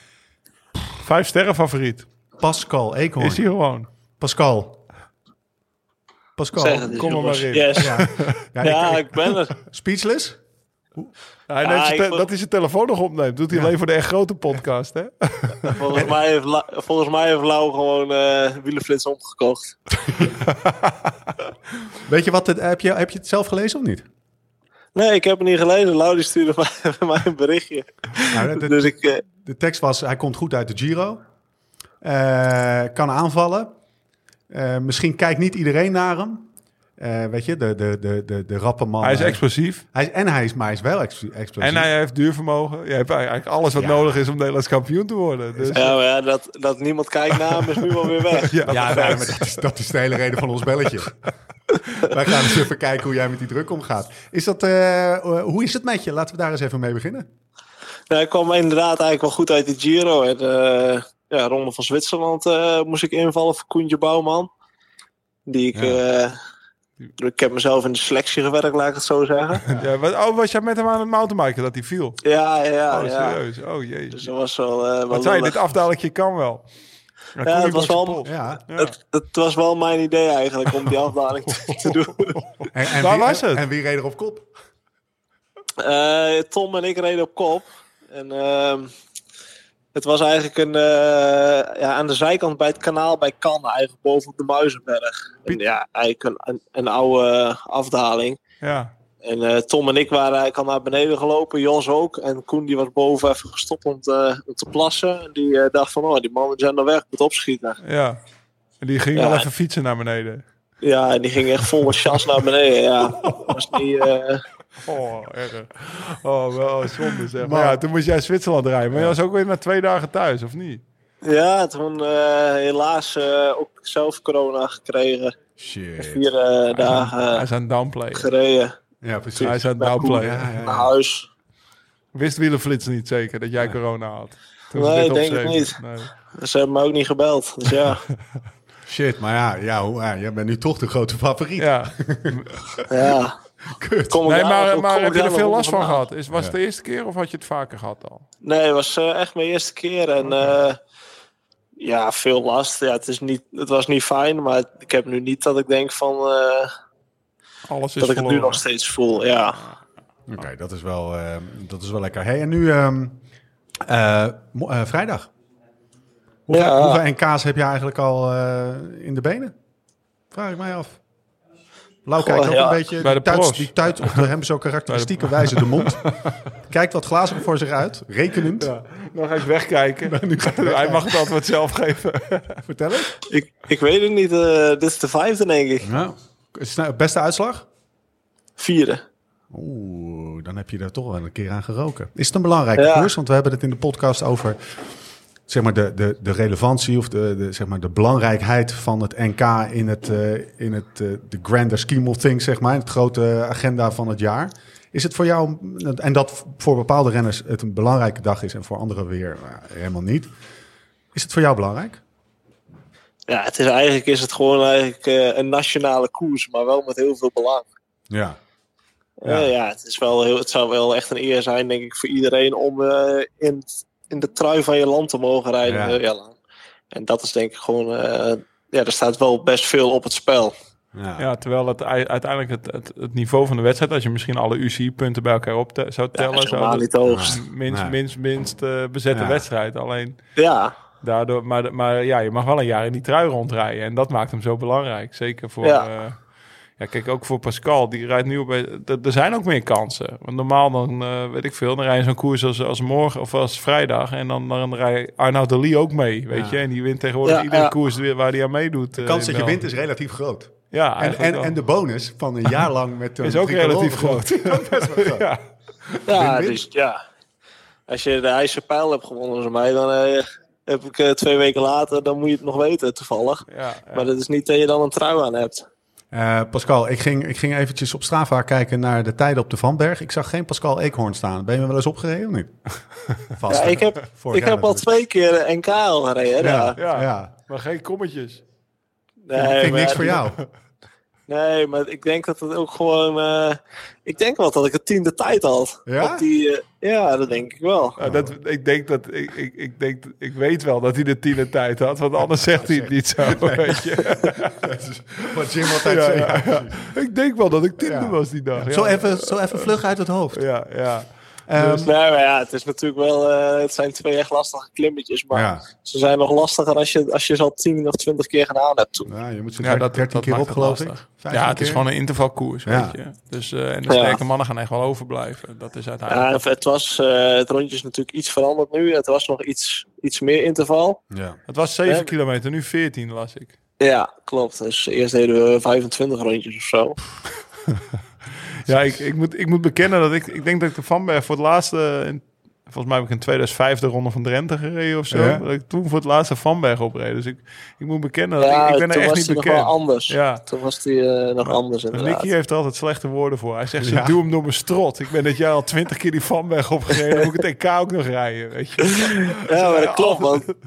[SPEAKER 3] NK. Vijf sterren favoriet.
[SPEAKER 1] Pascal Eekhoorn.
[SPEAKER 3] Is hij gewoon.
[SPEAKER 1] Pascal. Pascal.
[SPEAKER 6] Zeg het eens,
[SPEAKER 3] kom er
[SPEAKER 6] jongens.
[SPEAKER 3] maar in.
[SPEAKER 6] Yes. Ja,
[SPEAKER 1] Ja, ik-
[SPEAKER 6] ik,
[SPEAKER 1] ik-
[SPEAKER 6] ben er.
[SPEAKER 1] speechless?
[SPEAKER 3] Hij
[SPEAKER 6] Ja,
[SPEAKER 3] neemt zijn
[SPEAKER 6] ik
[SPEAKER 3] te-
[SPEAKER 6] vond-
[SPEAKER 3] Dat hij zijn telefoon nog opneemt. Doet hij alleen voor de echt grote podcast, hè?
[SPEAKER 1] Oh,
[SPEAKER 6] Volgens mij heeft, La- volgens mij heeft Lau gewoon eh wielenflits omgekocht.
[SPEAKER 1] Weet je wat, het, heb, je, heb je het zelf gelezen of niet?
[SPEAKER 6] Nee, ik heb het niet gelezen. Lau die stuurde mij, mij een berichtje.
[SPEAKER 1] Nou, de,
[SPEAKER 6] Dus ik, eh,
[SPEAKER 1] de tekst was, hij komt goed uit de Giro. Eh, kan aanvallen. Eh, misschien kijkt niet iedereen naar hem. Eh, weet je, de, de, de, de, de rappe man.
[SPEAKER 3] Hij is
[SPEAKER 1] eh,
[SPEAKER 3] explosief.
[SPEAKER 1] hij is- en hij is, maar hij is wel ex, explosief.
[SPEAKER 3] En hij heeft duurvermogen. Je hebt eigenlijk alles wat
[SPEAKER 1] Ja.
[SPEAKER 3] nodig is om Nederlands kampioen te worden. Dus
[SPEAKER 6] ja, maar ja, dat, dat niemand kijkt naar hem is nu wel weer weg.
[SPEAKER 1] Ja, maar dat, is, dat is de hele reden van ons belletje. Wij gaan eens even kijken hoe jij met die druk omgaat. Is dat, eh, hoe is het met je? Laten we daar eens even mee beginnen.
[SPEAKER 6] Nou, ik kwam inderdaad eigenlijk wel goed uit de Giro. En eh, ja, Ronde van Zwitserland eh, moest ik invallen voor Koentje Bouwman. Die ik... eh, ik heb mezelf in de selectie gewerkt, laat ik het zo zeggen.
[SPEAKER 3] Ja, wat, oh, was jij met hem aan het mountainbiken dat hij viel?
[SPEAKER 6] Ja, ja, ja.
[SPEAKER 3] oh, serieus. Oh, jee.
[SPEAKER 6] Dus dat was wel, eh wel
[SPEAKER 3] Wat zei je?
[SPEAKER 6] lullig.
[SPEAKER 3] Dit afdalingje kan wel. Dan kom je
[SPEAKER 6] het was
[SPEAKER 3] boven je
[SPEAKER 6] wel-
[SPEAKER 3] pols.
[SPEAKER 1] Ja.
[SPEAKER 3] Ja.
[SPEAKER 6] Het, het was wel mijn idee eigenlijk om die afdaling te, te doen.
[SPEAKER 1] En, en
[SPEAKER 3] Waar
[SPEAKER 1] wie,
[SPEAKER 3] was het?
[SPEAKER 1] En wie reed er op kop?
[SPEAKER 6] Eh, Tom en ik reden op kop. En ehm, het was eigenlijk een, eh, ja, aan de zijkant bij het kanaal bij Cannes, eigenlijk bovenop de Muizenberg. En, ja, eigenlijk een, een, een oude eh, afdaling.
[SPEAKER 3] Ja.
[SPEAKER 6] En eh, Tom en ik waren eigenlijk al naar beneden gelopen, Jos ook. En Koen die was boven even gestopt om te, om te plassen. En die eh, dacht van, oh, die mannen zijn er weg, ik moet opschieten.
[SPEAKER 3] ja. En die ging
[SPEAKER 6] Ja.
[SPEAKER 3] wel even fietsen naar beneden.
[SPEAKER 6] Ja, en die ging echt vol chas naar beneden. Ja, was niet, eh,
[SPEAKER 3] Oh, erg. Oh, wel zonde zeg. Maar
[SPEAKER 1] Maar-
[SPEAKER 3] ja, toen moest jij Zwitserland rijden. Maar je was ook weer na twee dagen thuis, of niet?
[SPEAKER 6] Ja, toen eh, helaas eh, ook zelf corona gekregen.
[SPEAKER 1] Shit.
[SPEAKER 6] Vier eh, dagen
[SPEAKER 3] Hij
[SPEAKER 6] eh,
[SPEAKER 3] is aan het downplayen.
[SPEAKER 6] gereden
[SPEAKER 1] Ja, precies.
[SPEAKER 3] Hij is aan het
[SPEAKER 6] Ja,
[SPEAKER 3] downplayen.
[SPEAKER 1] ja, ja.
[SPEAKER 6] naar huis.
[SPEAKER 3] Wist Wielenflits niet zeker dat jij corona had? Toen ze
[SPEAKER 6] Nee,
[SPEAKER 3] dit
[SPEAKER 6] denk ik
[SPEAKER 3] opschreven.
[SPEAKER 6] niet.
[SPEAKER 3] Nee.
[SPEAKER 6] Ze hebben me ook niet gebeld. Dus ja,
[SPEAKER 1] Shit, maar ja, ja, hoe- ja, jij bent nu toch de grote favoriet.
[SPEAKER 3] Ja.
[SPEAKER 6] ja.
[SPEAKER 1] Kut.
[SPEAKER 6] Kom ik
[SPEAKER 3] Nee,
[SPEAKER 6] daar-
[SPEAKER 3] maar,
[SPEAKER 6] kom
[SPEAKER 3] maar
[SPEAKER 6] ik
[SPEAKER 3] heb je
[SPEAKER 6] daar
[SPEAKER 3] er
[SPEAKER 6] nog
[SPEAKER 3] veel
[SPEAKER 6] onder
[SPEAKER 3] last van
[SPEAKER 6] vandaan?
[SPEAKER 3] gehad? Is, was het de eerste keer of had je het vaker gehad al?
[SPEAKER 6] Nee, het was eh, echt mijn eerste keer. En eh, ja, veel last. Ja, het, is niet, het was niet fijn, maar ik heb nu niet dat ik denk van eh,
[SPEAKER 3] Alles is
[SPEAKER 6] dat ik het nu
[SPEAKER 3] verloren.
[SPEAKER 6] nog steeds voel. Ja.
[SPEAKER 1] Oké, dat, is wel, ehm, dat is wel lekker. Hey, en nu ehm, eh, mo- eh, vrijdag. Hoeveel,
[SPEAKER 6] Ja.
[SPEAKER 1] hoeveel NK's heb je eigenlijk al eh, in de benen? Vraag ik mij af. Lau kijkt
[SPEAKER 6] Goh,
[SPEAKER 1] ook
[SPEAKER 6] ja.
[SPEAKER 1] een beetje.
[SPEAKER 3] Bij
[SPEAKER 1] die,
[SPEAKER 3] de
[SPEAKER 1] tuit,
[SPEAKER 3] pros.
[SPEAKER 1] die tuit op de hem zo karakteristieke wijze de mond. Kijkt wat glazig voor zich uit. Rekenend.
[SPEAKER 3] Nog even wegkijken. Hij mag het antwoord zelf geven.
[SPEAKER 1] Vertel het.
[SPEAKER 6] Ik, ik weet het niet. eh, dit is de vijfde, denk ik.
[SPEAKER 1] Nou, is het nou beste uitslag?
[SPEAKER 6] Vierde.
[SPEAKER 1] Oeh, dan heb je daar toch wel een keer aan geroken. Is het een belangrijke
[SPEAKER 6] Ja.
[SPEAKER 1] koers? Want we hebben het in de podcast over zeg maar, de, de, de relevantie of de, de, zeg maar, de belangrijkheid van het NK in het, eh, in het eh, de grander scheme of things, zeg maar, in het grote agenda van het jaar. Is het voor jou, en dat voor bepaalde renners het een belangrijke dag is en voor anderen weer eh, helemaal niet. Is het voor jou belangrijk?
[SPEAKER 6] Ja, het is eigenlijk is het gewoon eigenlijk eh, een nationale koers, maar wel met heel veel belang.
[SPEAKER 1] Ja.
[SPEAKER 6] Ja, ja het, is wel heel, het zou wel echt een eer zijn, denk ik, voor iedereen om eh, in, in de trui van je land te mogen rijden.
[SPEAKER 1] Ja.
[SPEAKER 6] eh, Ja. En dat is denk ik gewoon. eh, ja, er staat wel best veel op het spel.
[SPEAKER 1] ja.
[SPEAKER 3] Ja, terwijl het ei- uiteindelijk het, het, het niveau van de wedstrijd, als je misschien alle UC-punten bij elkaar op te- zou
[SPEAKER 6] Ja, dat
[SPEAKER 3] tellen,
[SPEAKER 6] is
[SPEAKER 3] zou
[SPEAKER 6] helemaal
[SPEAKER 3] dat
[SPEAKER 6] niet de hoogst.
[SPEAKER 3] minst,
[SPEAKER 1] Nee.
[SPEAKER 3] minst, minst eh, bezette
[SPEAKER 1] Ja.
[SPEAKER 3] wedstrijd. Alleen
[SPEAKER 6] Ja,
[SPEAKER 3] daardoor, maar, maar ja, je mag wel een jaar in die trui rondrijden en dat maakt hem zo belangrijk. Zeker voor,
[SPEAKER 6] Ja.
[SPEAKER 3] ja, ja kijk ook voor Pascal, die rijdt nu op. een- d- Er zijn ook meer kansen. Want normaal dan eh, weet ik veel, dan rij je zo'n koers als, als morgen of als vrijdag en dan, dan rijdt Arnaud de Lee ook mee, weet
[SPEAKER 1] Ja.
[SPEAKER 3] je, en die wint tegenwoordig
[SPEAKER 6] Ja,
[SPEAKER 3] iedere
[SPEAKER 6] ja.
[SPEAKER 3] koers weer waar hij aan meedoet. eh,
[SPEAKER 1] De kans dat je wint is relatief groot. En,
[SPEAKER 3] ja, eigenlijk
[SPEAKER 1] en,
[SPEAKER 3] wel.
[SPEAKER 1] en de bonus van een jaar lang met een
[SPEAKER 3] Is ook
[SPEAKER 1] tricolore
[SPEAKER 3] relatief
[SPEAKER 1] gewonnen.
[SPEAKER 3] groot. ja.
[SPEAKER 6] ja,
[SPEAKER 1] Win-win.
[SPEAKER 6] dus, ja. Als je de IJzeren Pijl hebt gewonnen, zo mij, dan eh, heb ik eh, twee weken later, dan moet je het nog weten, toevallig.
[SPEAKER 3] Ja,
[SPEAKER 6] Maar dat is niet dat je dan een trui aan hebt.
[SPEAKER 1] Eh, Pascal, ik ging, ik ging eventjes op Strava kijken naar de tijden op de Vanberg. Ik zag geen Pascal Eekhoorn staan. Ben je me wel eens opgereden of niet? Vast.
[SPEAKER 6] Ja, ik heb,
[SPEAKER 1] Vorig
[SPEAKER 6] ik
[SPEAKER 1] jaar
[SPEAKER 6] heb al
[SPEAKER 1] natuurlijk.
[SPEAKER 6] twee keer een NK al gereden. Ja.
[SPEAKER 1] Ja,
[SPEAKER 3] Ja.
[SPEAKER 1] ja.
[SPEAKER 3] maar geen kommetjes.
[SPEAKER 6] Nee,
[SPEAKER 1] Ging
[SPEAKER 6] maar-
[SPEAKER 1] niks voor jou.
[SPEAKER 6] Nee, maar ik denk dat het ook gewoon. eh, ik denk wel dat ik het tiende tijd had.
[SPEAKER 1] Ja?
[SPEAKER 6] Dat die, eh, ja, dat denk ik wel.
[SPEAKER 3] Nou, dat, ik, denk dat, ik, ik, ik, denk, ik weet wel dat hij de tiende tijd had, want anders zegt hij het niet zo. Weet je.
[SPEAKER 1] Wat Jim altijd
[SPEAKER 3] Ja,
[SPEAKER 1] zei.
[SPEAKER 3] ja, ja. Ik denk wel dat ik tiende
[SPEAKER 1] Ja.
[SPEAKER 3] was die dag. Ja.
[SPEAKER 1] Zo, even, zo even vlug uit het hoofd.
[SPEAKER 3] Ja, ja.
[SPEAKER 1] Ehm,
[SPEAKER 6] Dus, nee, maar ja, het is natuurlijk wel. eh, het zijn twee echt lastige klimmetjes. Maar
[SPEAKER 1] Ja.
[SPEAKER 6] ze zijn nog lastiger als je, als je ze al tien of twintig keer gedaan hebt toen.
[SPEAKER 1] nou, je moet ze
[SPEAKER 3] Ja, dat-
[SPEAKER 1] 13
[SPEAKER 3] dat
[SPEAKER 1] keer
[SPEAKER 3] maakt
[SPEAKER 1] op,
[SPEAKER 3] het
[SPEAKER 1] geloof
[SPEAKER 3] lastig.
[SPEAKER 1] ik. 15
[SPEAKER 3] ja, het is
[SPEAKER 1] keer.
[SPEAKER 3] gewoon een intervalkoers,
[SPEAKER 1] Ja.
[SPEAKER 3] weet je. Dus, eh, en de
[SPEAKER 6] Ja.
[SPEAKER 3] sterke mannen gaan echt wel overblijven. Dat is
[SPEAKER 6] Ja,
[SPEAKER 3] uiteindelijk...
[SPEAKER 6] en het, was, eh, het rondje is natuurlijk iets veranderd nu. Het was nog iets, iets meer interval.
[SPEAKER 1] Ja.
[SPEAKER 3] Het was 7
[SPEAKER 6] Ja.
[SPEAKER 3] kilometer, nu 14 las ik.
[SPEAKER 6] Ja, klopt. Dus eerst deden we 25 rondjes of zo.
[SPEAKER 3] Ja, ik, ik, moet, ik moet bekennen dat ik, ik denk dat ik de Vanberg voor het laatste, in, volgens mij heb ik in 2005 de Ronde van Drenthe gereden of zo.
[SPEAKER 1] Ja.
[SPEAKER 3] Dat ik toen voor het laatste Vanberg opreed. Dus ik, ik moet bekennen dat
[SPEAKER 6] Ja,
[SPEAKER 3] ik, ik ben er
[SPEAKER 6] toen
[SPEAKER 3] echt
[SPEAKER 6] was
[SPEAKER 3] niet
[SPEAKER 6] die nog wel
[SPEAKER 3] bekend.
[SPEAKER 6] anders.
[SPEAKER 3] Ja.
[SPEAKER 6] Toen was die eh, nog anders
[SPEAKER 3] Maar eh,
[SPEAKER 6] inderdaad.
[SPEAKER 3] Nicky heeft er altijd slechte woorden voor. Hij zegt, ze
[SPEAKER 1] Ja.
[SPEAKER 3] doe hem door mijn strot. Ik ben dit jaar al twintig keer die Vanberg opgereden. Dan moet ik het EK ook nog rijden, weet je.
[SPEAKER 6] Ja, maar dat klopt,
[SPEAKER 3] altijd-
[SPEAKER 6] want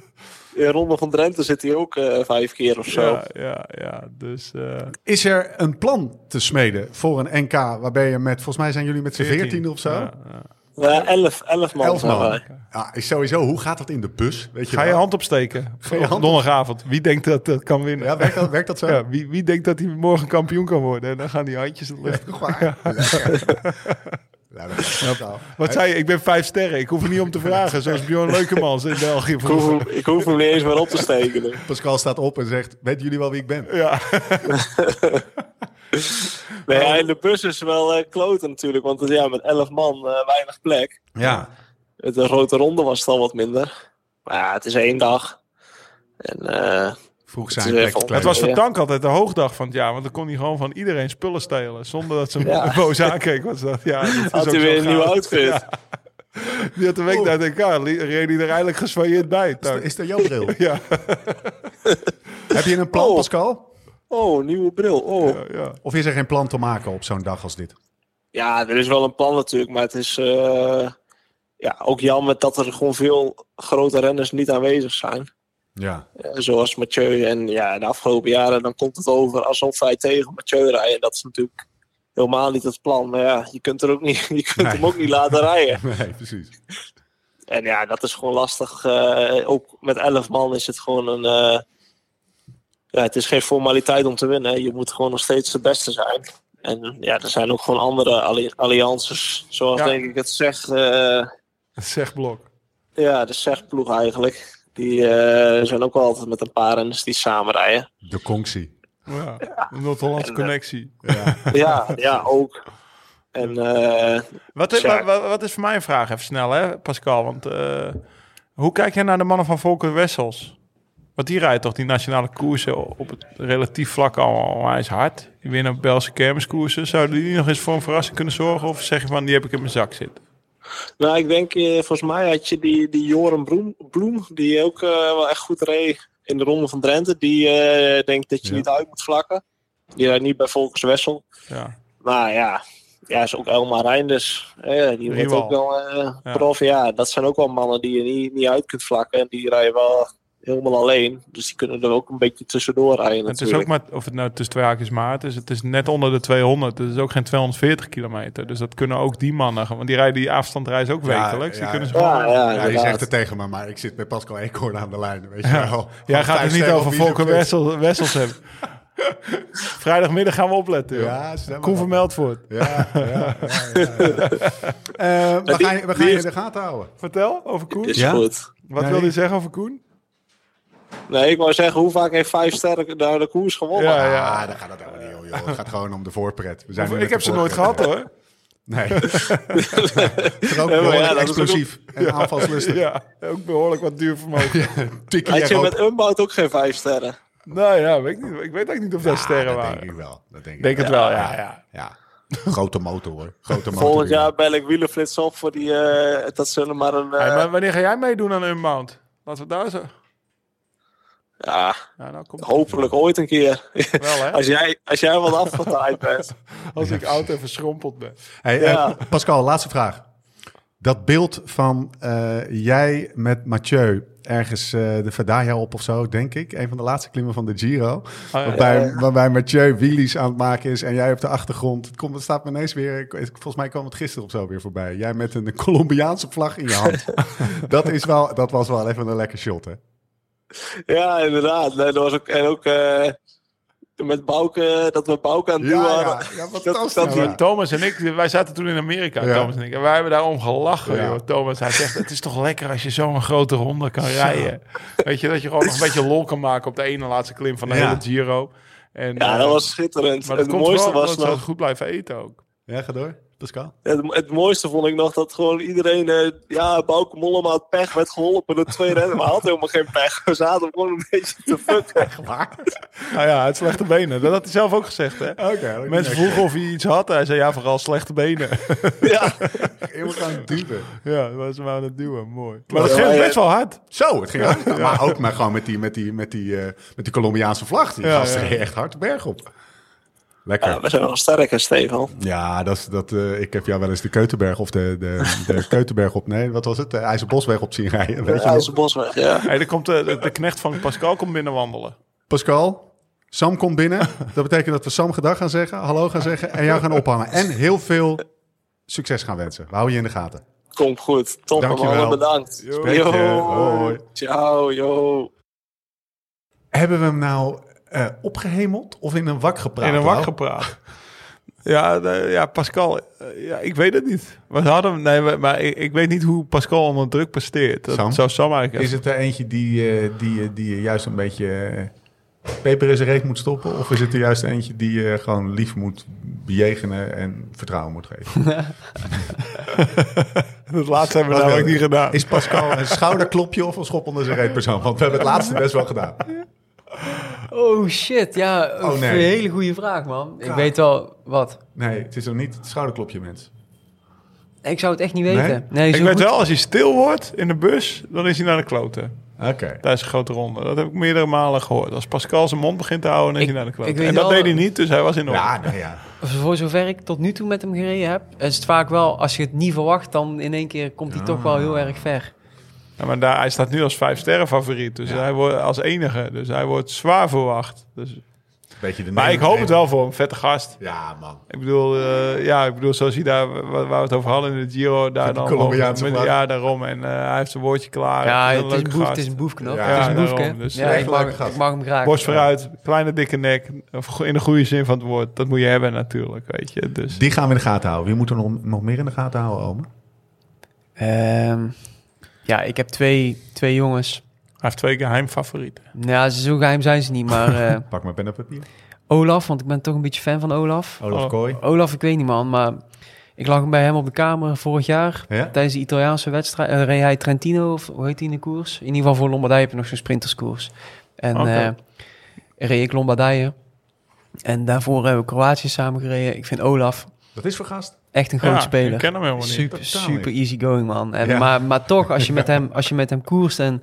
[SPEAKER 6] in Ronde van Drenthe zit hij ook eh, vijf keer of zo.
[SPEAKER 3] Ja, ja, ja. Dus eh,
[SPEAKER 1] Is er een plan te smeden voor een NK waarbij je met, volgens mij zijn jullie met z'n
[SPEAKER 3] 14.
[SPEAKER 1] 14 of zo?
[SPEAKER 3] Ja,
[SPEAKER 1] Ja.
[SPEAKER 3] ja.
[SPEAKER 6] Ja, elf, elf man.
[SPEAKER 1] 11
[SPEAKER 6] zijn
[SPEAKER 1] man.
[SPEAKER 6] wij.
[SPEAKER 1] Ja, is sowieso, hoe gaat dat in de bus? Weet je
[SPEAKER 3] Ga je
[SPEAKER 1] wel?
[SPEAKER 3] hand opsteken
[SPEAKER 1] je
[SPEAKER 3] op
[SPEAKER 1] hand op-
[SPEAKER 3] donderdagavond. Wie denkt dat dat kan winnen?
[SPEAKER 1] Ja, werkt dat, werkt dat zo?
[SPEAKER 3] Ja, wie, wie denkt dat hij morgen kampioen kan worden? En dan gaan die handjes de lucht
[SPEAKER 1] Toch waar? Lekker. Ja, dat is totaal.
[SPEAKER 3] Wat zei je? Ik ben vijf sterren. Ik hoef er niet om te vragen. Zoals Bjorn Leukemans in België.
[SPEAKER 6] Ik hoef, hem, ik hoef hem niet eens meer op te steken. nu.
[SPEAKER 1] Pascal staat op en zegt: Weten jullie wel wie ik ben?
[SPEAKER 3] Ja,
[SPEAKER 6] Nee, ja, in de bus is wel eh, kloten natuurlijk, want eh, ja, met elf man eh, weinig plek.
[SPEAKER 1] Ja,
[SPEAKER 6] Met de grote ronde was het al wat minder. Maar ja, het is één dag. En eh,
[SPEAKER 1] vroeg
[SPEAKER 6] Het is
[SPEAKER 1] zijn
[SPEAKER 6] even-
[SPEAKER 1] plek.
[SPEAKER 3] het was voor
[SPEAKER 6] Ja.
[SPEAKER 3] Tank altijd de hoogdag van het jaar. Want dan kon hij gewoon van iedereen spullen stelen. Zonder dat ze hem
[SPEAKER 6] Ja.
[SPEAKER 3] boos aankeek. Want ze dacht, ja, dat is
[SPEAKER 6] had
[SPEAKER 3] ook
[SPEAKER 6] hij
[SPEAKER 3] zo
[SPEAKER 6] weer een nieuwe
[SPEAKER 3] gaaf.
[SPEAKER 6] outfit.
[SPEAKER 3] Die had de week naar de elkaar. li- Reed hij er eigenlijk gesfailleerd bij. Tank.
[SPEAKER 1] Is dat jouw bril?
[SPEAKER 3] Ja,
[SPEAKER 1] Heb je een plan,
[SPEAKER 6] Oh.
[SPEAKER 1] Pascal?
[SPEAKER 6] Oh, nieuwe bril. Oh.
[SPEAKER 3] ja, ja.
[SPEAKER 1] Of is er geen plan te maken op zo'n dag als dit?
[SPEAKER 6] Ja, er is wel een plan natuurlijk, maar het is eh, ja, ook jammer dat er gewoon veel grote renners niet aanwezig zijn.
[SPEAKER 1] Ja,
[SPEAKER 6] Eh, zoals Mathieu. En ja, de afgelopen jaren dan komt het over alsof wij tegen Mathieu rijden. Dat is natuurlijk helemaal niet het plan. Maar ja, je kunt, er ook niet, je kunt hem ook niet laten rijden.
[SPEAKER 1] nee, precies.
[SPEAKER 6] En ja, dat is gewoon lastig. Eh, ook met elf man is het gewoon een... eh, ja, het is geen formaliteit om te winnen. hè. Je moet gewoon nog steeds de beste zijn. En ja, er zijn ook gewoon andere alli- alliances. Zoals
[SPEAKER 3] Ja.
[SPEAKER 6] denk ik het zeg... eh,
[SPEAKER 3] Zeg blok.
[SPEAKER 6] ja, de zegploeg eigenlijk. Die eh, zijn ook wel altijd met een paar renners die samen rijden.
[SPEAKER 1] De Kongsi.
[SPEAKER 3] Ja, de Noord-Hollandse
[SPEAKER 6] En, eh,
[SPEAKER 3] connectie.
[SPEAKER 6] ja, ja, ook. En eh,
[SPEAKER 3] Wat is,
[SPEAKER 6] ja.
[SPEAKER 3] wat, wat is voor mij een vraag, even snel hè, Pascal? Want eh, hoe kijk jij naar de mannen van Volker Wessels? Want die rijdt toch die nationale koersen op het relatief vlak al hij is hard. Die winnen op Belgische kermiskoersen. Zouden die nog eens voor een verrassing kunnen zorgen? Of zeg je van, die heb ik in mijn zak zitten?
[SPEAKER 6] nou, ik denk, eh, volgens mij had je die, die Joren Bloem, Bloem die ook eh, wel echt goed reed in de Ronde van Drenthe. Die eh, denkt dat je niet uit moet vlakken. Die rijdt niet bij Volkers Wessel.
[SPEAKER 3] Ja.
[SPEAKER 6] Maar ja, ja is ook Elma Reinders. Eh, die wordt
[SPEAKER 3] Nieuwal.
[SPEAKER 6] ook wel eh,
[SPEAKER 3] Ja.
[SPEAKER 6] prof. Ja, dat zijn ook wel mannen die je niet, niet uit kunt vlakken. En die rijden wel helemaal alleen. Dus die kunnen er ook een beetje tussendoor rijden
[SPEAKER 3] Het is ook
[SPEAKER 6] natuurlijk.
[SPEAKER 3] maar, of het nou tussen twee haakjes maar, het is, het is net onder de 200. Het is ook geen 240 kilometer. Dus dat kunnen ook die mannen. Want die rijden die afstandreis ook
[SPEAKER 1] Ja,
[SPEAKER 3] wekelijks. Die
[SPEAKER 1] ja.
[SPEAKER 3] kunnen ze
[SPEAKER 6] Ja, ja,
[SPEAKER 1] Ja, je
[SPEAKER 6] inderdaad.
[SPEAKER 1] zegt het tegen me, maar ik zit bij Pascal Eekhoorn aan de lijn. Weet je wel. Van
[SPEAKER 3] Jij gaat het
[SPEAKER 1] vijf
[SPEAKER 3] dus niet
[SPEAKER 1] sterren
[SPEAKER 3] over
[SPEAKER 1] op ieder
[SPEAKER 3] Volker
[SPEAKER 1] punt.
[SPEAKER 3] Wessel, Wessels hebben. Vrijdagmiddag gaan we opletten. joh.
[SPEAKER 1] Ja, stem
[SPEAKER 3] Koen
[SPEAKER 1] maar.
[SPEAKER 3] van Meldvoort.
[SPEAKER 1] Ja, ja, ja, ja. Eh, we gaan, je- we gaan je in de gaten houden.
[SPEAKER 3] Vertel over Koen.
[SPEAKER 6] Is
[SPEAKER 1] Ja?
[SPEAKER 6] goed.
[SPEAKER 3] Wat
[SPEAKER 1] Nee.
[SPEAKER 3] wilde je zeggen over Koen?
[SPEAKER 6] Nee, ik wou zeggen, hoe vaak heeft Vijf Sterren nou de koers gewonnen?
[SPEAKER 3] Ja,
[SPEAKER 1] Ja,
[SPEAKER 3] ja.
[SPEAKER 1] Ah, daar gaat het helemaal niet om, joh. Het gaat gewoon om de voorpret. We zijn nu
[SPEAKER 3] ik
[SPEAKER 1] met
[SPEAKER 3] heb
[SPEAKER 1] de
[SPEAKER 3] ze nooit gehad
[SPEAKER 1] voorpret.
[SPEAKER 3] hoor.
[SPEAKER 1] Nee. Het is ook
[SPEAKER 6] Ja, maar ja,
[SPEAKER 1] behoorlijk
[SPEAKER 6] dat is
[SPEAKER 1] explosief en aanvalslustig.
[SPEAKER 3] Ja, ook behoorlijk wat duurvermogen.
[SPEAKER 1] Tikkie
[SPEAKER 6] Had je
[SPEAKER 1] erop.
[SPEAKER 6] met Unbout ook geen Vijf Sterren?
[SPEAKER 3] Nou ja, weet ik, niet, ik weet eigenlijk niet of dat
[SPEAKER 1] Ja,
[SPEAKER 3] sterren
[SPEAKER 1] Ah, dat
[SPEAKER 3] waren.
[SPEAKER 1] denk ik wel. Dat denk ik
[SPEAKER 3] Ik denk het
[SPEAKER 1] wel.
[SPEAKER 3] wel, ja. ja.
[SPEAKER 1] Ja. Grote motor hoor. Grote motor.
[SPEAKER 6] Volgend jaar bel ik Wielenflits op voor die... eh, dat zullen maar een... eh,
[SPEAKER 3] Hey, maar wanneer ga jij meedoen aan Unbound? Laten we daar zo...
[SPEAKER 6] Ja,
[SPEAKER 3] Ja, nou komt het
[SPEAKER 6] hopelijk ooit een keer.
[SPEAKER 3] wel hè.
[SPEAKER 6] als, jij, als jij wat afgetaaid bent.
[SPEAKER 3] Als ik oud en verschrompeld ben.
[SPEAKER 1] Hey,
[SPEAKER 6] Ja.
[SPEAKER 1] eh, Pascal, laatste vraag. Dat beeld van eh, jij met Mathieu ergens eh, de Verdaya op of zo, denk ik. Een van de laatste klimmen van de Giro.
[SPEAKER 6] Oh,
[SPEAKER 3] ja.
[SPEAKER 1] waarbij, waarbij Mathieu wheelies aan het maken is en jij op de achtergrond. Het, komt, het staat me ineens weer, ik- volgens mij kwam het gisteren of zo weer voorbij. Jij met een Colombiaanse vlag in je hand. dat, is wel, dat was wel even een lekker shot, hè?
[SPEAKER 6] Ja, inderdaad. Nee, dat was ook, en ook eh, met Bouke, dat we Bouke aan het duwen hadden.
[SPEAKER 1] fantastisch.
[SPEAKER 6] dat-
[SPEAKER 3] Ja,
[SPEAKER 1] Ja.
[SPEAKER 3] maar Thomas en ik, wij zaten toen in Amerika,
[SPEAKER 1] Ja.
[SPEAKER 3] Thomas en ik. En wij hebben daarom gelachen,
[SPEAKER 1] Ja.
[SPEAKER 3] joh. Thomas, hij zegt, het is toch lekker als je zo'n grote ronde kan rijden. Weet je, dat je gewoon nog een beetje lol kan maken op de ene laatste klim van de
[SPEAKER 1] Ja.
[SPEAKER 3] hele Giro. En,
[SPEAKER 6] Ja,
[SPEAKER 3] eh,
[SPEAKER 6] dat was schitterend.
[SPEAKER 3] maar
[SPEAKER 6] het
[SPEAKER 3] komt
[SPEAKER 6] mooiste
[SPEAKER 3] wel
[SPEAKER 6] was
[SPEAKER 3] omdat ze
[SPEAKER 6] nog...
[SPEAKER 3] goed blijven eten ook.
[SPEAKER 1] Ja, ga door, Pascal.
[SPEAKER 6] Het, het mooiste vond ik nog dat gewoon iedereen... eh, ja, Bouke Mollema had pech, werd geholpen door twee renners. Maar hij had helemaal geen pech. We zaten gewoon een beetje te fucken.
[SPEAKER 3] Nou ja, het slechte benen. Dat had hij zelf ook gezegd, hè.
[SPEAKER 1] Oké,
[SPEAKER 3] Mensen vroegen of hij iets had. Hij zei, ja, vooral slechte benen.
[SPEAKER 6] Ja.
[SPEAKER 1] Eeuwig gaan duwen.
[SPEAKER 3] ja, dat was maar aan het duwen. Mooi. Maar dat
[SPEAKER 6] Ja,
[SPEAKER 3] ging
[SPEAKER 6] ja.
[SPEAKER 3] best wel hard.
[SPEAKER 1] Zo, het ging hard. Maar ook maar gewoon met die, met die, met die, eh, met die Colombiaanse vlag. Die
[SPEAKER 3] Ja,
[SPEAKER 1] gasten
[SPEAKER 3] ja.
[SPEAKER 1] gingen echt hard de berg op. Lekker.
[SPEAKER 6] Ja,
[SPEAKER 3] Ah,
[SPEAKER 1] Ja,
[SPEAKER 6] we zijn wel sterk, hè, Stefan.
[SPEAKER 1] dat is, dat, eh, ik heb jou wel eens de Keutenberg of de, de, de Keutenberg op... Nee, wat was het? De IJzerbosweg op zien rijden. Weet je
[SPEAKER 6] Ja,
[SPEAKER 1] nog?
[SPEAKER 6] is de bosweg, ja.
[SPEAKER 3] Hey, er komt eh, de, de, de knecht van Pascal komt binnenwandelen.
[SPEAKER 1] Pascal, Sam komt binnen. Dat betekent dat we Sam gedag gaan zeggen, hallo gaan zeggen en jou gaan ophangen. En heel veel succes gaan wensen. We houden je in de gaten.
[SPEAKER 6] Komt goed. Top,
[SPEAKER 1] Dankjewel.
[SPEAKER 6] allemaal bedankt.
[SPEAKER 1] Spreek je. Hoi.
[SPEAKER 6] Ciao, yo.
[SPEAKER 1] Hebben we hem nou eh, opgehemeld of in een wak gepraat?
[SPEAKER 3] In een wak
[SPEAKER 1] Lau?
[SPEAKER 3] gepraat. Ja, de- ja, Pascal, eh, ja, ik weet het niet. We hadden, hem- nee, we- maar ik, ik weet niet hoe Pascal onder druk presteert. Dat
[SPEAKER 1] Sam?
[SPEAKER 3] zou Sam eigenlijk
[SPEAKER 1] Is het er eentje die, eh, die, eh, die je juist een beetje eh, peper in zijn reet moet stoppen? Of is het er juist eentje die je gewoon lief moet bejegenen en vertrouwen moet geven?
[SPEAKER 3] Het laatste hebben we
[SPEAKER 1] Wat
[SPEAKER 3] namelijk
[SPEAKER 1] wil
[SPEAKER 3] niet
[SPEAKER 1] je?
[SPEAKER 3] gedaan.
[SPEAKER 1] Is Pascal een schouderklopje of een schop onder zijn reet persoon? Want we hebben het laatste best wel gedaan.
[SPEAKER 4] Oh shit, ja.
[SPEAKER 1] Oh, nee.
[SPEAKER 4] Een hele goede vraag, man. Ik weet wel wat.
[SPEAKER 1] Nee, het is nog niet het schouderklopje, mens.
[SPEAKER 4] Ik zou het echt niet weten. Nee,
[SPEAKER 3] ik
[SPEAKER 4] zo
[SPEAKER 3] weet
[SPEAKER 4] goed-
[SPEAKER 3] wel, als hij stil wordt in de bus, dan is hij naar de kloten.
[SPEAKER 1] Oké.
[SPEAKER 3] Tijdens een grote ronde. Dat heb ik meerdere malen gehoord. Als Pascal zijn mond begint te houden, dan is
[SPEAKER 4] Ik-
[SPEAKER 3] hij naar de
[SPEAKER 4] ik
[SPEAKER 3] kloten.
[SPEAKER 4] weet
[SPEAKER 3] En dat
[SPEAKER 4] wel-
[SPEAKER 3] deed hij niet, dus hij was in orde.
[SPEAKER 1] Ja, nee, ja.
[SPEAKER 4] Voor zover ik tot nu toe met hem gereden heb, is het vaak wel, als je het niet verwacht, dan in één keer komt hij toch wel heel
[SPEAKER 1] Ah.
[SPEAKER 4] erg ver.
[SPEAKER 3] Ja, maar daar, hij staat nu als vijf sterren favoriet. Dus hij wordt als enige. Dus hij wordt zwaar verwacht. Dus,
[SPEAKER 1] Beetje de
[SPEAKER 3] maar
[SPEAKER 1] neem-
[SPEAKER 3] ik hoop het
[SPEAKER 1] neem-
[SPEAKER 3] wel voor hem. Vette gast.
[SPEAKER 1] Ja, man.
[SPEAKER 3] Ik bedoel, eh, ja, ik bedoel, zoals hij daar, wa- waar, we het over hadden in de Giro, daar
[SPEAKER 1] Met die
[SPEAKER 3] dan.
[SPEAKER 1] Colombiaanse
[SPEAKER 3] met-
[SPEAKER 1] vlag.
[SPEAKER 3] ja, daarom. En eh, hij heeft zijn woordje klaar.
[SPEAKER 4] ja,
[SPEAKER 3] Hij
[SPEAKER 4] het
[SPEAKER 3] een
[SPEAKER 4] is, een
[SPEAKER 3] leuke
[SPEAKER 4] boef,
[SPEAKER 3] gast.
[SPEAKER 4] het is een boefknop.
[SPEAKER 1] Ja,
[SPEAKER 4] het is een
[SPEAKER 3] daarom.
[SPEAKER 4] boefke.
[SPEAKER 3] Dus,
[SPEAKER 4] ja,
[SPEAKER 3] eh,
[SPEAKER 4] ik mag,
[SPEAKER 1] leuke gast.
[SPEAKER 4] ik mag hem graag.
[SPEAKER 3] Borst vooruit, kleine dikke nek. Of go- In de goede zin van het woord. Dat moet je hebben natuurlijk, weet je. Dus
[SPEAKER 1] Die gaan we in de gaten houden. Wie moeten we nog, nog meer in de gaten houden, Ome?
[SPEAKER 4] Ehm, ja, ik heb twee, twee jongens.
[SPEAKER 3] hij heeft twee geheim favorieten.
[SPEAKER 4] Nou, ja, zo geheim zijn ze niet, maar eh,
[SPEAKER 1] Pak maar pen en papier.
[SPEAKER 4] Olaf, want ik ben toch een beetje fan van Olaf.
[SPEAKER 1] Olaf
[SPEAKER 3] Oh.
[SPEAKER 1] Kooi.
[SPEAKER 4] Olaf, ik weet niet man, maar ik lag bij hem op de kamer vorig jaar.
[SPEAKER 1] Ja?
[SPEAKER 4] Tijdens de Italiaanse wedstrijd eh, reed hij Trentino, of hoe heet die in de koers? In ieder geval voor Lombardije heb je nog zo'n sprinterskoers. En
[SPEAKER 3] Oké.
[SPEAKER 4] eh, reed ik Lombardije. En daarvoor hebben we Kroatië samen gereden. Ik vind Olaf
[SPEAKER 1] Dat is voor gast.
[SPEAKER 4] echt een groot
[SPEAKER 3] Ja,
[SPEAKER 4] speler.
[SPEAKER 3] Ik ken hem helemaal niet.
[SPEAKER 4] Super,
[SPEAKER 1] Totaal
[SPEAKER 4] super easy going man. En,
[SPEAKER 1] Ja.
[SPEAKER 4] maar, maar toch, als je, met hem, als je met hem koerst en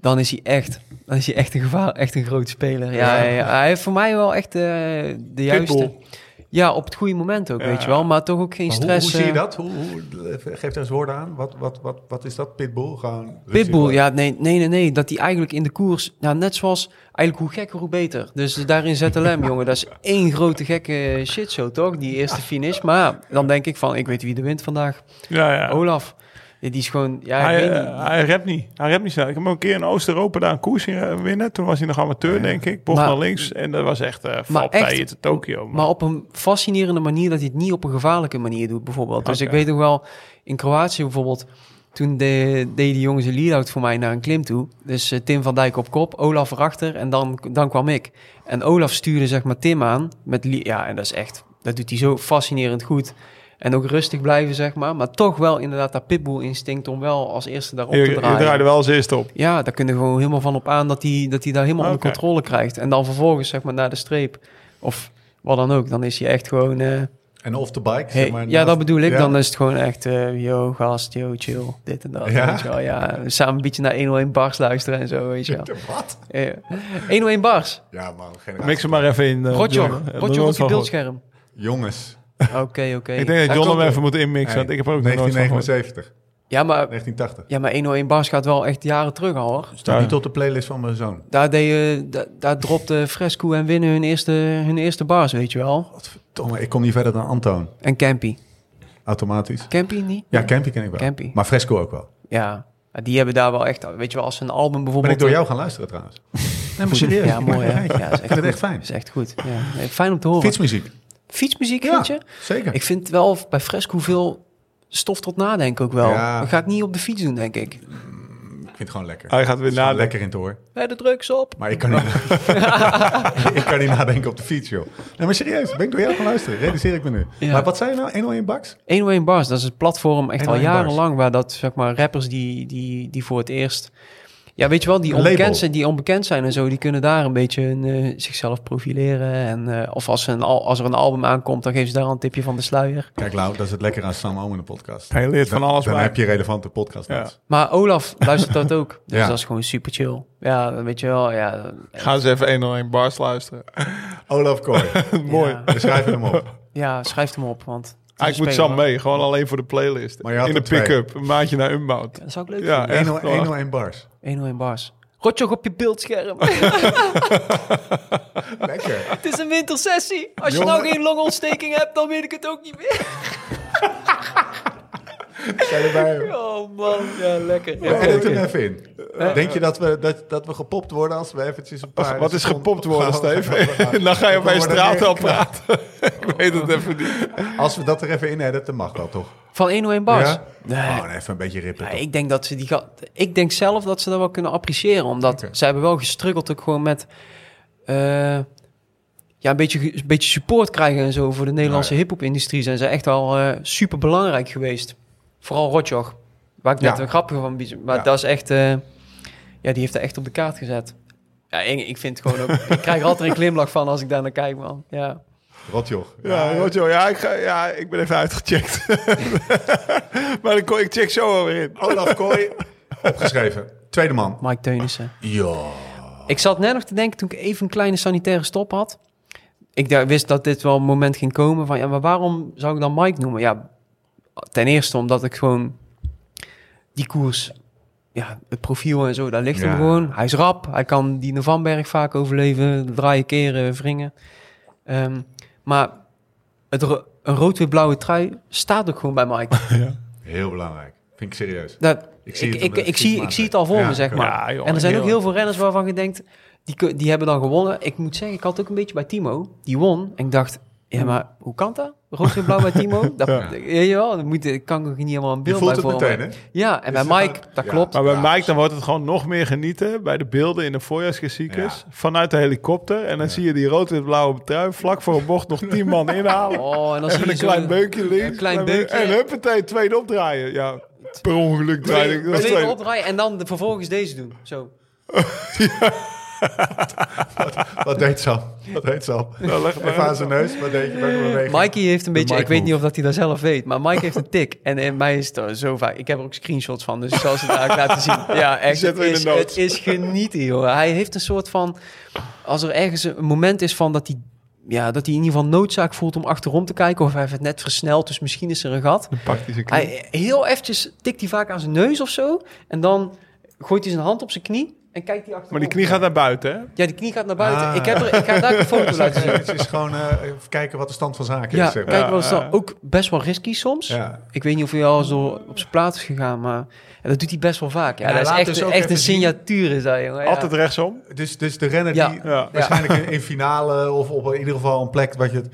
[SPEAKER 4] dan is hij echt, dan is hij echt een gevaar, echt een groot speler. Ja,
[SPEAKER 1] Ja.
[SPEAKER 4] Hij, hij heeft voor mij wel echt eh, de juiste.
[SPEAKER 3] Pitbull.
[SPEAKER 4] Ja, op het goede moment ook,
[SPEAKER 3] Ja.
[SPEAKER 4] weet je wel. Maar toch ook geen
[SPEAKER 1] Maar hoe,
[SPEAKER 4] stress.
[SPEAKER 1] hoe zie je
[SPEAKER 4] eh,
[SPEAKER 1] dat? Hoe, hoe- geef er eens woorden aan. Wat, wat, wat, wat is dat? Pitbull? Gewoon
[SPEAKER 4] Pitbull, ja, nee, nee, nee, nee. Dat hij eigenlijk in de koers, nou, net zoals, eigenlijk hoe gekker, hoe beter. Dus daarin ZLM, jongen, dat is één grote gekke shit zo, toch? Die eerste finish. Maar dan denk ik van, ik weet wie de wint vandaag.
[SPEAKER 3] Ja, ja.
[SPEAKER 4] Olaf. Die is gewoon, ja, ik
[SPEAKER 3] Hij,
[SPEAKER 4] weet
[SPEAKER 3] eh,
[SPEAKER 4] niet.
[SPEAKER 3] hij redt niet. Hij redt niet snel. Ik heb hem een keer in Oost-Europa daar een koers zien eh, winnen. Toen was hij nog amateur, denk ik. Bocht
[SPEAKER 4] Maar-
[SPEAKER 3] naar links. En dat was echt eh valpartijen
[SPEAKER 4] echt-
[SPEAKER 3] te Tokio. Maar,
[SPEAKER 4] Maar op een fascinerende manier dat hij het niet op een gevaarlijke manier doet, bijvoorbeeld. Dus ik
[SPEAKER 3] Oké.
[SPEAKER 4] weet nog wel, in Kroatië bijvoorbeeld, toen de, deed die jongens een lead-out voor mij naar een klim toe. Dus eh, Tim van Dijk op kop, Olaf erachter en dan, dan kwam ik. En Olaf stuurde zeg maar Tim aan met li- Ja, en dat is echt, dat doet hij zo fascinerend goed. En ook rustig blijven, zeg maar. Maar toch wel inderdaad dat pitbull-instinct om wel als eerste daarop
[SPEAKER 3] je,
[SPEAKER 4] te
[SPEAKER 3] je
[SPEAKER 4] draaien.
[SPEAKER 3] draaide wel als eerste op.
[SPEAKER 4] Ja, daar kunnen we gewoon helemaal van op aan dat hij dat hij daar helemaal onder
[SPEAKER 3] Oké.
[SPEAKER 4] controle krijgt. En dan vervolgens, zeg maar, naar de streep of wat dan ook. Dan is hij echt gewoon... eh,
[SPEAKER 1] En off the bike?
[SPEAKER 4] hey,
[SPEAKER 1] zeg maar,
[SPEAKER 4] ja,
[SPEAKER 1] naast-
[SPEAKER 4] dat bedoel ik.
[SPEAKER 1] Ja.
[SPEAKER 4] Dan is het gewoon echt, eh, yo, gast, yo, chill, dit en dat.
[SPEAKER 1] Ja?
[SPEAKER 4] Weet je wel, ja. Samen een beetje naar 101 bars luisteren en zo, weet je wel.
[SPEAKER 1] Wat?
[SPEAKER 4] Eh, 101 bars.
[SPEAKER 1] Ja, man. Geen
[SPEAKER 3] Mik ze maar even in. eh,
[SPEAKER 4] Rotjoch,
[SPEAKER 3] John. Eh,
[SPEAKER 4] Rotjoch op
[SPEAKER 3] nooit
[SPEAKER 4] je
[SPEAKER 3] van gehoord.
[SPEAKER 4] beeldscherm.
[SPEAKER 1] Jongens.
[SPEAKER 4] Oké, oké.
[SPEAKER 3] Ik denk dat John hem
[SPEAKER 1] komt-
[SPEAKER 3] even moet inmixen.
[SPEAKER 1] Hey,
[SPEAKER 3] want ik heb er ook nog nooit van gehoord.
[SPEAKER 1] 1979.
[SPEAKER 4] Ja, maar,
[SPEAKER 1] 1980.
[SPEAKER 4] ja, maar 101 bars gaat wel echt jaren terug al, hoor.
[SPEAKER 1] Staat
[SPEAKER 3] Ja.
[SPEAKER 1] niet op de playlist van mijn zoon.
[SPEAKER 4] Daar, deed, je- da- daar dropte Fresco en Winnen hun eerste, hun eerste bars, weet je wel.
[SPEAKER 1] Godverdomme, ik kom niet verder dan Antoon.
[SPEAKER 4] En Campy.
[SPEAKER 1] Automatisch.
[SPEAKER 4] Campy niet?
[SPEAKER 1] Ja, Campy ken ik wel.
[SPEAKER 4] Campy.
[SPEAKER 1] Maar Fresco ook wel.
[SPEAKER 4] Ja, Ah, die hebben daar wel echt, weet je wel, als een album
[SPEAKER 1] Ben
[SPEAKER 4] bijvoorbeeld.
[SPEAKER 1] ik door jou gaan luisteren trouwens. Nee, maar serieus.
[SPEAKER 4] Ja, mooi hè. Ja,
[SPEAKER 1] ik
[SPEAKER 4] is
[SPEAKER 1] vind het echt
[SPEAKER 4] goed.
[SPEAKER 1] fijn.
[SPEAKER 4] Is echt goed. Ja. Nee, Fijn om te horen.
[SPEAKER 1] Fietsmuziek.
[SPEAKER 4] Fietsmuziek
[SPEAKER 1] Ja,
[SPEAKER 4] vind je?
[SPEAKER 1] zeker.
[SPEAKER 4] Ik vind wel bij Fresco veel stof tot nadenken ook wel.
[SPEAKER 1] Ja.
[SPEAKER 4] Dat ga ik niet op de fiets doen, denk ik.
[SPEAKER 1] Ik vind het gewoon lekker.
[SPEAKER 3] Hij gaat weer
[SPEAKER 1] Het is gewoon
[SPEAKER 3] nadenken.
[SPEAKER 1] lekker in het oor.
[SPEAKER 4] Bij de drugs op.
[SPEAKER 1] Maar ik kan, niet, ik kan niet nadenken op de fiets, joh. Nee, maar serieus. Ben ik door jou gaan luisteren. Realiseer ik me nu.
[SPEAKER 4] Ja.
[SPEAKER 1] Maar wat zei je nou? 101 baks?
[SPEAKER 4] 101 Bars, dat is het platform echt al
[SPEAKER 1] 101 Bars.
[SPEAKER 4] jarenlang waar dat, zeg maar, rappers die, die, die voor het eerst... Ja, weet je wel, die
[SPEAKER 1] Een label.
[SPEAKER 4] onbekend, zijn, die onbekend zijn en zo, die kunnen daar een beetje hun, eh, zichzelf profileren. En, eh, of als, ze een, al- als er een album aankomt, dan geven ze daar al een tipje van de sluier.
[SPEAKER 1] Kijk, Lau, dat is het lekker aan Sam Omen in de podcast.
[SPEAKER 3] Hij leert van
[SPEAKER 1] Dan-
[SPEAKER 3] alles
[SPEAKER 1] Dan
[SPEAKER 3] bij.
[SPEAKER 1] heb je relevante podcast.
[SPEAKER 3] Ja.
[SPEAKER 4] Maar Olaf luistert dat ook. Dus
[SPEAKER 1] Ja.
[SPEAKER 4] dat is gewoon super chill. Ja, dat weet je wel. Ja,
[SPEAKER 3] Gaan ze even 101 bars luisteren.
[SPEAKER 1] Olaf Kooi.
[SPEAKER 3] Mooi.
[SPEAKER 4] Ja,
[SPEAKER 1] We schrijven hem op.
[SPEAKER 4] ja, schrijf hem op. Want het is
[SPEAKER 3] Ah,
[SPEAKER 4] een
[SPEAKER 3] ik moet
[SPEAKER 4] speler.
[SPEAKER 3] Sam mee. Gewoon alleen voor de playlist.
[SPEAKER 1] Maar je had
[SPEAKER 3] In de
[SPEAKER 1] er twee.
[SPEAKER 3] pick-up. Een maandje naar Unbound.
[SPEAKER 4] Dat zou ik leuk
[SPEAKER 3] Ja, eh.
[SPEAKER 4] vinden.
[SPEAKER 3] echt.
[SPEAKER 1] 101,
[SPEAKER 3] wel.
[SPEAKER 1] 101 bars.
[SPEAKER 4] 101 bars. Rotjoch op je beeldscherm.
[SPEAKER 1] Lekker.
[SPEAKER 4] het is een wintersessie. Als je
[SPEAKER 1] Jongen.
[SPEAKER 4] nou geen longontsteking hebt, dan weet ik het ook niet meer.
[SPEAKER 1] Zijn je bij hem?
[SPEAKER 4] Oh man, ja, lekker.
[SPEAKER 1] We
[SPEAKER 4] Ja,
[SPEAKER 1] editen
[SPEAKER 4] oké.
[SPEAKER 1] hem even in. Denk je dat we, dat, dat we gepopt worden als we eventjes een paar...
[SPEAKER 3] Wat is gepopt worden,
[SPEAKER 1] seconden-
[SPEAKER 3] Steve? Dan ga je bij
[SPEAKER 1] worden
[SPEAKER 3] straat al
[SPEAKER 1] neergeknald.
[SPEAKER 3] praten. ik weet het even niet.
[SPEAKER 1] Als we dat er even in editen, mag dat toch?
[SPEAKER 4] Van 101 bars.
[SPEAKER 1] Ja?
[SPEAKER 4] Nee.
[SPEAKER 1] Gewoon even een beetje rippen.
[SPEAKER 4] Ja,
[SPEAKER 1] toch?
[SPEAKER 4] ik denk dat ze die ga- Ik denk zelf dat ze dat wel kunnen appreciëren. Omdat ze hebben wel gestruggeld ook gewoon met. eh, ja, een beetje, ge- een beetje support krijgen en zo voor de Nederlandse hip-hop industrie zijn ze echt wel super belangrijk geweest. Vooral Rotjoch. Waar ik net
[SPEAKER 1] Ja.
[SPEAKER 4] een grapje van bies- Maar
[SPEAKER 1] Ja.
[SPEAKER 4] dat is echt. eh, ja, die heeft dat echt op de kaart gezet. Ja, ik, ik vind het gewoon ook. ik krijg er altijd een glimlach van als ik daar naar kijk, man. Ja.
[SPEAKER 1] Rotjoch.
[SPEAKER 3] Ja, Roger, ja, ik, ga, ja, ik ben even uitgecheckt. maar ik, ik check zo alweer in.
[SPEAKER 1] Olaf Kooi. Opgeschreven. Tweede man.
[SPEAKER 4] Mike Teunissen.
[SPEAKER 1] Ja.
[SPEAKER 4] Ik zat net nog te denken toen ik even een kleine sanitaire stop had. Ik daar- wist dat dit wel een moment ging komen van ja, maar waarom zou ik dan Mike noemen? Ja, ten eerste omdat ik gewoon die koers, ja, het profiel en zo, daar ligt
[SPEAKER 1] Ja.
[SPEAKER 4] hem gewoon. Hij is rap, hij kan die Vanberg vaak overleven, draaien, keren, eh, wringen. Ehm, maar het ro- een rood-wit-blauwe trui staat ook gewoon bij Mike.
[SPEAKER 1] Heel belangrijk. Vind ik serieus.
[SPEAKER 4] Dat,
[SPEAKER 1] Ik zie
[SPEAKER 4] ik, zie
[SPEAKER 1] het
[SPEAKER 4] ik,
[SPEAKER 1] omdat
[SPEAKER 4] ik,
[SPEAKER 1] ik
[SPEAKER 4] zie,
[SPEAKER 1] fietsmaat
[SPEAKER 4] ik zie het
[SPEAKER 1] ben.
[SPEAKER 4] al voor
[SPEAKER 1] Ja,
[SPEAKER 4] me, zeg
[SPEAKER 1] oké.
[SPEAKER 4] maar.
[SPEAKER 3] Ja, joh,
[SPEAKER 4] en er zijn ook
[SPEAKER 3] heel-
[SPEAKER 4] heel veel renners waarvan je denkt, die, kun- die hebben dan gewonnen. Ik moet zeggen, ik had ook een beetje bij Timo, die won. En ik dacht, Ja, maar hoe kan dat? Rood en blauw bij Timo? Dat,
[SPEAKER 1] Ja.
[SPEAKER 4] Weet je wel, dat moet, ik kan ook niet helemaal een
[SPEAKER 1] Je
[SPEAKER 4] beeld
[SPEAKER 1] voelt
[SPEAKER 4] bij
[SPEAKER 1] het
[SPEAKER 4] vormen.
[SPEAKER 1] meteen, hè?
[SPEAKER 4] Ja, en bij
[SPEAKER 1] Dus,
[SPEAKER 4] Mike,
[SPEAKER 1] eh,
[SPEAKER 4] dat
[SPEAKER 1] ja.
[SPEAKER 4] klopt.
[SPEAKER 3] Maar bij
[SPEAKER 1] Ja,
[SPEAKER 3] Mike dan wordt het gewoon nog meer genieten bij de beelden in de voorjaarsklassiekers vanuit de helikopter. En dan zie je die rood en blauwe trui vlak voor een bocht nog tien man inhalen.
[SPEAKER 4] Oh, en dan zie
[SPEAKER 3] Even
[SPEAKER 4] je
[SPEAKER 3] een
[SPEAKER 4] zo'n-
[SPEAKER 3] klein beukje links.
[SPEAKER 4] een klein
[SPEAKER 3] beukje.
[SPEAKER 4] beukje.
[SPEAKER 3] En huppatee, tweede opdraaien. Ja, per ongeluk draaide ik. dat was
[SPEAKER 4] Tweede
[SPEAKER 3] tweede.
[SPEAKER 4] opdraaien en dan de, vervolgens deze doen. Zo.
[SPEAKER 1] Wat deed ze al? Wat deed ze al?
[SPEAKER 3] Nou,
[SPEAKER 1] Even aan zijn neus. Wat deed je? Welke beweging?
[SPEAKER 4] Eh, Mikey heeft een beetje,
[SPEAKER 1] Mike
[SPEAKER 4] ik weet
[SPEAKER 1] move.
[SPEAKER 4] niet of dat hij dat zelf weet, maar Mike heeft een tik. En in mij is het er zo vaak. Ik heb er ook screenshots van, dus ik zal ze daar ook laten zien. Ja, echt.
[SPEAKER 3] zetten we in
[SPEAKER 4] het,
[SPEAKER 3] de
[SPEAKER 4] is,
[SPEAKER 3] notes.
[SPEAKER 4] het is genieten, joh. Hij heeft een soort van, als er ergens een moment is van dat hij, ja, dat hij in ieder geval noodzaak voelt om achterom te kijken, of hij heeft het net versneld, dus misschien is er een gat.
[SPEAKER 3] Dan pakt hij zijn knie.
[SPEAKER 4] Hij, heel eventjes tikt hij vaak aan zijn neus of zo, en dan gooit hij zijn hand op zijn knie en kijkt hij achterom.
[SPEAKER 3] Maar die knie gaat naar buiten, hè?
[SPEAKER 4] Ja, die knie gaat naar buiten.
[SPEAKER 1] Ah.
[SPEAKER 4] Ik, heb er, ik ga daar een foto laten zien.
[SPEAKER 1] Het is gewoon eh, even kijken wat de stand van zaken
[SPEAKER 4] Ja,
[SPEAKER 1] is. zeg maar.
[SPEAKER 4] kijk, wel is dan ook best wel risky soms.
[SPEAKER 1] Ja.
[SPEAKER 4] Ik weet niet of hij al eens door op zijn plaats is gegaan, maar en dat doet hij best wel vaak. Ja,
[SPEAKER 1] Ja,
[SPEAKER 4] dat
[SPEAKER 1] laat
[SPEAKER 4] is echt,
[SPEAKER 1] dus ook
[SPEAKER 4] echt een
[SPEAKER 1] even zien.
[SPEAKER 4] signatuur is dat, jongen. Ja.
[SPEAKER 3] Altijd rechtsom.
[SPEAKER 1] Dus, dus de renner
[SPEAKER 4] Ja.
[SPEAKER 1] die
[SPEAKER 3] Ja.
[SPEAKER 1] waarschijnlijk in- in finale of op in ieder geval een plek wat je... het-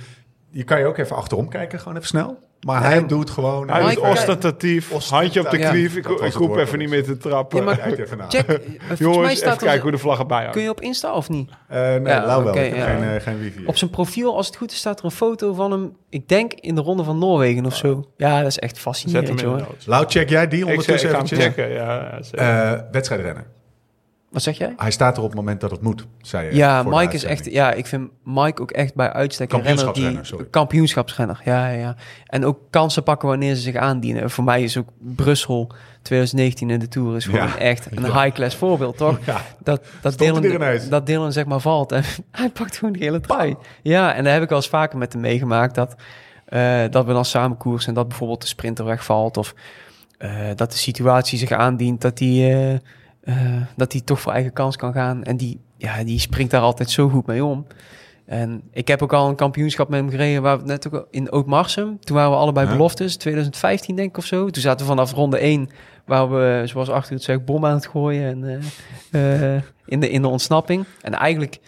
[SPEAKER 1] Je kan je ook even achterom kijken, gewoon even snel. Maar hij doet gewoon...
[SPEAKER 3] Hij doet
[SPEAKER 4] Mike, kijk.
[SPEAKER 3] ostentatief, handje op de
[SPEAKER 1] Ostentatief.
[SPEAKER 3] knie.
[SPEAKER 1] Ja.
[SPEAKER 3] Ik,
[SPEAKER 1] Dat was
[SPEAKER 3] ik
[SPEAKER 1] het
[SPEAKER 3] hoef
[SPEAKER 1] woord,
[SPEAKER 3] even niet meer te trappen.
[SPEAKER 4] Ja, maar-
[SPEAKER 1] Kijkt even na.
[SPEAKER 4] Check, eh, volgens mij
[SPEAKER 3] Jongens, even
[SPEAKER 4] staat
[SPEAKER 3] kijken
[SPEAKER 4] er,
[SPEAKER 3] hoe de vlag erbij hangt.
[SPEAKER 4] kun je op Insta of niet?
[SPEAKER 1] Eh, nee,
[SPEAKER 4] Ja,
[SPEAKER 1] Lau wel.
[SPEAKER 4] oké,
[SPEAKER 1] ik heb
[SPEAKER 4] ja.
[SPEAKER 1] geen, eh, geen wifi.
[SPEAKER 4] Op zijn profiel, als het goed is, staat er een foto van hem, ik denk in de ronde van Noorwegen of zo. Ja, dat is echt
[SPEAKER 3] Zet hem
[SPEAKER 4] fascinerend,
[SPEAKER 3] in de
[SPEAKER 4] jongen.
[SPEAKER 3] notes.
[SPEAKER 1] Lau, check jij die
[SPEAKER 3] Ik, zeg, ik
[SPEAKER 1] ondertussen
[SPEAKER 3] ga hem
[SPEAKER 1] eventjes?
[SPEAKER 3] checken, ja. zeker.
[SPEAKER 1] Eh, wedstrijdrenner.
[SPEAKER 4] Wat zeg jij?
[SPEAKER 1] Hij staat er op het moment dat het moet, zei je.
[SPEAKER 4] Ja,
[SPEAKER 1] voor de
[SPEAKER 4] Mike is
[SPEAKER 1] uitzending.
[SPEAKER 4] echt. Ja, ik vind Mike ook echt bij uitstek een renner die
[SPEAKER 1] Kampioenschapsrenner, sorry.
[SPEAKER 4] kampioenschapsrenner. Ja, ja, ja. En ook kansen pakken wanneer ze zich aandienen. Voor mij is ook Brussel 2019 in de Tour is gewoon
[SPEAKER 1] Ja.
[SPEAKER 4] echt een high class voorbeeld, toch?
[SPEAKER 1] Ja.
[SPEAKER 4] Dat dat
[SPEAKER 1] Stond er
[SPEAKER 4] Dylan,
[SPEAKER 1] ineens.
[SPEAKER 4] dat Dylan zeg maar valt en hij pakt gewoon de hele trui. Ja, en daar heb ik wel eens vaker met hem meegemaakt dat eh, dat we dan samen koersen en dat bijvoorbeeld de sprinter wegvalt of eh, dat de situatie zich aandient dat hij eh, eh, dat hij toch voor eigen kans kan gaan. En die, ja, die springt daar altijd zo goed mee om. En ik heb ook al een kampioenschap met hem gereden, waar we het net ook al- in Ootmarsum. Toen waren we allebei
[SPEAKER 1] Ja.
[SPEAKER 4] beloftes, 2015 denk ik of zo. Toen zaten we vanaf ronde 1, waar we, zoals Arthur het zegt, bom aan het gooien en, eh, eh, in, de, in de ontsnapping. En eigenlijk,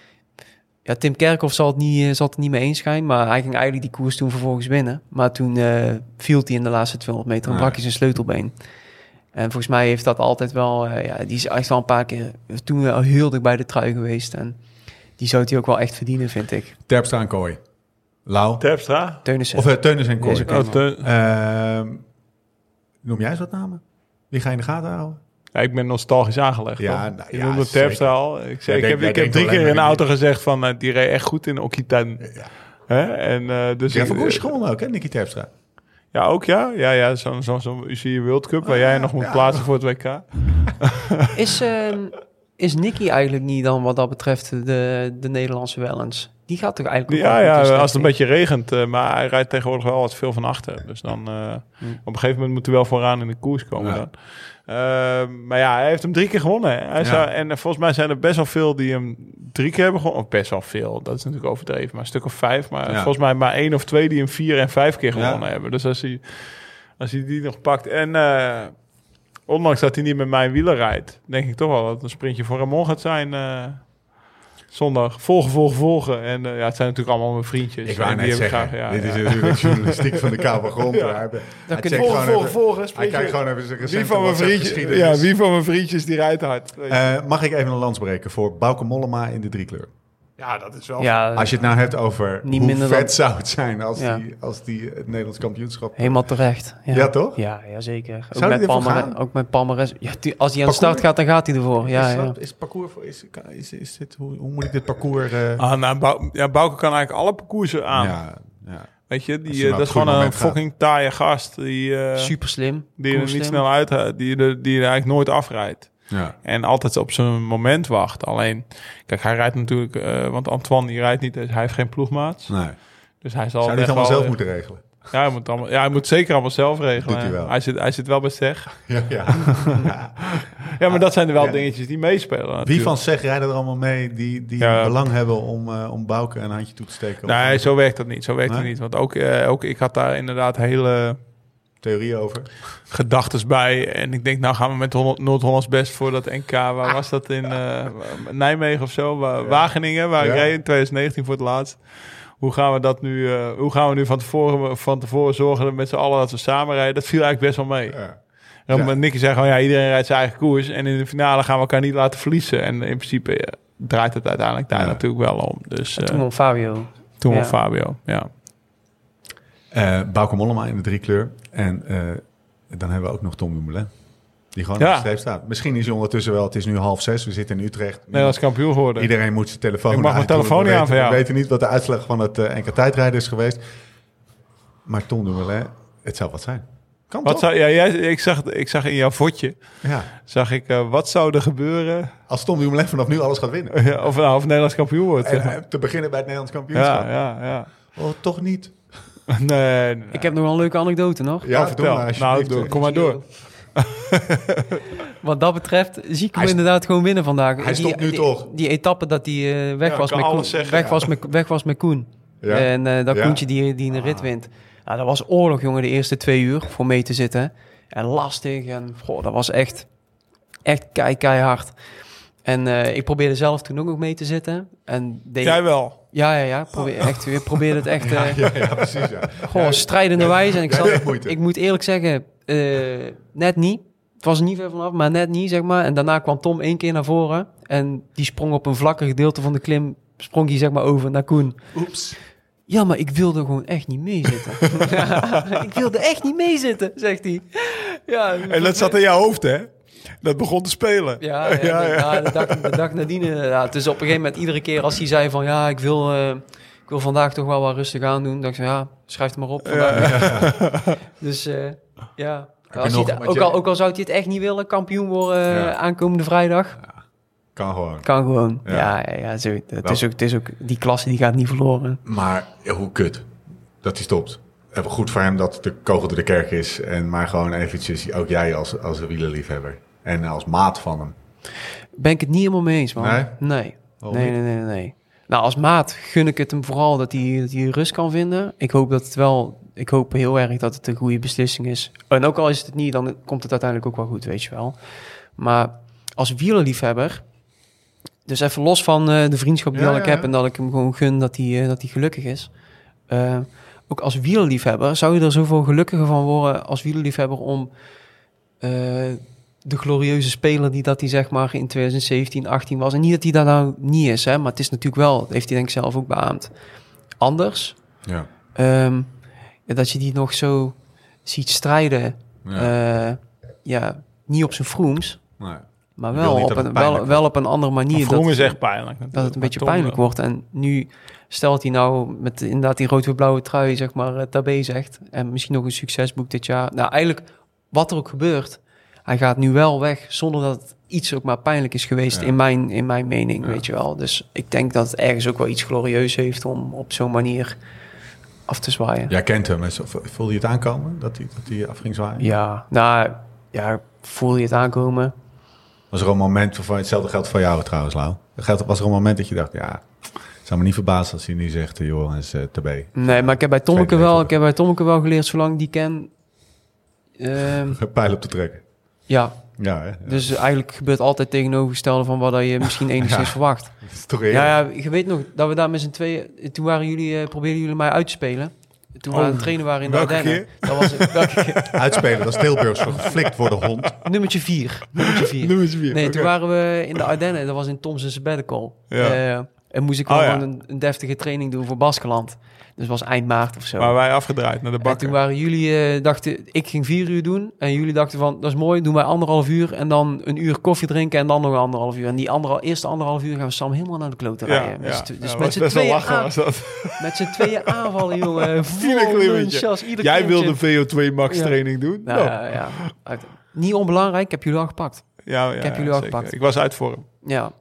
[SPEAKER 4] ja, Tim Kerkhoff zal het, niet, eh, zal het er niet mee eens zijn, maar hij ging eigenlijk die koers toen vervolgens winnen. Maar toen eh, viel hij in de laatste 200 meter en
[SPEAKER 1] Ja.
[SPEAKER 4] brak hij zijn sleutelbeen. En volgens mij heeft dat altijd wel, eh, ja, die is echt wel een paar keer toen al heel dicht bij de trui geweest. En die zou hij ook wel echt verdienen, vind ik.
[SPEAKER 1] Terpstra en Kooi. Lau.
[SPEAKER 3] Terpstra?
[SPEAKER 4] Teunissen.
[SPEAKER 1] Of eh, Teunis en Kooi.
[SPEAKER 4] Deze kan-
[SPEAKER 3] Oh, Teun-
[SPEAKER 1] Ehm, noem jij eens wat namen? Wie ga je in de gaten houden?
[SPEAKER 3] Ja, ik ben nostalgisch aangelegd.
[SPEAKER 1] Ja,
[SPEAKER 3] hoor.
[SPEAKER 1] nou,
[SPEAKER 3] je
[SPEAKER 1] ja,
[SPEAKER 3] noemde
[SPEAKER 1] zeker.
[SPEAKER 3] Terpstra al. Ik,
[SPEAKER 1] Jij
[SPEAKER 3] zei,
[SPEAKER 1] denkt-
[SPEAKER 3] ik heb,
[SPEAKER 1] jij
[SPEAKER 3] ik heb
[SPEAKER 1] denkt
[SPEAKER 3] drie
[SPEAKER 1] alleen
[SPEAKER 3] keer in de
[SPEAKER 1] maar
[SPEAKER 3] auto gezegd van... eh, die reed echt goed in Okita. Hè? En, eh, dus
[SPEAKER 1] Ja,
[SPEAKER 3] ik-
[SPEAKER 1] van Kooi is gewonnen ook, hè, Nicky Terpstra.
[SPEAKER 3] ja, ook ja. Ja, ja zo'n zo, zo UCI World Cup waar jij nog moet plaatsen voor het WK.
[SPEAKER 4] Is, ehm, is Nicky eigenlijk niet dan wat dat betreft de, de Nederlandse wellens? Die gaat toch eigenlijk ook
[SPEAKER 3] Ja,
[SPEAKER 4] wel goed
[SPEAKER 3] ja,
[SPEAKER 4] in zijn
[SPEAKER 3] als het een
[SPEAKER 4] richting?
[SPEAKER 3] beetje regent. eh, maar hij rijdt tegenwoordig wel wat veel van achter. Dus dan eh, op een gegeven moment moet hij wel vooraan in de koers komen.
[SPEAKER 1] Ja.
[SPEAKER 3] Dan. Eh, maar ja, hij heeft hem drie keer gewonnen. hè. Hij zou- en eh, volgens mij zijn er best wel veel die hem drie keer hebben gewonnen. Of best wel veel, dat is natuurlijk overdreven. Maar een stuk of vijf. Maar
[SPEAKER 1] Ja.
[SPEAKER 3] volgens mij maar één of twee die hem vier en vijf keer
[SPEAKER 1] Ja.
[SPEAKER 3] gewonnen hebben. Dus als hij, als hij die nog pakt. En eh, ondanks dat hij niet met mijn wielen rijdt, denk ik toch wel dat het een sprintje voor Ramon gaat zijn. eh, zondag. Volgen, volgen, volgen. En eh, ja, het zijn natuurlijk allemaal mijn vriendjes.
[SPEAKER 1] Ik wou
[SPEAKER 3] En die
[SPEAKER 1] net
[SPEAKER 3] heb ik
[SPEAKER 1] zeggen,
[SPEAKER 3] graag, ja,
[SPEAKER 1] dit
[SPEAKER 3] ja.
[SPEAKER 1] is natuurlijk journalistiek van de koude grond. Hij, hij
[SPEAKER 4] kun
[SPEAKER 1] checkt
[SPEAKER 4] je volgen,
[SPEAKER 1] gewoon even-
[SPEAKER 3] volgen.
[SPEAKER 1] hij kijkt gewoon even zijn recente WhatsApp-geschiedenis.
[SPEAKER 3] ja, wie van mijn vriendjes die rijdt hard.
[SPEAKER 1] Eh, mag ik even een lans breken voor Bauke Mollema in de driekleur?
[SPEAKER 3] ja, dat is wel...
[SPEAKER 4] Ja,
[SPEAKER 1] Als je het nou hebt over
[SPEAKER 4] Niet
[SPEAKER 1] hoe
[SPEAKER 4] minder
[SPEAKER 1] vet
[SPEAKER 4] dan-
[SPEAKER 1] zou het zijn als,
[SPEAKER 4] Ja.
[SPEAKER 1] die, als die het Nederlands kampioenschap...
[SPEAKER 4] helemaal terecht. Ja,
[SPEAKER 1] Ja, toch?
[SPEAKER 4] Ja, ja zeker. Ook
[SPEAKER 1] Zou die
[SPEAKER 4] met,
[SPEAKER 1] ervoor
[SPEAKER 4] Palmer,
[SPEAKER 1] gaan?
[SPEAKER 4] ook met Palmares. Ja, die- als hij aan
[SPEAKER 1] Parcours?
[SPEAKER 4] de start gaat, dan gaat hij ervoor. Ja,
[SPEAKER 1] is,
[SPEAKER 4] ja.
[SPEAKER 1] dat- is parcours voor... Is, kan- is, is dit, hoe, hoe moet ik dit parcours... eh,
[SPEAKER 3] Ah, nou, Bou- ja, Bouke kan eigenlijk alle parcoursen aan.
[SPEAKER 1] ja, ja.
[SPEAKER 3] Weet je,
[SPEAKER 1] Als je
[SPEAKER 3] die,
[SPEAKER 1] maar
[SPEAKER 3] eh,
[SPEAKER 1] op
[SPEAKER 3] dat is
[SPEAKER 1] het goede
[SPEAKER 3] gewoon een
[SPEAKER 1] moment gaat.
[SPEAKER 3] fucking taaie gast. Die, eh
[SPEAKER 4] Super slim.
[SPEAKER 3] die er niet snel uit... Die, er- die er eigenlijk nooit afrijdt.
[SPEAKER 1] ja.
[SPEAKER 3] En altijd op zijn moment wacht. Alleen, kijk, hij rijdt natuurlijk... eh, want Antoine, die rijdt niet. dus Hij heeft geen ploegmaats.
[SPEAKER 1] Nee. Zou
[SPEAKER 3] Dus hij zal
[SPEAKER 1] hij
[SPEAKER 3] echt
[SPEAKER 1] het allemaal
[SPEAKER 3] wel-
[SPEAKER 1] zelf moeten regelen?
[SPEAKER 3] Ja, hij moet, allemaal, ja, hij moet zeker allemaal zelf regelen.
[SPEAKER 1] doet hij wel.
[SPEAKER 3] Hij, zit, hij zit wel bij Zeg.
[SPEAKER 1] Ja, ja.
[SPEAKER 3] Ja, maar dat zijn er wel
[SPEAKER 1] Ja.
[SPEAKER 3] dingetjes die meespelen.
[SPEAKER 1] Wie
[SPEAKER 3] natuurlijk.
[SPEAKER 1] van zeg rijden er allemaal mee die, die
[SPEAKER 3] Ja.
[SPEAKER 1] belang hebben om, eh, om Bouke een handje toe te steken? Of
[SPEAKER 3] Nee,
[SPEAKER 1] een
[SPEAKER 3] zo werkt dat niet. Zo werkt het
[SPEAKER 1] Nee?
[SPEAKER 3] niet. Want ook, eh, ook ik had daar inderdaad hele
[SPEAKER 1] theorie over.
[SPEAKER 3] gedachten bij. En ik denk, nou gaan we met Holland- Noord-Hollands best voor dat NK.
[SPEAKER 1] Ah,
[SPEAKER 3] Waar was dat in eh, Nijmegen of zo? Waar- Wageningen, waar
[SPEAKER 1] Ja.
[SPEAKER 3] ik reed in 2019 voor het laatst. Hoe gaan we dat nu, eh, hoe gaan we nu van tevoren, van tevoren zorgen dat met z'n allen dat we samen rijden? Dat viel eigenlijk best wel mee.
[SPEAKER 1] Ja.
[SPEAKER 3] En
[SPEAKER 1] Ja.
[SPEAKER 3] maar Nicky zei gewoon, ja, iedereen rijdt zijn eigen koers. En in de finale gaan we elkaar niet laten verliezen. En in principe eh, draait het uiteindelijk daar
[SPEAKER 1] Ja.
[SPEAKER 3] natuurlijk wel om. Dus eh,
[SPEAKER 4] Toen om Fabio.
[SPEAKER 3] toen
[SPEAKER 4] ja.
[SPEAKER 3] won Fabio, ja.
[SPEAKER 1] Eh, Bauke Mollema in de driekleur. En eh, dan hebben we ook nog Tom Dumoulin. Die gewoon
[SPEAKER 3] Ja.
[SPEAKER 1] op de streep staat. Misschien is hij ondertussen wel... Het is nu half zes, we zitten in Utrecht.
[SPEAKER 3] Nederlands kampioen geworden.
[SPEAKER 1] Iedereen moet zijn telefoon
[SPEAKER 3] Ik mag mijn
[SPEAKER 1] uitdoen.
[SPEAKER 3] telefoon
[SPEAKER 1] We
[SPEAKER 3] niet aan
[SPEAKER 1] weten-
[SPEAKER 3] van
[SPEAKER 1] We
[SPEAKER 3] jou.
[SPEAKER 1] weten niet wat de uitslag van het eh enkele tijdrijden is geweest. Maar Tom Dumoulin, het zou wat zijn. Kan
[SPEAKER 3] Wat
[SPEAKER 1] toch?
[SPEAKER 3] zou, ja, jij, ik, zag, ik zag in jouw vodje,
[SPEAKER 1] Ja.
[SPEAKER 3] zag ik, eh, wat zou er gebeuren
[SPEAKER 1] Als Tom Dumoulin vanaf nu alles gaat winnen.
[SPEAKER 3] Ja, of, nou, of Nederlands kampioen wordt.
[SPEAKER 1] En,
[SPEAKER 3] zeg maar.
[SPEAKER 1] eh, te beginnen bij het Nederlands kampioenschap.
[SPEAKER 3] Ja, ja, ja.
[SPEAKER 1] Oh, toch niet.
[SPEAKER 3] Nee, nee.
[SPEAKER 4] Ik heb nog wel een leuke anekdote nog.
[SPEAKER 1] Ja, vertel
[SPEAKER 3] vertel.
[SPEAKER 1] maar
[SPEAKER 3] nou,
[SPEAKER 1] alsjeblieft. eh,
[SPEAKER 3] doe- kom maar door.
[SPEAKER 4] Wat dat betreft zie ik hem
[SPEAKER 1] Hij-
[SPEAKER 4] inderdaad gewoon winnen vandaag.
[SPEAKER 1] Hij stopt nu
[SPEAKER 4] die,
[SPEAKER 1] toch?
[SPEAKER 4] Die etappe dat hij eh, weg,
[SPEAKER 3] Ja,
[SPEAKER 4] was
[SPEAKER 3] kan
[SPEAKER 4] met Koen,
[SPEAKER 3] alles zeggen,
[SPEAKER 4] weg,
[SPEAKER 3] ja.
[SPEAKER 4] was met, weg was met Koen.
[SPEAKER 1] Ja.
[SPEAKER 4] En eh dat
[SPEAKER 1] Ja.
[SPEAKER 4] Koentje die, die een rit wint. Nou, dat was oorlog, jongen, de eerste twee uur voor mee te zitten. En lastig. En goh, dat was echt, echt kei, keihard. En eh, ik probeerde zelf toen ook nog mee te zitten. En deed,
[SPEAKER 3] Jij wel.
[SPEAKER 4] Ja, ja, ja. Probeer, echt, je probeerde het echt... eh,
[SPEAKER 1] Ja, ja, precies. Ja.
[SPEAKER 4] Goh, strijdende wijze. En ik,
[SPEAKER 1] jij
[SPEAKER 4] zat,
[SPEAKER 1] deed moeite.
[SPEAKER 4] ik moet eerlijk zeggen, eh, net niet. Het was er niet ver vanaf, maar net niet, zeg maar. En daarna kwam Tom één keer naar voren. En die sprong op een vlakker gedeelte van de klim, sprong hij zeg maar over naar Koen.
[SPEAKER 1] Oeps.
[SPEAKER 4] Ja, maar ik wilde gewoon echt niet meezitten. Ja, ik wilde echt niet meezitten, zegt hij. Ja,
[SPEAKER 3] En dat zat in jouw hoofd, hè? Dat begon te spelen.
[SPEAKER 4] ja, ja, ja, de, dag, de dag nadien inderdaad. Dus op een gegeven moment, iedere keer als hij zei van... ja, ik wil, eh, ik wil vandaag toch wel wat rustig aan doen... dacht ik, ja, schrijf het maar op vandaag. Dus eh, ja... Als
[SPEAKER 1] je
[SPEAKER 4] hij
[SPEAKER 1] nog
[SPEAKER 4] het-
[SPEAKER 1] wat
[SPEAKER 4] ook,
[SPEAKER 1] je-
[SPEAKER 4] al, ook al zou hij het echt niet willen, kampioen worden eh,
[SPEAKER 1] Ja.
[SPEAKER 4] aankomende vrijdag.
[SPEAKER 1] Kan gewoon.
[SPEAKER 4] Kan gewoon.
[SPEAKER 1] Ja.
[SPEAKER 4] Ja, ja, ja, zo, het,
[SPEAKER 1] Wel.
[SPEAKER 4] is ook, het is ook... Die klasse die gaat niet verloren.
[SPEAKER 1] Maar hoe kut dat hij stopt. Even goed voor hem dat de kogel door de kerk is. En maar gewoon eventjes, ook jij als, als een wielerliefhebber. En als maat van hem.
[SPEAKER 4] Ben ik het niet helemaal mee eens, man.
[SPEAKER 1] Nee?
[SPEAKER 4] Nee.
[SPEAKER 1] Waarom
[SPEAKER 4] Nee,
[SPEAKER 1] niet?
[SPEAKER 4] nee, nee, nee, nee. Nou, als maat gun ik het hem vooral dat hij, dat hij rust kan vinden. Ik hoop dat het wel... Ik hoop heel erg dat het een goede beslissing is. En ook al is het niet, dan komt het uiteindelijk ook wel goed, weet je wel. Maar als wielerliefhebber... Dus even los van eh, de vriendschap die
[SPEAKER 1] Ja,
[SPEAKER 4] al ik
[SPEAKER 1] ja,
[SPEAKER 4] heb...
[SPEAKER 1] ja.
[SPEAKER 4] en dat ik hem gewoon gun dat hij, eh, dat hij gelukkig is. Eh, ook als wielerliefhebber zou je er zoveel gelukkiger van worden... als wielerliefhebber om... eh, de glorieuze speler die dat hij zeg maar in 2017, 18 was. En niet dat hij dat nou niet is, hè, maar het is natuurlijk wel, dat heeft hij denk ik zelf ook beaamd. Anders,
[SPEAKER 1] Ja.
[SPEAKER 4] ehm, ja, dat je die nog zo ziet strijden,
[SPEAKER 1] ja.
[SPEAKER 4] ja, ja niet op zijn vroems,
[SPEAKER 1] Nee.
[SPEAKER 4] maar
[SPEAKER 1] Je wil
[SPEAKER 4] wel
[SPEAKER 1] niet
[SPEAKER 4] op,
[SPEAKER 1] dat het
[SPEAKER 4] een,
[SPEAKER 1] pijnlijk
[SPEAKER 4] wel, wel op een andere manier.
[SPEAKER 3] Vroom
[SPEAKER 4] dat-
[SPEAKER 3] is echt pijnlijk.
[SPEAKER 4] dat het een beetje
[SPEAKER 3] Maar Tom,
[SPEAKER 1] eh."
[SPEAKER 4] pijnlijk wordt. En nu stelt hij nou met inderdaad die rood-blauwe trui, zeg maar, eh, tabé zegt. En misschien nog een succesboek dit jaar. Nou, eigenlijk, wat er ook gebeurt, hij gaat nu wel weg zonder dat het iets ook maar pijnlijk is geweest,
[SPEAKER 1] Ja.
[SPEAKER 4] in, mijn, in mijn mening, weet je wel. Dus ik denk dat het ergens ook wel iets glorieus heeft om op zo'n manier af te zwaaien. Ja,
[SPEAKER 1] Jij kent hem. Is- Voelde je het aankomen dat hij, dat hij af ging zwaaien?
[SPEAKER 4] nou, ja, voel je het aankomen?
[SPEAKER 1] Was er een moment van hetzelfde geldt voor jou trouwens, Lau? Geldt- Was er een moment dat je dacht, ja, het zou me niet verbazen als hij nu zegt, eh, joh, hij is eh, tabé.
[SPEAKER 4] Nee, maar ik heb bij Tommeke
[SPEAKER 1] Tweede
[SPEAKER 4] wel,
[SPEAKER 1] leven.
[SPEAKER 4] ik heb bij Tommeke wel geleerd, zolang ik die ken... ehm,
[SPEAKER 1] Pijl op te trekken.
[SPEAKER 4] ja,
[SPEAKER 1] Ja, hè? Ja,
[SPEAKER 4] Dus eigenlijk gebeurt altijd tegenovergestelde van wat dat je misschien enigszins verwacht.
[SPEAKER 1] dat is toch
[SPEAKER 4] Ja,
[SPEAKER 1] eerlijk.
[SPEAKER 4] ja, je weet nog dat we daar met z'n tweeën... Toen waren jullie, eh, probeerden jullie mij uit te spelen. Toen we aan het trainen waren in de
[SPEAKER 3] welke
[SPEAKER 4] Ardennen. Dat was het, welke keer?
[SPEAKER 1] Uitspelen, dat is Tilburgs geflikt worden hond. Dus
[SPEAKER 4] Nummertje vier. Nummertje vier. Nee, toen waren we in de Ardennen. Dat was in Tom's sabbatical.
[SPEAKER 3] Ja.
[SPEAKER 4] Eh, en moest ik wel
[SPEAKER 3] Oh, ja.
[SPEAKER 4] gewoon een, een deftige training doen voor Baskeland. Dus was eind maart of zo.
[SPEAKER 3] Maar wij afgedraaid naar de
[SPEAKER 4] En
[SPEAKER 3] bak.
[SPEAKER 4] toen waren jullie, eh, dachten, ik ging vier uur doen. En jullie dachten van, dat is mooi, doen wij anderhalf uur. En dan een uur koffie drinken en dan nog een anderhalf uur. En die andere, eerste anderhalf uur gaan we Sam helemaal naar de klote
[SPEAKER 3] Ja,
[SPEAKER 4] rijden. Dus,
[SPEAKER 3] ja.
[SPEAKER 4] dus
[SPEAKER 3] Ja, was
[SPEAKER 4] met z'n
[SPEAKER 3] best wel
[SPEAKER 4] tweeën,
[SPEAKER 3] lachen
[SPEAKER 4] aan-
[SPEAKER 3] was dat.
[SPEAKER 4] met z'n tweeën aanvallen, jongen.
[SPEAKER 3] Ieder
[SPEAKER 4] Vol
[SPEAKER 3] klimmetje.
[SPEAKER 4] lunchas, ieder
[SPEAKER 3] Jij
[SPEAKER 4] klimmetje.
[SPEAKER 3] wilde VO2 max
[SPEAKER 4] Ja.
[SPEAKER 3] training doen.
[SPEAKER 4] Nou,
[SPEAKER 3] Nou,
[SPEAKER 4] ja, ja. Uit- niet onbelangrijk, ik heb jullie al gepakt.
[SPEAKER 3] ja, ja,
[SPEAKER 4] ik heb
[SPEAKER 3] ja,
[SPEAKER 4] jullie wel
[SPEAKER 3] zeker.
[SPEAKER 4] gepakt.
[SPEAKER 3] Ik was uit vorm.
[SPEAKER 4] Ja.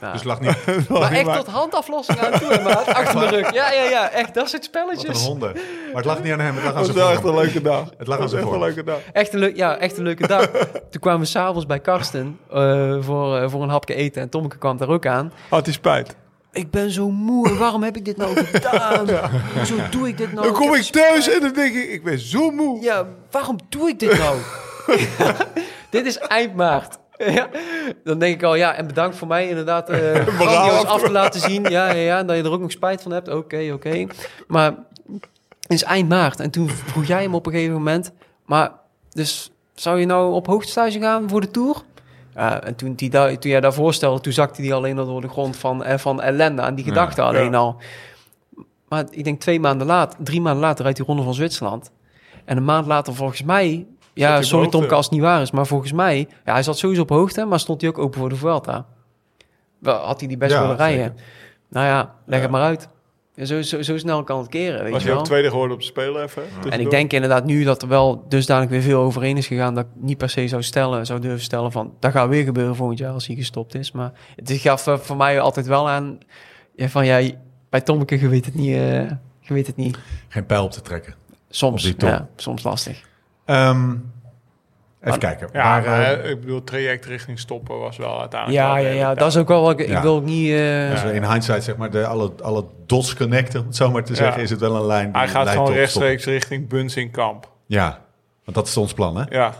[SPEAKER 4] Ja.
[SPEAKER 1] Dus lag niet
[SPEAKER 4] maar echt
[SPEAKER 3] maar-
[SPEAKER 4] tot handaflossing aan toe, hè, maat. Achter mijn rug. Ja, ja, ja. Echt, dat soort
[SPEAKER 1] wat een
[SPEAKER 4] spelletjes.
[SPEAKER 1] honden. Maar het lag niet aan hem, het lag aan
[SPEAKER 3] Het
[SPEAKER 1] zijn
[SPEAKER 3] was Dus- wel echt
[SPEAKER 1] vorm.
[SPEAKER 3] een leuke dag.
[SPEAKER 1] Het lag aan
[SPEAKER 3] was
[SPEAKER 1] zijn
[SPEAKER 3] echt een
[SPEAKER 1] vorm.
[SPEAKER 3] leuke dag.
[SPEAKER 4] Echt een, leuk, ja, echt een leuke dag. Toen kwamen we s'avonds bij Karsten eh, voor, eh, voor een hapje eten. En Tomke kwam daar ook aan.
[SPEAKER 3] Had hij
[SPEAKER 4] Oh,
[SPEAKER 3] spijt.
[SPEAKER 4] Ik ben zo moe. en Waarom heb ik dit nou gedaan? Hoezo doe ik dit nou?
[SPEAKER 3] Dan kom
[SPEAKER 4] heb
[SPEAKER 3] ik thuis en dan denk ik, ik ben zo moe.
[SPEAKER 4] Ja, waarom doe ik dit nou? dit is eind maart. Ja, dan denk ik al, ja, en bedankt voor mij inderdaad eh grandioos af te laten zien. Ja, ja, ja, en dat je er ook nog spijt van hebt. Oké, oké. Maar het is eind maart en toen vroeg jij hem op een gegeven moment. Maar dus zou je nou op hoogtestage gaan voor de Tour? Ja, en toen, die, daar- toen jij daar voorstelde, toen zakte die alleen al door de grond van, eh, van ellende aan die gedachte alleen al. Maar ik denk twee maanden later, drie maanden later rijdt die Ronde van Zwitserland. En een maand later volgens mij, ja,
[SPEAKER 3] op
[SPEAKER 4] sorry
[SPEAKER 3] hoogte.
[SPEAKER 4] Tomke als het niet waar is, maar volgens mij, ja, hij zat sowieso op hoogte, maar stond hij ook open voor de Vuelta. Wel, had hij die best
[SPEAKER 1] Ja,
[SPEAKER 4] willen rijden. Nou ja, leg
[SPEAKER 3] Ja.
[SPEAKER 4] het maar uit. En Zo, zo, zo snel kan het keren, weet
[SPEAKER 3] Was
[SPEAKER 4] je
[SPEAKER 3] je
[SPEAKER 4] wel.
[SPEAKER 3] ook tweede geworden op de Spelen even?
[SPEAKER 4] En
[SPEAKER 3] tussendoor?
[SPEAKER 4] ik denk inderdaad nu dat er wel dusdanig weer veel overeen is gegaan... dat ik niet per se zou, stellen, zou durven stellen van... dat gaat weer gebeuren volgend jaar als hij gestopt is. Maar het gaf eh, voor mij altijd wel aan... Ja, van ja, bij Tommeke, je weet het niet... eh, je weet het niet.
[SPEAKER 1] Geen pijl op te trekken. Op
[SPEAKER 4] Soms,
[SPEAKER 1] die Tom.
[SPEAKER 4] ja, soms lastig.
[SPEAKER 1] Ehm, even kijken.
[SPEAKER 3] Ah, Ja,
[SPEAKER 1] Waar,
[SPEAKER 3] maar,
[SPEAKER 1] eh,
[SPEAKER 3] eh, ik bedoel, traject richting stoppen was wel uiteindelijk...
[SPEAKER 4] Ja,
[SPEAKER 3] wel
[SPEAKER 4] ja,
[SPEAKER 3] de
[SPEAKER 4] ja,
[SPEAKER 3] hele
[SPEAKER 4] dat is
[SPEAKER 3] tijd.
[SPEAKER 4] ook wel... wat Ik, ik
[SPEAKER 1] Ja.
[SPEAKER 4] wil ook niet... eh,
[SPEAKER 1] als we in hindsight zeg maar de, alle, alle dots connecten, om het zo maar te
[SPEAKER 3] Ja.
[SPEAKER 1] zeggen, is het wel een lijn. die
[SPEAKER 3] Hij gaat
[SPEAKER 1] leidt
[SPEAKER 3] gewoon
[SPEAKER 1] tot
[SPEAKER 3] rechtstreeks richting Bunsinkamp.
[SPEAKER 1] stop. Ja, want dat is ons plan, hè?
[SPEAKER 3] Ja,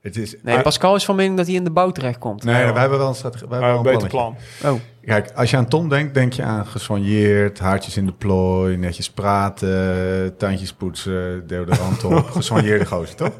[SPEAKER 1] Het is,
[SPEAKER 4] Nee, Pascal is van mening dat hij in de bouw terechtkomt.
[SPEAKER 1] Ah. nee, wij hebben wel een strategie. Wij hebben
[SPEAKER 3] maar
[SPEAKER 1] wel
[SPEAKER 3] een
[SPEAKER 1] een
[SPEAKER 3] eh, beter
[SPEAKER 1] plannetje.
[SPEAKER 3] plan.
[SPEAKER 4] Oh,
[SPEAKER 1] Kijk, als je aan Tom denkt, denk je aan gesoigneerd, haartjes in de plooi, netjes praten, tandjes poetsen, deodorant op. gesoigneerde gozer, toch?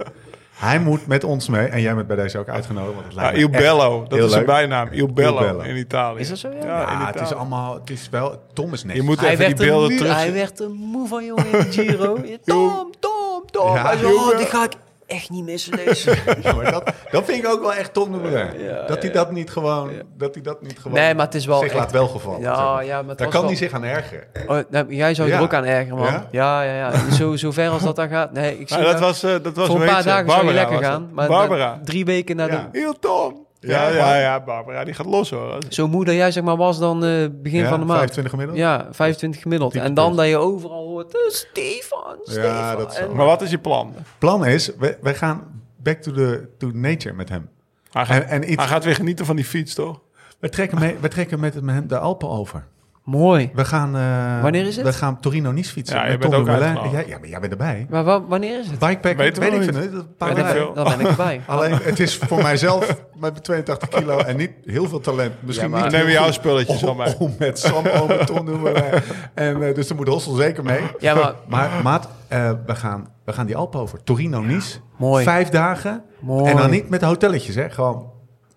[SPEAKER 1] Hij moet met ons mee, en jij bent bij deze ook uitgenodigd. Want het
[SPEAKER 3] Ja,
[SPEAKER 1] lijkt me
[SPEAKER 3] Il
[SPEAKER 1] echt-
[SPEAKER 3] Bello, dat
[SPEAKER 1] heel
[SPEAKER 3] is zijn
[SPEAKER 1] leuk.
[SPEAKER 3] bijnaam. Il Bello,
[SPEAKER 1] Il Bello.
[SPEAKER 3] in Italië.
[SPEAKER 4] Is dat zo, ja?
[SPEAKER 3] Ja, in
[SPEAKER 1] Ja, het
[SPEAKER 3] Italië.
[SPEAKER 1] is allemaal, het is wel, Tom is net.
[SPEAKER 3] Je moet
[SPEAKER 4] hij,
[SPEAKER 3] even die
[SPEAKER 4] werd
[SPEAKER 3] beelden
[SPEAKER 4] een muur,
[SPEAKER 3] terug... Nou,
[SPEAKER 4] hij werd een moe van jongen in de Giro. Tom, Tom, Tom.
[SPEAKER 1] Ja.
[SPEAKER 4] Hij zei, oh, dit ga ik echt niet missen deze.
[SPEAKER 1] Ja, maar dat, dat vind ik ook wel echt Tom de Moulin. dat hij dat niet gewoon, dat hij dat niet gewoon.
[SPEAKER 4] Nee, maar het is wel
[SPEAKER 1] zich
[SPEAKER 4] echt-
[SPEAKER 1] laat wel gevallen.
[SPEAKER 4] Ja,
[SPEAKER 1] zeg maar.
[SPEAKER 4] ja, maar het
[SPEAKER 1] Daar
[SPEAKER 4] was
[SPEAKER 1] kan
[SPEAKER 4] wel-
[SPEAKER 1] hij zich aan ergeren.
[SPEAKER 4] Oh, nou, jij zou je
[SPEAKER 1] Ja.
[SPEAKER 4] er ook aan ergeren, man.
[SPEAKER 1] Ja?
[SPEAKER 4] Ja, ja, ja. Zo, zo ver als dat dan gaat. Nee, ik zie
[SPEAKER 3] Ja, dat
[SPEAKER 4] jou-
[SPEAKER 3] was, eh, dat was
[SPEAKER 4] voor een
[SPEAKER 3] hoe
[SPEAKER 4] paar
[SPEAKER 3] heet ze?
[SPEAKER 4] dagen zou je
[SPEAKER 3] Barbara
[SPEAKER 4] lekker
[SPEAKER 3] was
[SPEAKER 4] gaan.
[SPEAKER 3] dat.
[SPEAKER 4] Maar
[SPEAKER 3] Barbara.
[SPEAKER 4] dan drie weken na
[SPEAKER 1] Ja.
[SPEAKER 4] de...
[SPEAKER 3] Heel Tom. Ja,
[SPEAKER 1] Ja,
[SPEAKER 3] ja, ja, Barbara, die gaat los hoor.
[SPEAKER 4] Zo moe dat jij zeg maar was dan eh, begin
[SPEAKER 1] Ja,
[SPEAKER 4] van de maand.
[SPEAKER 1] 25 gemiddeld?
[SPEAKER 4] Ja, 25 gemiddeld.
[SPEAKER 1] Typisch
[SPEAKER 4] En dan
[SPEAKER 1] best.
[SPEAKER 4] dat je overal hoort, eh, Stefan, Stefan.
[SPEAKER 1] dat is
[SPEAKER 4] En-
[SPEAKER 3] Maar wat is je plan?
[SPEAKER 1] Plan is, wij, wij gaan back to, the, to nature met hem.
[SPEAKER 3] Hij gaat,
[SPEAKER 1] En- en iets-
[SPEAKER 3] hij gaat weer genieten van die fiets, toch?
[SPEAKER 1] We trekken, mee, we trekken met hem de Alpen over.
[SPEAKER 4] Mooi.
[SPEAKER 1] We gaan. eh,
[SPEAKER 4] Wanneer is het?
[SPEAKER 1] We gaan Torino Nice fietsen.
[SPEAKER 3] Ja,
[SPEAKER 1] met
[SPEAKER 3] je bent
[SPEAKER 1] Tom
[SPEAKER 3] ook
[SPEAKER 1] de Moulin.
[SPEAKER 3] uitgenodigd.
[SPEAKER 1] Ja, ja, maar jij bent erbij.
[SPEAKER 4] Maar wa- wanneer is het?
[SPEAKER 1] Bikepack,
[SPEAKER 3] Weten
[SPEAKER 1] weet,
[SPEAKER 3] we
[SPEAKER 1] weet ik
[SPEAKER 3] nog
[SPEAKER 1] veel.
[SPEAKER 3] niet.
[SPEAKER 1] hè, dat paar
[SPEAKER 4] Dan
[SPEAKER 3] Weet ik
[SPEAKER 4] ben
[SPEAKER 1] dagen.
[SPEAKER 3] veel.
[SPEAKER 4] ik, dan ben ik erbij.
[SPEAKER 1] Alleen, het is voor mijzelf met 82 kilo en niet heel veel talent. Misschien
[SPEAKER 3] Dan
[SPEAKER 1] niet
[SPEAKER 3] nemen we
[SPEAKER 1] heel
[SPEAKER 3] jouw
[SPEAKER 1] goed.
[SPEAKER 3] spulletjes van mij.
[SPEAKER 1] Om met Sam over Ton doen we wij. En eh, dus daar moet Hossel zeker mee.
[SPEAKER 4] Ja, maar
[SPEAKER 1] Maar maat, eh, we, gaan, we gaan die Alpen over. Torino-Nice.
[SPEAKER 4] Mooi.
[SPEAKER 1] Vijf dagen.
[SPEAKER 4] Mooi.
[SPEAKER 1] En dan niet met hotelletjes, hè. Gewoon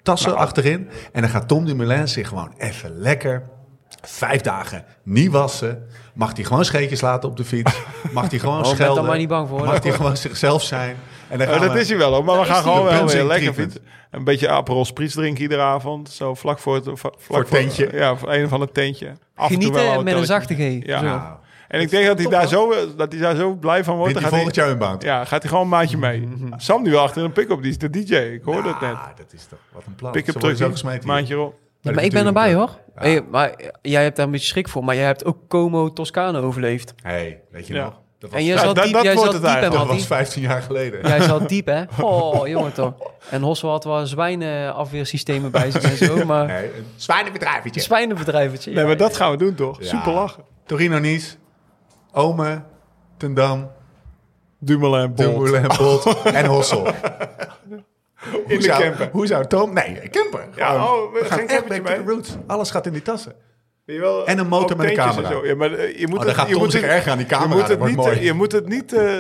[SPEAKER 1] tassen achterin. En dan gaat Tom Dumoulin zich gewoon even lekker... Vijf dagen niet wassen. Mag hij gewoon scheetjes laten op de fiets. Mag hij gewoon
[SPEAKER 4] Oh, ben
[SPEAKER 1] schelden.
[SPEAKER 4] daar maar niet bang voor, hoor.
[SPEAKER 1] Mag hij gewoon zichzelf zijn. En dan gaan
[SPEAKER 3] Eh, dat
[SPEAKER 1] we-
[SPEAKER 3] is hij wel, hoor. maar we
[SPEAKER 4] Daar
[SPEAKER 3] gaan
[SPEAKER 4] is hij.
[SPEAKER 3] gewoon
[SPEAKER 1] De
[SPEAKER 3] wel weer
[SPEAKER 1] Bunzing
[SPEAKER 3] lekker
[SPEAKER 1] treatment.
[SPEAKER 3] fietsen. Een beetje Aperol Spritz drinken iedere avond. Zo vlak voor het, va- vlak
[SPEAKER 1] het tentje.
[SPEAKER 3] Ja, voor een van het tentje. Af en toe wel
[SPEAKER 4] Genieten met een
[SPEAKER 3] hotelletje.
[SPEAKER 4] zachte G.
[SPEAKER 3] Ja.
[SPEAKER 4] Zo.
[SPEAKER 1] Nou,
[SPEAKER 3] En ik denk dat hij, daar zo, dat hij daar zo blij van wordt.
[SPEAKER 1] wint
[SPEAKER 3] Dan
[SPEAKER 1] hij
[SPEAKER 3] gaat
[SPEAKER 1] volgend
[SPEAKER 3] hij,
[SPEAKER 1] jaar inbound.
[SPEAKER 3] ja, gaat hij gewoon een maatje mee. Sam nu wel achter een pick-up, die is de DJ. Ik hoor dat net.
[SPEAKER 1] Ah, dat is toch wat een plan.
[SPEAKER 3] Pick-up
[SPEAKER 1] Ze worden zo
[SPEAKER 3] truck,
[SPEAKER 1] gesmeten hier.
[SPEAKER 3] maandje op.
[SPEAKER 4] Ja,
[SPEAKER 1] Maar
[SPEAKER 4] maar
[SPEAKER 1] dat
[SPEAKER 4] ik ben
[SPEAKER 1] natuurlijk
[SPEAKER 4] erbij
[SPEAKER 1] ook.
[SPEAKER 4] hoor. Hey, maar jij hebt daar een beetje schrik voor, maar jij hebt ook Como Toscane overleefd.
[SPEAKER 1] hey, weet je
[SPEAKER 3] Ja.
[SPEAKER 1] nog? Dat was,
[SPEAKER 4] En jij
[SPEAKER 3] Ja,
[SPEAKER 4] zat
[SPEAKER 3] dat-
[SPEAKER 4] diep,
[SPEAKER 3] dat
[SPEAKER 4] jij
[SPEAKER 3] wordt
[SPEAKER 4] zat
[SPEAKER 3] het
[SPEAKER 4] diep hè,
[SPEAKER 3] eigenlijk.
[SPEAKER 1] dat was
[SPEAKER 4] Mattie?
[SPEAKER 1] 15 jaar geleden.
[SPEAKER 4] Jij zat diep, hè? Oh, jongen toch. En Hossel had wel zwijnenafweersystemen bij zich en zo, maar...
[SPEAKER 1] Hey, een zwijnenbedrijvetje.
[SPEAKER 4] Een zwijnenbedrijvetje.
[SPEAKER 3] Nee, maar dat gaan we doen, toch?
[SPEAKER 1] Ja.
[SPEAKER 3] Super lachen.
[SPEAKER 1] Torino Nice, Ome, Tendam,
[SPEAKER 3] Dumoulin, Bolt.
[SPEAKER 1] Dumoulin en Bolt en Hossel.
[SPEAKER 3] In
[SPEAKER 1] Hoe
[SPEAKER 3] de
[SPEAKER 1] zou,
[SPEAKER 3] camper.
[SPEAKER 1] hoe zou Tom... Nee, camper.
[SPEAKER 3] Ja,
[SPEAKER 1] Gewoon,
[SPEAKER 3] oh, we- geen
[SPEAKER 1] echt
[SPEAKER 3] campertje
[SPEAKER 1] back to the
[SPEAKER 3] mee.
[SPEAKER 1] roots. Alles gaat in die tassen.
[SPEAKER 3] Weet je wel,
[SPEAKER 1] En een motor
[SPEAKER 3] ook
[SPEAKER 1] met een
[SPEAKER 3] tentjes en
[SPEAKER 1] camera. Oh,
[SPEAKER 3] zo. Ja, maar eh, je moet
[SPEAKER 1] dan
[SPEAKER 3] het-
[SPEAKER 1] gaat
[SPEAKER 3] je
[SPEAKER 1] Tom
[SPEAKER 3] moet
[SPEAKER 1] zich
[SPEAKER 3] het-
[SPEAKER 1] erg aan die camera,
[SPEAKER 3] Je moet
[SPEAKER 1] dat
[SPEAKER 3] het
[SPEAKER 1] wordt
[SPEAKER 3] niet,
[SPEAKER 1] mooi.
[SPEAKER 3] eh, je moet het niet eh,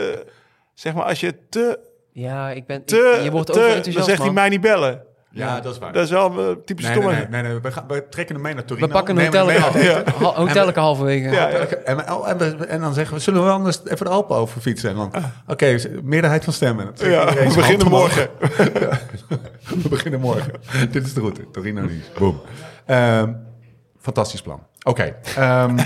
[SPEAKER 3] zeg maar, als je te,
[SPEAKER 4] Ja, ik ben... ik-
[SPEAKER 3] te,
[SPEAKER 4] je wordt
[SPEAKER 3] te-
[SPEAKER 4] overenthousiast,
[SPEAKER 3] dan zegt hij
[SPEAKER 4] man.
[SPEAKER 3] mij niet bellen.
[SPEAKER 1] Ja, dat is waar.
[SPEAKER 3] Dat is wel eh, typisch
[SPEAKER 1] nee, nee,
[SPEAKER 3] stomme.
[SPEAKER 1] nee, nee, nee, We, gaan, we trekken hem mee naar Torino.
[SPEAKER 4] We pakken een
[SPEAKER 1] Nemen hem
[SPEAKER 4] hotel
[SPEAKER 1] mee naar eten.
[SPEAKER 4] hotelletje halverwege.
[SPEAKER 3] Ja, ja.
[SPEAKER 1] En, we- oh, en, we- en dan zeggen we, zullen we anders even de Alpen over fietsen? En dan, oké, dus meerderheid van stemmen. Dan trekt
[SPEAKER 3] Ah. Ja,
[SPEAKER 1] iedereen
[SPEAKER 3] we
[SPEAKER 1] zijn hand
[SPEAKER 3] beginnen
[SPEAKER 1] omhoog.
[SPEAKER 3] morgen.
[SPEAKER 1] We beginnen morgen. Dit is de route. Torino Nice. Boom. Ehm, fantastisch plan. Oké. ehm,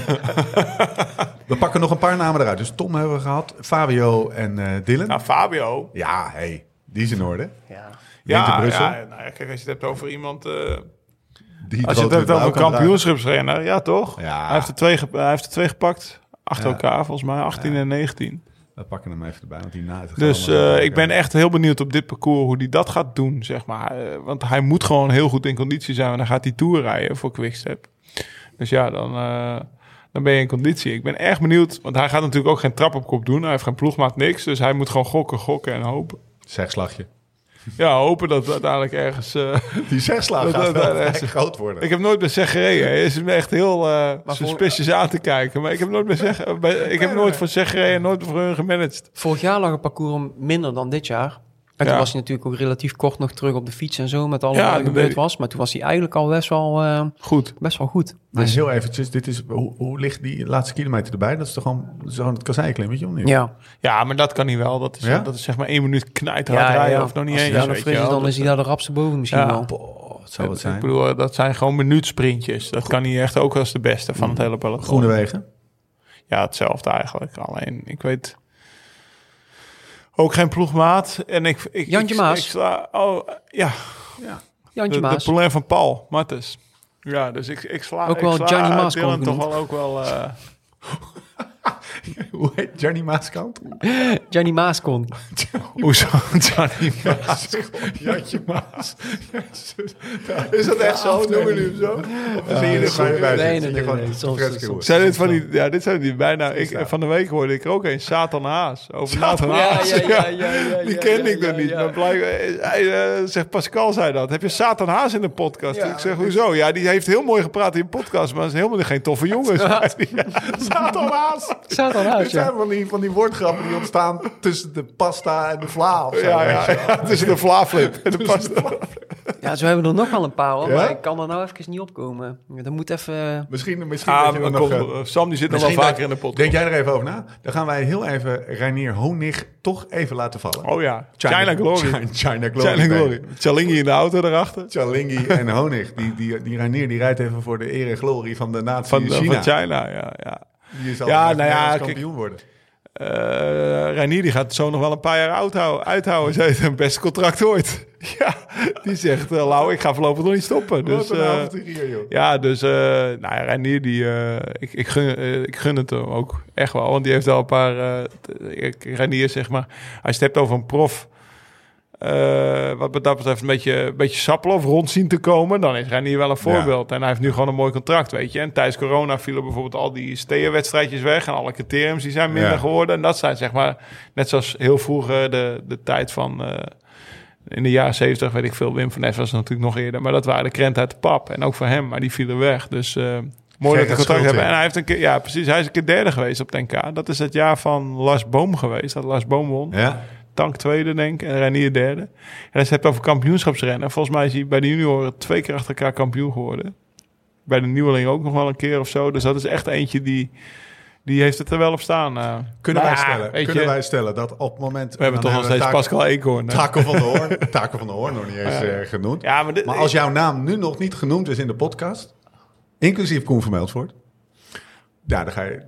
[SPEAKER 1] we pakken nog een paar namen eruit. Dus Tom hebben we gehad. Fabio en eh Dylan.
[SPEAKER 3] Nou, Fabio.
[SPEAKER 1] Ja, hey, die is in orde.
[SPEAKER 4] Ja.
[SPEAKER 1] Winter
[SPEAKER 3] Ja,
[SPEAKER 1] Brussel.
[SPEAKER 3] ja, nou ja, kijk, als je het hebt over iemand... eh,
[SPEAKER 1] Die
[SPEAKER 3] als je
[SPEAKER 1] droot
[SPEAKER 3] het hebt
[SPEAKER 1] met
[SPEAKER 3] over een
[SPEAKER 1] blauw kan dragen.
[SPEAKER 3] kampioenschipsrenner, ja toch?
[SPEAKER 1] Ja.
[SPEAKER 3] Hij, heeft er twee, ge- hij heeft er twee gepakt. Achter
[SPEAKER 1] Ja.
[SPEAKER 3] elkaar, volgens mij. 18 en 19.
[SPEAKER 1] We pakken hem even erbij, want die na het
[SPEAKER 3] Dus
[SPEAKER 1] gaan we
[SPEAKER 3] eh,
[SPEAKER 1] nog
[SPEAKER 3] ik ben
[SPEAKER 1] kijken.
[SPEAKER 3] echt heel benieuwd op dit parcours hoe hij dat gaat doen, zeg maar. Eh, want hij moet gewoon heel goed in conditie zijn. En dan gaat hij Tour rijden voor Quickstep. Dus ja, dan, eh, dan ben je in conditie. Ik ben echt benieuwd, want hij gaat natuurlijk ook geen trap op kop doen. Hij heeft geen ploegmaat, niks. Dus hij moet gewoon gokken, gokken en hopen.
[SPEAKER 1] Zegslagje.
[SPEAKER 3] Ja, hopen dat we uiteindelijk ergens... eh,
[SPEAKER 1] Die zegslaag
[SPEAKER 3] Dat-
[SPEAKER 1] gaat
[SPEAKER 3] dat-
[SPEAKER 1] wel
[SPEAKER 3] dat-
[SPEAKER 1] vrij groot worden.
[SPEAKER 3] ik heb nooit bij zeg gereden. Hij is me echt heel eh suspicious aan te kijken. Maar ik heb nooit, bij zeg, bij- ik heb nooit voor zeg gereden, nooit voor hun gemanaged.
[SPEAKER 4] Vorig jaar lag het parcours minder dan dit jaar. En
[SPEAKER 3] Ja.
[SPEAKER 4] toen was hij natuurlijk ook relatief kort nog terug op de fiets en zo, met alles
[SPEAKER 3] Ja,
[SPEAKER 4] wat er
[SPEAKER 3] dat
[SPEAKER 4] gebeurd
[SPEAKER 3] weet ik.
[SPEAKER 4] was. Maar toen was hij eigenlijk al best wel, eh,
[SPEAKER 3] Goed.
[SPEAKER 4] best wel goed. Dus,
[SPEAKER 1] Maar Dus heel eventjes, dit is, hoe, hoe ligt die laatste kilometer erbij? Dat is toch gewoon, dat is gewoon het kasseiklimmetje, of niet?
[SPEAKER 4] Ja,
[SPEAKER 3] Ja, maar dat kan niet wel. Dat is,
[SPEAKER 1] Ja?
[SPEAKER 3] dat is zeg maar één minuut knijt
[SPEAKER 4] Ja, ja,
[SPEAKER 3] rijden
[SPEAKER 4] ja.
[SPEAKER 3] of nog niet
[SPEAKER 4] als hij
[SPEAKER 3] eens.
[SPEAKER 4] daar nog
[SPEAKER 3] weet
[SPEAKER 4] fris
[SPEAKER 3] je
[SPEAKER 4] is,
[SPEAKER 3] wel.
[SPEAKER 4] dan is hij daar de rap boven misschien
[SPEAKER 3] Ja.
[SPEAKER 4] wel.
[SPEAKER 1] Boah, wat zou het
[SPEAKER 3] Ik
[SPEAKER 1] zijn?
[SPEAKER 3] bedoel, eh, dat zijn gewoon minuutsprintjes. Dat kan hij echt ook als de beste van het hele peloton.
[SPEAKER 1] Mm. Groene wegen.
[SPEAKER 3] Ja, hetzelfde eigenlijk. Alleen, ik weet ook geen ploegmaat. En ik, ik,
[SPEAKER 4] Jantje
[SPEAKER 3] ik-
[SPEAKER 4] Maas.
[SPEAKER 3] ik sla- oh, ja,
[SPEAKER 4] Jantje
[SPEAKER 3] de, de
[SPEAKER 4] Maas.
[SPEAKER 3] probleem van Paul Martens. Ja, dus ik, ik sla,
[SPEAKER 4] Ook wel
[SPEAKER 3] ik sla
[SPEAKER 4] Johnny Maas
[SPEAKER 3] Dylan
[SPEAKER 4] kon
[SPEAKER 3] toch
[SPEAKER 4] genoemd.
[SPEAKER 3] wel ook wel... eh,
[SPEAKER 1] Hoe heet Johnny Maaskant?
[SPEAKER 4] Johnny Maaskon.
[SPEAKER 3] hoezo Johnny Maas?
[SPEAKER 1] Jantje Maas.
[SPEAKER 3] Is dat echt zo? Noemen jullie hem zo?
[SPEAKER 1] zie je er gewoon bij
[SPEAKER 4] Nee, nee,
[SPEAKER 1] zitten.
[SPEAKER 4] nee,
[SPEAKER 1] Gewoon
[SPEAKER 4] nee, nee.
[SPEAKER 1] fresco.
[SPEAKER 4] Soms- soms-
[SPEAKER 3] Zijn dit van die, ja, dit zijn die bijna. Ik, van de week hoorde ik er ook een Satan Haas. Over Nathan Haas.
[SPEAKER 4] ja,
[SPEAKER 3] Die kende ik dan niet. Maar blijkbaar, hij, eh, zegt Pascal zei dat. Heb je Satan Haas in de podcast? ik zeg, hoezo? Ja, die heeft heel mooi gepraat in een podcast, maar is helemaal geen toffe jongen. zei hij.
[SPEAKER 1] Satan
[SPEAKER 3] Ah,
[SPEAKER 1] Maas.
[SPEAKER 4] Staat al
[SPEAKER 1] Dit
[SPEAKER 4] uit,
[SPEAKER 1] zijn
[SPEAKER 4] ja.
[SPEAKER 1] van die, van die woordgrappen die ontstaan tussen de pasta en de vla of zo.
[SPEAKER 3] Ja, ja, ja, tussen de vlaaflip en de pasta.
[SPEAKER 4] Ja, zo hebben we er nog wel een paar, hoor.
[SPEAKER 1] Ja?
[SPEAKER 4] maar ik kan er nou even niet opkomen. Dat moet even...
[SPEAKER 1] Misschien, misschien weet
[SPEAKER 3] Ah,
[SPEAKER 1] je
[SPEAKER 3] maar
[SPEAKER 1] dat nog,
[SPEAKER 3] kom,
[SPEAKER 1] eh,
[SPEAKER 3] eh, Sam die zit nog wel
[SPEAKER 1] misschien
[SPEAKER 3] vaker in
[SPEAKER 1] dat-
[SPEAKER 3] de podcast.
[SPEAKER 1] Denk jij er even over na? Dan gaan wij heel even Reinier Honig toch even laten vallen.
[SPEAKER 3] Oh ja, China, Glory. China,
[SPEAKER 1] China, China Glory.
[SPEAKER 3] Glory.
[SPEAKER 1] Nee.
[SPEAKER 3] Chalingi in de auto daarachter.
[SPEAKER 1] Chalingi en Honig. Die, die, die Reinier die rijdt even voor de eer en glorie van de natie
[SPEAKER 3] Van,
[SPEAKER 1] China.
[SPEAKER 3] van China, ja. ja.
[SPEAKER 1] Die zal
[SPEAKER 3] Ja,
[SPEAKER 1] ja,
[SPEAKER 3] nou ja, kijk.
[SPEAKER 1] kampioen worden.
[SPEAKER 3] eh Reinier die gaat het zo nog wel een paar jaar uithou- uithouden. Ze heeft een beste contract ooit. ja, die zegt, eh Lau, ik ga voorlopig nog niet stoppen. Dus,
[SPEAKER 1] Wat een
[SPEAKER 3] eh,
[SPEAKER 1] avonturier, joh.
[SPEAKER 3] ja, dus eh nou ja, Reinier, die, eh, ik, ik, gun, eh, ik gun het hem ook echt wel. Want die heeft al een paar... eh, t- ik- Reinier, zeg maar, hij stept over een prof... eh, wat me dat betreft een beetje, een beetje sappelen of rond zien te komen... dan is Reinier wel een voorbeeld. En hij heeft nu gewoon een mooi contract, weet je. En tijdens corona vielen bijvoorbeeld al die STEA-wedstrijdjes weg... en alle criteriums die zijn minder
[SPEAKER 1] Ja.
[SPEAKER 3] geworden. En dat zijn zeg maar, net zoals heel vroeger de, de tijd van... eh, in de jaren 70 weet ik veel, Wim van Nes was natuurlijk nog eerder. Maar dat waren de krenten uit de pap. En ook voor hem, maar die vielen weg. Dus eh, mooi dat
[SPEAKER 1] Gerrit
[SPEAKER 3] we contract
[SPEAKER 1] Schulte.
[SPEAKER 3] hebben. En hij heeft een keer, ja precies, hij is een keer derde geweest op het NK. Dat is het jaar van Lars Boom geweest, dat Lars Boom won.
[SPEAKER 1] Ja?
[SPEAKER 3] Tank tweede denk ik en Renier derde. En als je het hebt over kampioenschapsrennen. Volgens mij is hij bij de junioren twee keer achter elkaar kampioen geworden. Bij de nieuweling ook nog wel een keer of zo. Dus dat is echt eentje die, die heeft het er wel op staan. eh.
[SPEAKER 1] Kunnen,
[SPEAKER 3] Nou
[SPEAKER 1] wij
[SPEAKER 3] ja,
[SPEAKER 1] stellen,
[SPEAKER 3] weet
[SPEAKER 1] kunnen
[SPEAKER 3] je,
[SPEAKER 1] wij stellen dat op het moment...
[SPEAKER 3] we hebben
[SPEAKER 1] dan
[SPEAKER 3] toch nog steeds
[SPEAKER 1] hebben we
[SPEAKER 3] Pascal Eekhoorn. hè?
[SPEAKER 1] Taco van de Hoorn. Taco van de Hoorn nog niet eens eh, genoemd.
[SPEAKER 3] Ja, maar, dit-
[SPEAKER 1] Maar als jouw naam nu nog niet genoemd is in de podcast, inclusief Koen van Meldsvoort, ja, dan ga je...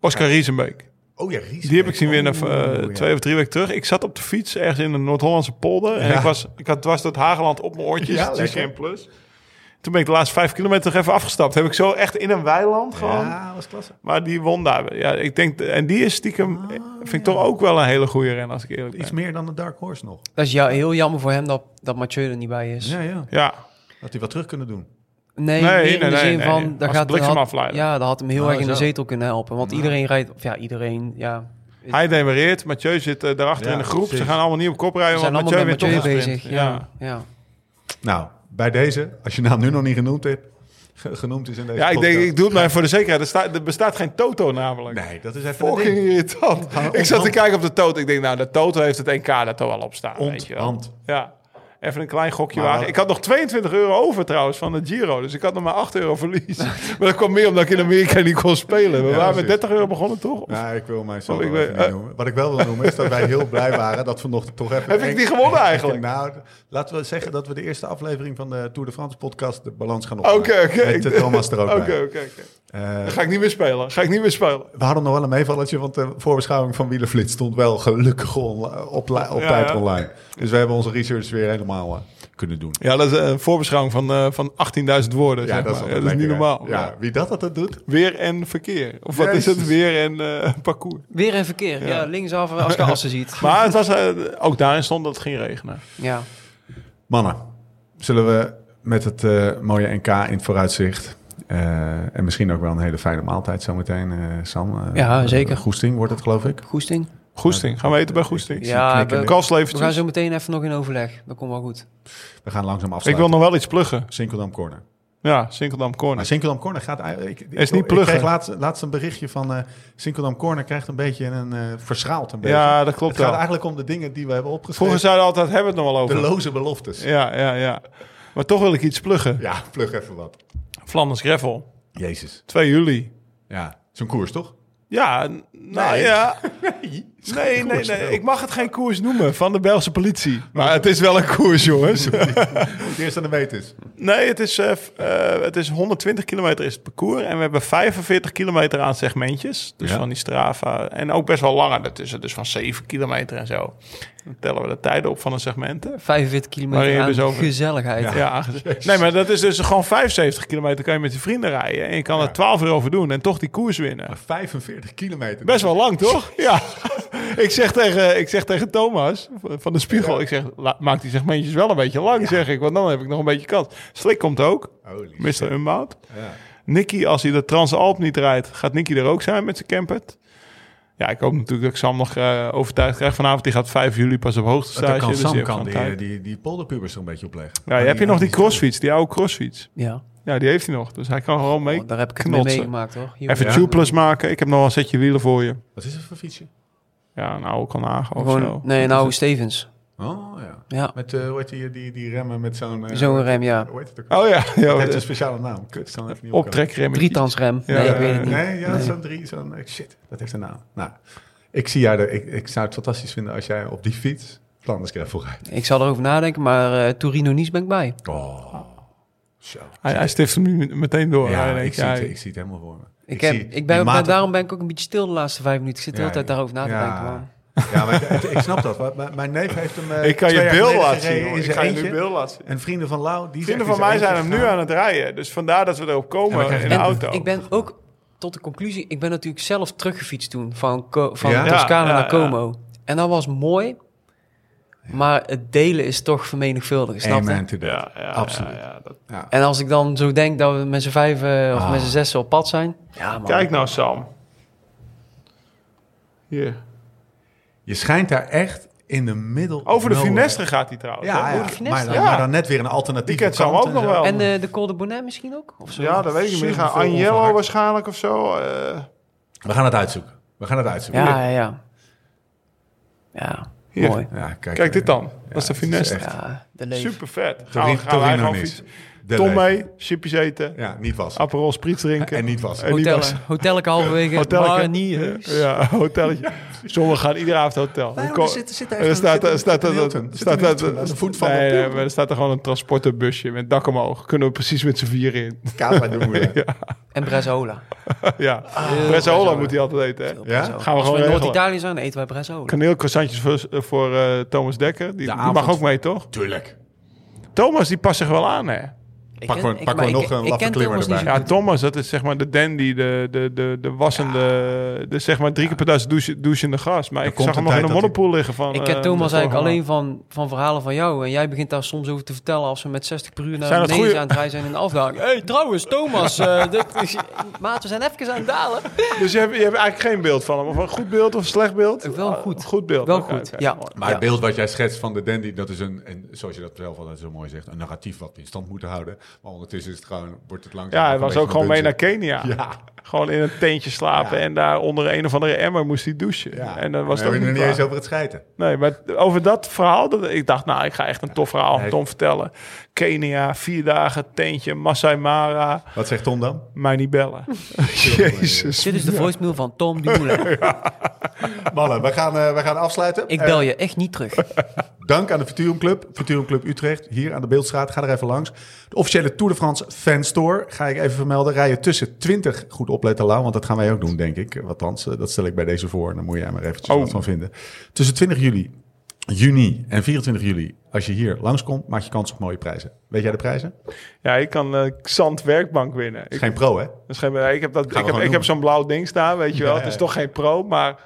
[SPEAKER 3] Oscar Riesenbeek.
[SPEAKER 1] Oh ja, Ries.
[SPEAKER 3] Die heb ik zien winnen
[SPEAKER 1] Oh,
[SPEAKER 3] eh,
[SPEAKER 1] ja.
[SPEAKER 3] twee of drie weken terug. Ik zat op de fiets ergens in de Noord-Hollandse polder. En
[SPEAKER 1] Ja.
[SPEAKER 3] ik, was, ik had dwars dat Hageland op mijn oortjes.
[SPEAKER 1] Ja,
[SPEAKER 3] Ja,
[SPEAKER 1] lekker.
[SPEAKER 3] geen plus. Toen ben ik de laatste vijf kilometer nog even afgestapt. Heb ik zo echt in een weiland gewoon.
[SPEAKER 1] Ja, was klasse.
[SPEAKER 3] Maar die won daar. Ja, ik denk, en die is stiekem, vind ik toch ook wel een hele goede ren als ik eerlijk ben.
[SPEAKER 1] Ah, Iets meer dan de Dark Horse nog.
[SPEAKER 4] Dat is ja, heel jammer voor hem dat, dat Mathieu er niet bij is.
[SPEAKER 1] Ja, ja.
[SPEAKER 3] Ja,
[SPEAKER 1] Dat hij wat terug kunnen doen.
[SPEAKER 4] Nee,
[SPEAKER 3] Nee,
[SPEAKER 4] meer in
[SPEAKER 3] nee,
[SPEAKER 4] de
[SPEAKER 3] nee,
[SPEAKER 4] zin
[SPEAKER 3] nee.
[SPEAKER 4] van... Daar
[SPEAKER 3] Als
[SPEAKER 4] gaat,
[SPEAKER 3] bliksemafleider.
[SPEAKER 4] ja, dat had hem heel
[SPEAKER 1] Nou,
[SPEAKER 4] erg in de
[SPEAKER 1] zo.
[SPEAKER 4] zetel kunnen helpen. Want iedereen rijdt... Of ja, iedereen... Ja,
[SPEAKER 3] hij demareert. Mathieu zit eh, daarachter
[SPEAKER 1] Ja,
[SPEAKER 3] in de groep. Ze
[SPEAKER 1] precies.
[SPEAKER 3] gaan allemaal niet op kop
[SPEAKER 4] we
[SPEAKER 3] rijden,
[SPEAKER 4] zijn
[SPEAKER 3] want
[SPEAKER 4] allemaal
[SPEAKER 3] Mathieu
[SPEAKER 4] met
[SPEAKER 3] wint toch
[SPEAKER 4] Mathieu
[SPEAKER 3] de
[SPEAKER 4] bezig.
[SPEAKER 3] sprint.
[SPEAKER 4] Ja, ja.
[SPEAKER 1] Nou, bij deze, als je naam nu nog niet genoemd hebt, ge- genoemd is in deze
[SPEAKER 3] Ja, ik denk,
[SPEAKER 1] podcast.
[SPEAKER 3] ik doe het maar even voor de zekerheid. Er, staat, er bestaat geen Toto namelijk.
[SPEAKER 1] Nee, dat is even een
[SPEAKER 3] Fucking
[SPEAKER 1] ding.
[SPEAKER 3] irritant. Ik zat te kijken op de Toto. Ik denk, nou, de Toto heeft het NK dat er wel op staan. Weet je wel.
[SPEAKER 1] Onthand.
[SPEAKER 3] Ja. Even een klein gokje
[SPEAKER 1] Maar-
[SPEAKER 3] wagen. Ik had nog 22 euro over trouwens van de Giro. Dus ik had nog maar 8 euro verlies. maar dat kwam meer omdat ik in Amerika niet kon spelen. We
[SPEAKER 1] Ja,
[SPEAKER 3] waren met
[SPEAKER 1] precies.
[SPEAKER 3] 30 euro begonnen, toch? Of-
[SPEAKER 1] Nou, ik wil mijn
[SPEAKER 3] Oh,
[SPEAKER 1] solo
[SPEAKER 3] ik
[SPEAKER 1] even
[SPEAKER 3] weet-
[SPEAKER 1] niet
[SPEAKER 3] eh.
[SPEAKER 1] noemen. Wat ik wel wil noemen is dat wij heel blij waren dat vanochtend toch even...
[SPEAKER 3] Heb ik die gewonnen eigenlijk?
[SPEAKER 1] Nou, laten we zeggen dat we de eerste aflevering van de Tour de France podcast de balans gaan
[SPEAKER 3] Oké,
[SPEAKER 1] opmaken.
[SPEAKER 3] oké.
[SPEAKER 1] Met eh, Thomas er ook
[SPEAKER 3] Oké,
[SPEAKER 1] bij.
[SPEAKER 3] oké, oké.
[SPEAKER 1] Eh,
[SPEAKER 3] Dan Ga ik niet meer spelen. Ga ik niet meer spelen.
[SPEAKER 1] we hadden nog wel een meevallertje, want de voorbeschouwing van Wielerflits stond wel gelukkig onla- op, la- op
[SPEAKER 3] Ja,
[SPEAKER 1] tijd
[SPEAKER 3] ja.
[SPEAKER 1] online. Dus we hebben onze research weer helemaal eh, kunnen doen.
[SPEAKER 3] Ja, dat is een voorbeschouwing van, eh, van 18.000 woorden. zeg maar. Ja, dat is,
[SPEAKER 1] altijd
[SPEAKER 3] niet
[SPEAKER 1] lekker, hè?
[SPEAKER 3] normaal.
[SPEAKER 1] Ja, wie dat altijd doet.
[SPEAKER 3] Weer en verkeer. Of wat is het?
[SPEAKER 1] Jezus.
[SPEAKER 3] Weer en eh, parcours.
[SPEAKER 4] Weer in verkeer. Ja, linksaf eh, als je assen ziet.
[SPEAKER 3] Maar het was, eh, ook daarin stond dat het ging regenen.
[SPEAKER 4] Ja.
[SPEAKER 1] Mannen, zullen we met het eh, mooie NK in het vooruitzicht... eh, en misschien ook wel een hele fijne maaltijd zometeen, eh Sam. eh,
[SPEAKER 4] Ja, zeker.
[SPEAKER 1] Goesting wordt het, geloof ik.
[SPEAKER 4] Goesting.
[SPEAKER 3] Goesting. Gaan we eten bij Goesting?
[SPEAKER 4] Ja,
[SPEAKER 1] knikken.
[SPEAKER 4] we- We
[SPEAKER 3] Kalfslevertjes.
[SPEAKER 4] gaan zo meteen even nog in overleg. Dat komt wel goed.
[SPEAKER 1] We gaan langzaam
[SPEAKER 3] Ik
[SPEAKER 1] afsluiten.
[SPEAKER 3] wil nog wel iets pluggen.
[SPEAKER 1] Sinkeldam Corner.
[SPEAKER 3] Ja, Sinkeldam
[SPEAKER 1] Maar
[SPEAKER 3] Corner.
[SPEAKER 1] Sinkeldam Corner gaat... eigenlijk- Ik, ik,
[SPEAKER 3] Is niet
[SPEAKER 1] ik
[SPEAKER 3] pluggen.
[SPEAKER 1] kreeg laatst, laatst een berichtje van... eh Sinkeldam Corner krijgt een beetje een... eh, verschaald een beetje.
[SPEAKER 3] Ja, dat klopt
[SPEAKER 1] het gaat
[SPEAKER 3] wel.
[SPEAKER 1] eigenlijk om de dingen die we hebben opgeschreven.
[SPEAKER 3] Vroeger zeiden we altijd, hebben we het nog wel
[SPEAKER 1] de
[SPEAKER 3] over.
[SPEAKER 1] loze beloftes. Ja.
[SPEAKER 3] Ja, ja, ja. Maar toch wil ik iets pluggen.
[SPEAKER 1] plug even wat.
[SPEAKER 3] Flanders Greffel,
[SPEAKER 1] Jezus.
[SPEAKER 3] 2 juli.
[SPEAKER 1] Ja, zo'n koers toch?
[SPEAKER 3] Ja, n- nou
[SPEAKER 1] Nee.
[SPEAKER 3] ja. Nee, nee,
[SPEAKER 1] koers,
[SPEAKER 3] nee.
[SPEAKER 1] joh.
[SPEAKER 3] Ik mag het geen koers noemen van de Belgische politie. Maar het is wel een koers, jongens.
[SPEAKER 1] Het eerste aan de meet is.
[SPEAKER 3] Nee, het is, eh, f- eh, het is 120 kilometer is het parcours. En we hebben 45 kilometer aan segmentjes. Dus
[SPEAKER 1] Ja.
[SPEAKER 3] van die Strava. En ook best wel langer daartussen. Dus van 7 kilometer en zo. Dan tellen we de tijden op van de segmenten. Maar je
[SPEAKER 4] 45 kilometer aan
[SPEAKER 3] hebt dus over-
[SPEAKER 4] gezelligheid.
[SPEAKER 3] Ja, aangezien- nee, maar dat is dus gewoon 75 kilometer kan je met je vrienden rijden. En je kan er 12 uur over doen en toch die koers winnen.
[SPEAKER 1] 45 kilometer.
[SPEAKER 3] Best wel lang, toch? Ja. ik, zeg tegen, ik zeg tegen Thomas van de Spiegel, ik zeg, la- maak die segmentjes wel een beetje lang, zeg ik. Want dan heb ik nog een beetje kans. Slik komt ook,
[SPEAKER 1] Holy shit.
[SPEAKER 3] Mr. Unbound.
[SPEAKER 1] Ja.
[SPEAKER 3] Nicky, als hij de Transalp niet rijdt, gaat Nicky er ook zijn met zijn campert. Ja, ik hoop natuurlijk dat ik Sam nog eh, overtuigd krijg vanavond. Die gaat 5 juli pas op hoogte
[SPEAKER 1] Dat
[SPEAKER 3] stage.
[SPEAKER 1] kan
[SPEAKER 3] dus die
[SPEAKER 1] Sam
[SPEAKER 3] heeft
[SPEAKER 1] kan
[SPEAKER 3] gewoon
[SPEAKER 1] die, eh,
[SPEAKER 3] tijd.
[SPEAKER 1] die, die polderpubers er een beetje op leggen.
[SPEAKER 3] Ja, heb je nog die crossfiets, die oude crossfiets?
[SPEAKER 4] Ja.
[SPEAKER 3] Ja, die heeft hij nog. Dus hij kan gewoon mee
[SPEAKER 4] Oh, daar heb ik het mee
[SPEAKER 3] knotsen.
[SPEAKER 4] meegemaakt, hoor. Hier-
[SPEAKER 3] Even
[SPEAKER 1] Ja.
[SPEAKER 3] tubeless maken. Ik heb nog wel een setje wielen voor je.
[SPEAKER 1] Wat is het voor fietsje?
[SPEAKER 3] Ja, een oude Kanaga of
[SPEAKER 4] Gewoon,
[SPEAKER 3] zo.
[SPEAKER 4] nee, nou Stevens.
[SPEAKER 1] Oh ja.
[SPEAKER 4] Ja,
[SPEAKER 1] Met, eh hoe heet die, die, die remmen met zo'n... eh,
[SPEAKER 4] zo'n rem, ja.
[SPEAKER 1] Hoe heet het ook?
[SPEAKER 3] Oh ja,
[SPEAKER 1] Het heeft
[SPEAKER 3] ja
[SPEAKER 1] een speciale naam. Kut, ik kan even niet opkomen.
[SPEAKER 3] optrekremmetje.
[SPEAKER 4] Drietansrem.
[SPEAKER 3] Ja,
[SPEAKER 4] nee, ik
[SPEAKER 3] eh,
[SPEAKER 4] weet het niet.
[SPEAKER 1] Nee, ja, zo'n drie, zo'n... eh, Shit, dat heeft een naam. Nou, ik zie jou er... Ik, ik zou het fantastisch vinden als jij op die fiets... Flandersgravel rijdt.
[SPEAKER 4] Ik zal erover nadenken, maar eh Torino-Nice ben ik bij.
[SPEAKER 1] Oh, zo.
[SPEAKER 3] Hij, hij stift hem nu meteen door.
[SPEAKER 1] Ja,
[SPEAKER 3] Hij
[SPEAKER 1] ik,
[SPEAKER 3] denkt,
[SPEAKER 1] zie
[SPEAKER 3] ja,
[SPEAKER 1] het, ik zie het helemaal voor me.
[SPEAKER 4] Ik heb,
[SPEAKER 1] zie
[SPEAKER 4] ik ben,
[SPEAKER 1] die
[SPEAKER 4] maar
[SPEAKER 1] maten-
[SPEAKER 4] daarom ben ik ook een beetje stil de laatste vijf minuten. Ik zit de hele
[SPEAKER 1] Ja,
[SPEAKER 4] tijd daarover na te
[SPEAKER 1] ja.
[SPEAKER 4] denken. man.
[SPEAKER 1] Ja, maar het- ik snap dat. Maar Mijn mijn neef heeft hem. eh,
[SPEAKER 3] ik kan
[SPEAKER 1] twee
[SPEAKER 3] je
[SPEAKER 1] jaar
[SPEAKER 3] beeld
[SPEAKER 1] geleden
[SPEAKER 3] laten zien.
[SPEAKER 1] gereden
[SPEAKER 3] hoor.
[SPEAKER 1] In
[SPEAKER 3] Ik
[SPEAKER 1] zijn
[SPEAKER 3] ga je nu
[SPEAKER 1] eentje.
[SPEAKER 3] beeld laten zien.
[SPEAKER 1] En vrienden van Lau, die
[SPEAKER 3] Vrienden van mij zijn hem nu aan
[SPEAKER 1] aan
[SPEAKER 3] het rijden. Dus vandaar dat we erop
[SPEAKER 1] Ja, maar
[SPEAKER 3] komen
[SPEAKER 1] kijk,
[SPEAKER 3] in de
[SPEAKER 4] En
[SPEAKER 3] auto.
[SPEAKER 4] ik ben ook tot de conclusie... Ik ben natuurlijk zelf teruggefietst toen van, Co- van
[SPEAKER 1] Ja?
[SPEAKER 4] Toscane
[SPEAKER 3] Ja, ja,
[SPEAKER 4] naar Como. En dat was mooi, maar het delen is toch vermenigvuldig, snap je?
[SPEAKER 1] Amen to that.
[SPEAKER 3] Ja, ja,
[SPEAKER 1] Absoluut.
[SPEAKER 3] ja, ja, dat-
[SPEAKER 4] En als ik dan zo denk dat we met z'n vijven eh,
[SPEAKER 1] Ah.
[SPEAKER 4] of met z'n zessen op pad zijn... Ja, man.
[SPEAKER 3] Kijk nou, Sam. Hier.
[SPEAKER 1] Je schijnt daar echt in de middel.
[SPEAKER 3] Over de
[SPEAKER 1] nowhere-
[SPEAKER 3] Finestre gaat hij trouwens.
[SPEAKER 1] eh, Ja,
[SPEAKER 3] hè?
[SPEAKER 1] ja,
[SPEAKER 4] Over de
[SPEAKER 1] maar,
[SPEAKER 4] Finestre.
[SPEAKER 1] dan,
[SPEAKER 3] Ja.
[SPEAKER 1] maar dan net weer een alternatief.
[SPEAKER 3] Die kent Sam ook nog wel.
[SPEAKER 4] En eh, de Col de Bonnet misschien ook? Of zo?
[SPEAKER 3] Ja, dat weet ik niet. meer. Gaan
[SPEAKER 1] Superveel
[SPEAKER 3] Agnello
[SPEAKER 1] onverhard.
[SPEAKER 3] waarschijnlijk of zo. eh,
[SPEAKER 1] We gaan het uitzoeken. We gaan het uitzoeken.
[SPEAKER 4] Ja, ja, ja. Ja,
[SPEAKER 3] Hier.
[SPEAKER 4] mooi.
[SPEAKER 1] Ja, kijk,
[SPEAKER 3] kijk dit
[SPEAKER 1] eh,
[SPEAKER 3] dan.
[SPEAKER 1] ja,
[SPEAKER 3] dat is de
[SPEAKER 1] het is
[SPEAKER 3] Finestre.
[SPEAKER 1] echt-
[SPEAKER 4] Ja, de leef.
[SPEAKER 3] Super vet. Gaan, we-
[SPEAKER 1] Torino-
[SPEAKER 3] gaan wij
[SPEAKER 1] Torino
[SPEAKER 3] gewoon
[SPEAKER 1] niet.
[SPEAKER 3] fietsen.
[SPEAKER 1] De
[SPEAKER 3] Tom
[SPEAKER 1] leef.
[SPEAKER 3] mee, chipjes eten,
[SPEAKER 1] Ja, niet was.
[SPEAKER 3] Aperol Spritz drinken.
[SPEAKER 1] En niet was.
[SPEAKER 3] En niet
[SPEAKER 4] Hotellen,
[SPEAKER 3] was-
[SPEAKER 4] hotelletje halverwege,
[SPEAKER 3] Hotelletje.
[SPEAKER 4] maar niet. hè.
[SPEAKER 3] Ja, hotelletje. Sommigen gaan iedere avond hotel.
[SPEAKER 1] Waarom?
[SPEAKER 3] Ko-
[SPEAKER 1] Er zit- er zit daar
[SPEAKER 3] er
[SPEAKER 1] even-
[SPEAKER 3] staat
[SPEAKER 1] er
[SPEAKER 3] er
[SPEAKER 1] zit
[SPEAKER 3] staat
[SPEAKER 1] een
[SPEAKER 3] er-
[SPEAKER 1] Hilton. Er zit
[SPEAKER 3] staat
[SPEAKER 1] een
[SPEAKER 3] er-
[SPEAKER 1] Hilton aan de voet van
[SPEAKER 3] Nee,
[SPEAKER 1] de
[SPEAKER 3] nee,
[SPEAKER 1] poel.
[SPEAKER 3] maar er staat er gewoon een transporterbusje met dak omhoog. Kunnen we precies met z'n vier in.
[SPEAKER 1] Kaas bij de moeder. Ja.
[SPEAKER 4] En Brezzola.
[SPEAKER 3] ja.
[SPEAKER 1] Ah,
[SPEAKER 3] Brezzola
[SPEAKER 4] Brezzola.
[SPEAKER 3] moet hij altijd eten. Hè?
[SPEAKER 1] Ja?
[SPEAKER 3] Gaan we
[SPEAKER 4] Als
[SPEAKER 3] gewoon
[SPEAKER 4] we in
[SPEAKER 3] regelen.
[SPEAKER 4] Noord-Italië zijn, eten wij Brezzola.
[SPEAKER 3] Kaneelcroissantjes voor, voor eh, Thomas Dekker. Die, die mag
[SPEAKER 1] avond.
[SPEAKER 3] ook mee, toch?
[SPEAKER 1] Tuurlijk.
[SPEAKER 3] Thomas, die past zich wel aan, hè?
[SPEAKER 4] Ik
[SPEAKER 1] Pak
[SPEAKER 4] ken-
[SPEAKER 1] gewoon-
[SPEAKER 4] ik-
[SPEAKER 1] pak
[SPEAKER 4] maar
[SPEAKER 1] gewoon
[SPEAKER 4] ik-
[SPEAKER 1] nog een
[SPEAKER 4] ik
[SPEAKER 1] laffe
[SPEAKER 4] ken
[SPEAKER 1] klimmer
[SPEAKER 4] Thomas niet
[SPEAKER 1] erbij.
[SPEAKER 4] zo
[SPEAKER 3] Ja,
[SPEAKER 4] goed.
[SPEAKER 3] Thomas, dat is zeg maar de dandy, de, de, de, de wassende, de, zeg maar drie keer per duizend douche, douchende gast. Maar ik
[SPEAKER 1] Ah. komt
[SPEAKER 3] zag hem
[SPEAKER 1] een
[SPEAKER 3] nog in
[SPEAKER 1] tijd
[SPEAKER 3] een
[SPEAKER 1] dat
[SPEAKER 3] modderpoel liggen van...
[SPEAKER 4] Ik
[SPEAKER 3] eh,
[SPEAKER 4] ken Thomas
[SPEAKER 3] de
[SPEAKER 4] eigenlijk
[SPEAKER 3] vorige
[SPEAKER 4] alleen van, van verhalen van jou. En jij begint daar soms over te vertellen als we met 60 per uur naar
[SPEAKER 3] Zijn dat
[SPEAKER 4] beneden
[SPEAKER 3] goeie-
[SPEAKER 4] aan het rijden zijn in de afdaling. hey, trouwens, Thomas. eh, dit is- maat, we zijn even aan het dalen.
[SPEAKER 3] Dus je hebt, je hebt eigenlijk geen beeld van hem? Of een goed beeld of een slecht beeld? Ah,
[SPEAKER 4] Wel goed.
[SPEAKER 3] Goed beeld.
[SPEAKER 4] Wel
[SPEAKER 3] oké,
[SPEAKER 4] goed,
[SPEAKER 3] oké.
[SPEAKER 4] ja.
[SPEAKER 1] Maar
[SPEAKER 4] ja.
[SPEAKER 1] het beeld wat jij schetst van de dandy, dat is een, en zoals je dat zelf altijd zo mooi zegt, een narratief wat we in stand moeten houden. Maar ondertussen is het gewoon, wordt het langzaam.
[SPEAKER 3] Ja, hij
[SPEAKER 1] nog een
[SPEAKER 3] was ook
[SPEAKER 1] beetje
[SPEAKER 3] gewoon
[SPEAKER 1] een
[SPEAKER 3] mee naar
[SPEAKER 1] dunze.
[SPEAKER 3] Kenia.
[SPEAKER 1] Ja.
[SPEAKER 3] Gewoon in een teentje slapen
[SPEAKER 1] Ja.
[SPEAKER 3] en daar onder een of andere emmer moest hij douchen.
[SPEAKER 1] Ja.
[SPEAKER 3] En dan was
[SPEAKER 1] we
[SPEAKER 3] het
[SPEAKER 1] hebben
[SPEAKER 3] ook
[SPEAKER 1] het
[SPEAKER 3] niet
[SPEAKER 1] nog niet eens
[SPEAKER 3] waar.
[SPEAKER 1] over het scheiden.
[SPEAKER 3] Nee, maar over dat verhaal, dat, ik dacht, nou, ik ga echt een tof verhaal aan
[SPEAKER 1] Nee.
[SPEAKER 3] Tom vertellen. Kenia, vier dagen, teentje, Masai Mara,
[SPEAKER 1] Wat zegt Tom dan?
[SPEAKER 3] mij niet bellen. Jezus.
[SPEAKER 4] Dit is de voicemail van Tom de Moulin.
[SPEAKER 1] Mannen, we gaan, eh, we gaan afsluiten.
[SPEAKER 4] Ik
[SPEAKER 1] Eh,
[SPEAKER 4] bel je echt niet terug.
[SPEAKER 1] dank aan de Futurum Club, Futurum Club Utrecht, hier aan de Beeldstraat. Ga er even langs. De officiële Tour de France fanstore ga ik even vermelden. Rij je tussen 20, goed opletten Lau, want dat gaan wij ook doen, denk ik. Althans, eh, dat stel ik bij deze voor. en Dan moet jij maar eventjes
[SPEAKER 3] Oh.
[SPEAKER 1] wat van vinden. Tussen 20 juli, juni en 24 juli, als je hier langskomt, maak je kans op mooie prijzen. Weet jij de prijzen?
[SPEAKER 3] Ja, ik kan eh Xant werkbank winnen. Ik,
[SPEAKER 1] Geen pro, hè?
[SPEAKER 3] dat is geen- ik heb, dat- ik heb,
[SPEAKER 1] gewoon
[SPEAKER 3] ik
[SPEAKER 1] doen.
[SPEAKER 3] heb zo'n blauw ding staan, weet je wel.
[SPEAKER 1] Ja,
[SPEAKER 3] Het is
[SPEAKER 1] ja.
[SPEAKER 3] toch geen pro, maar,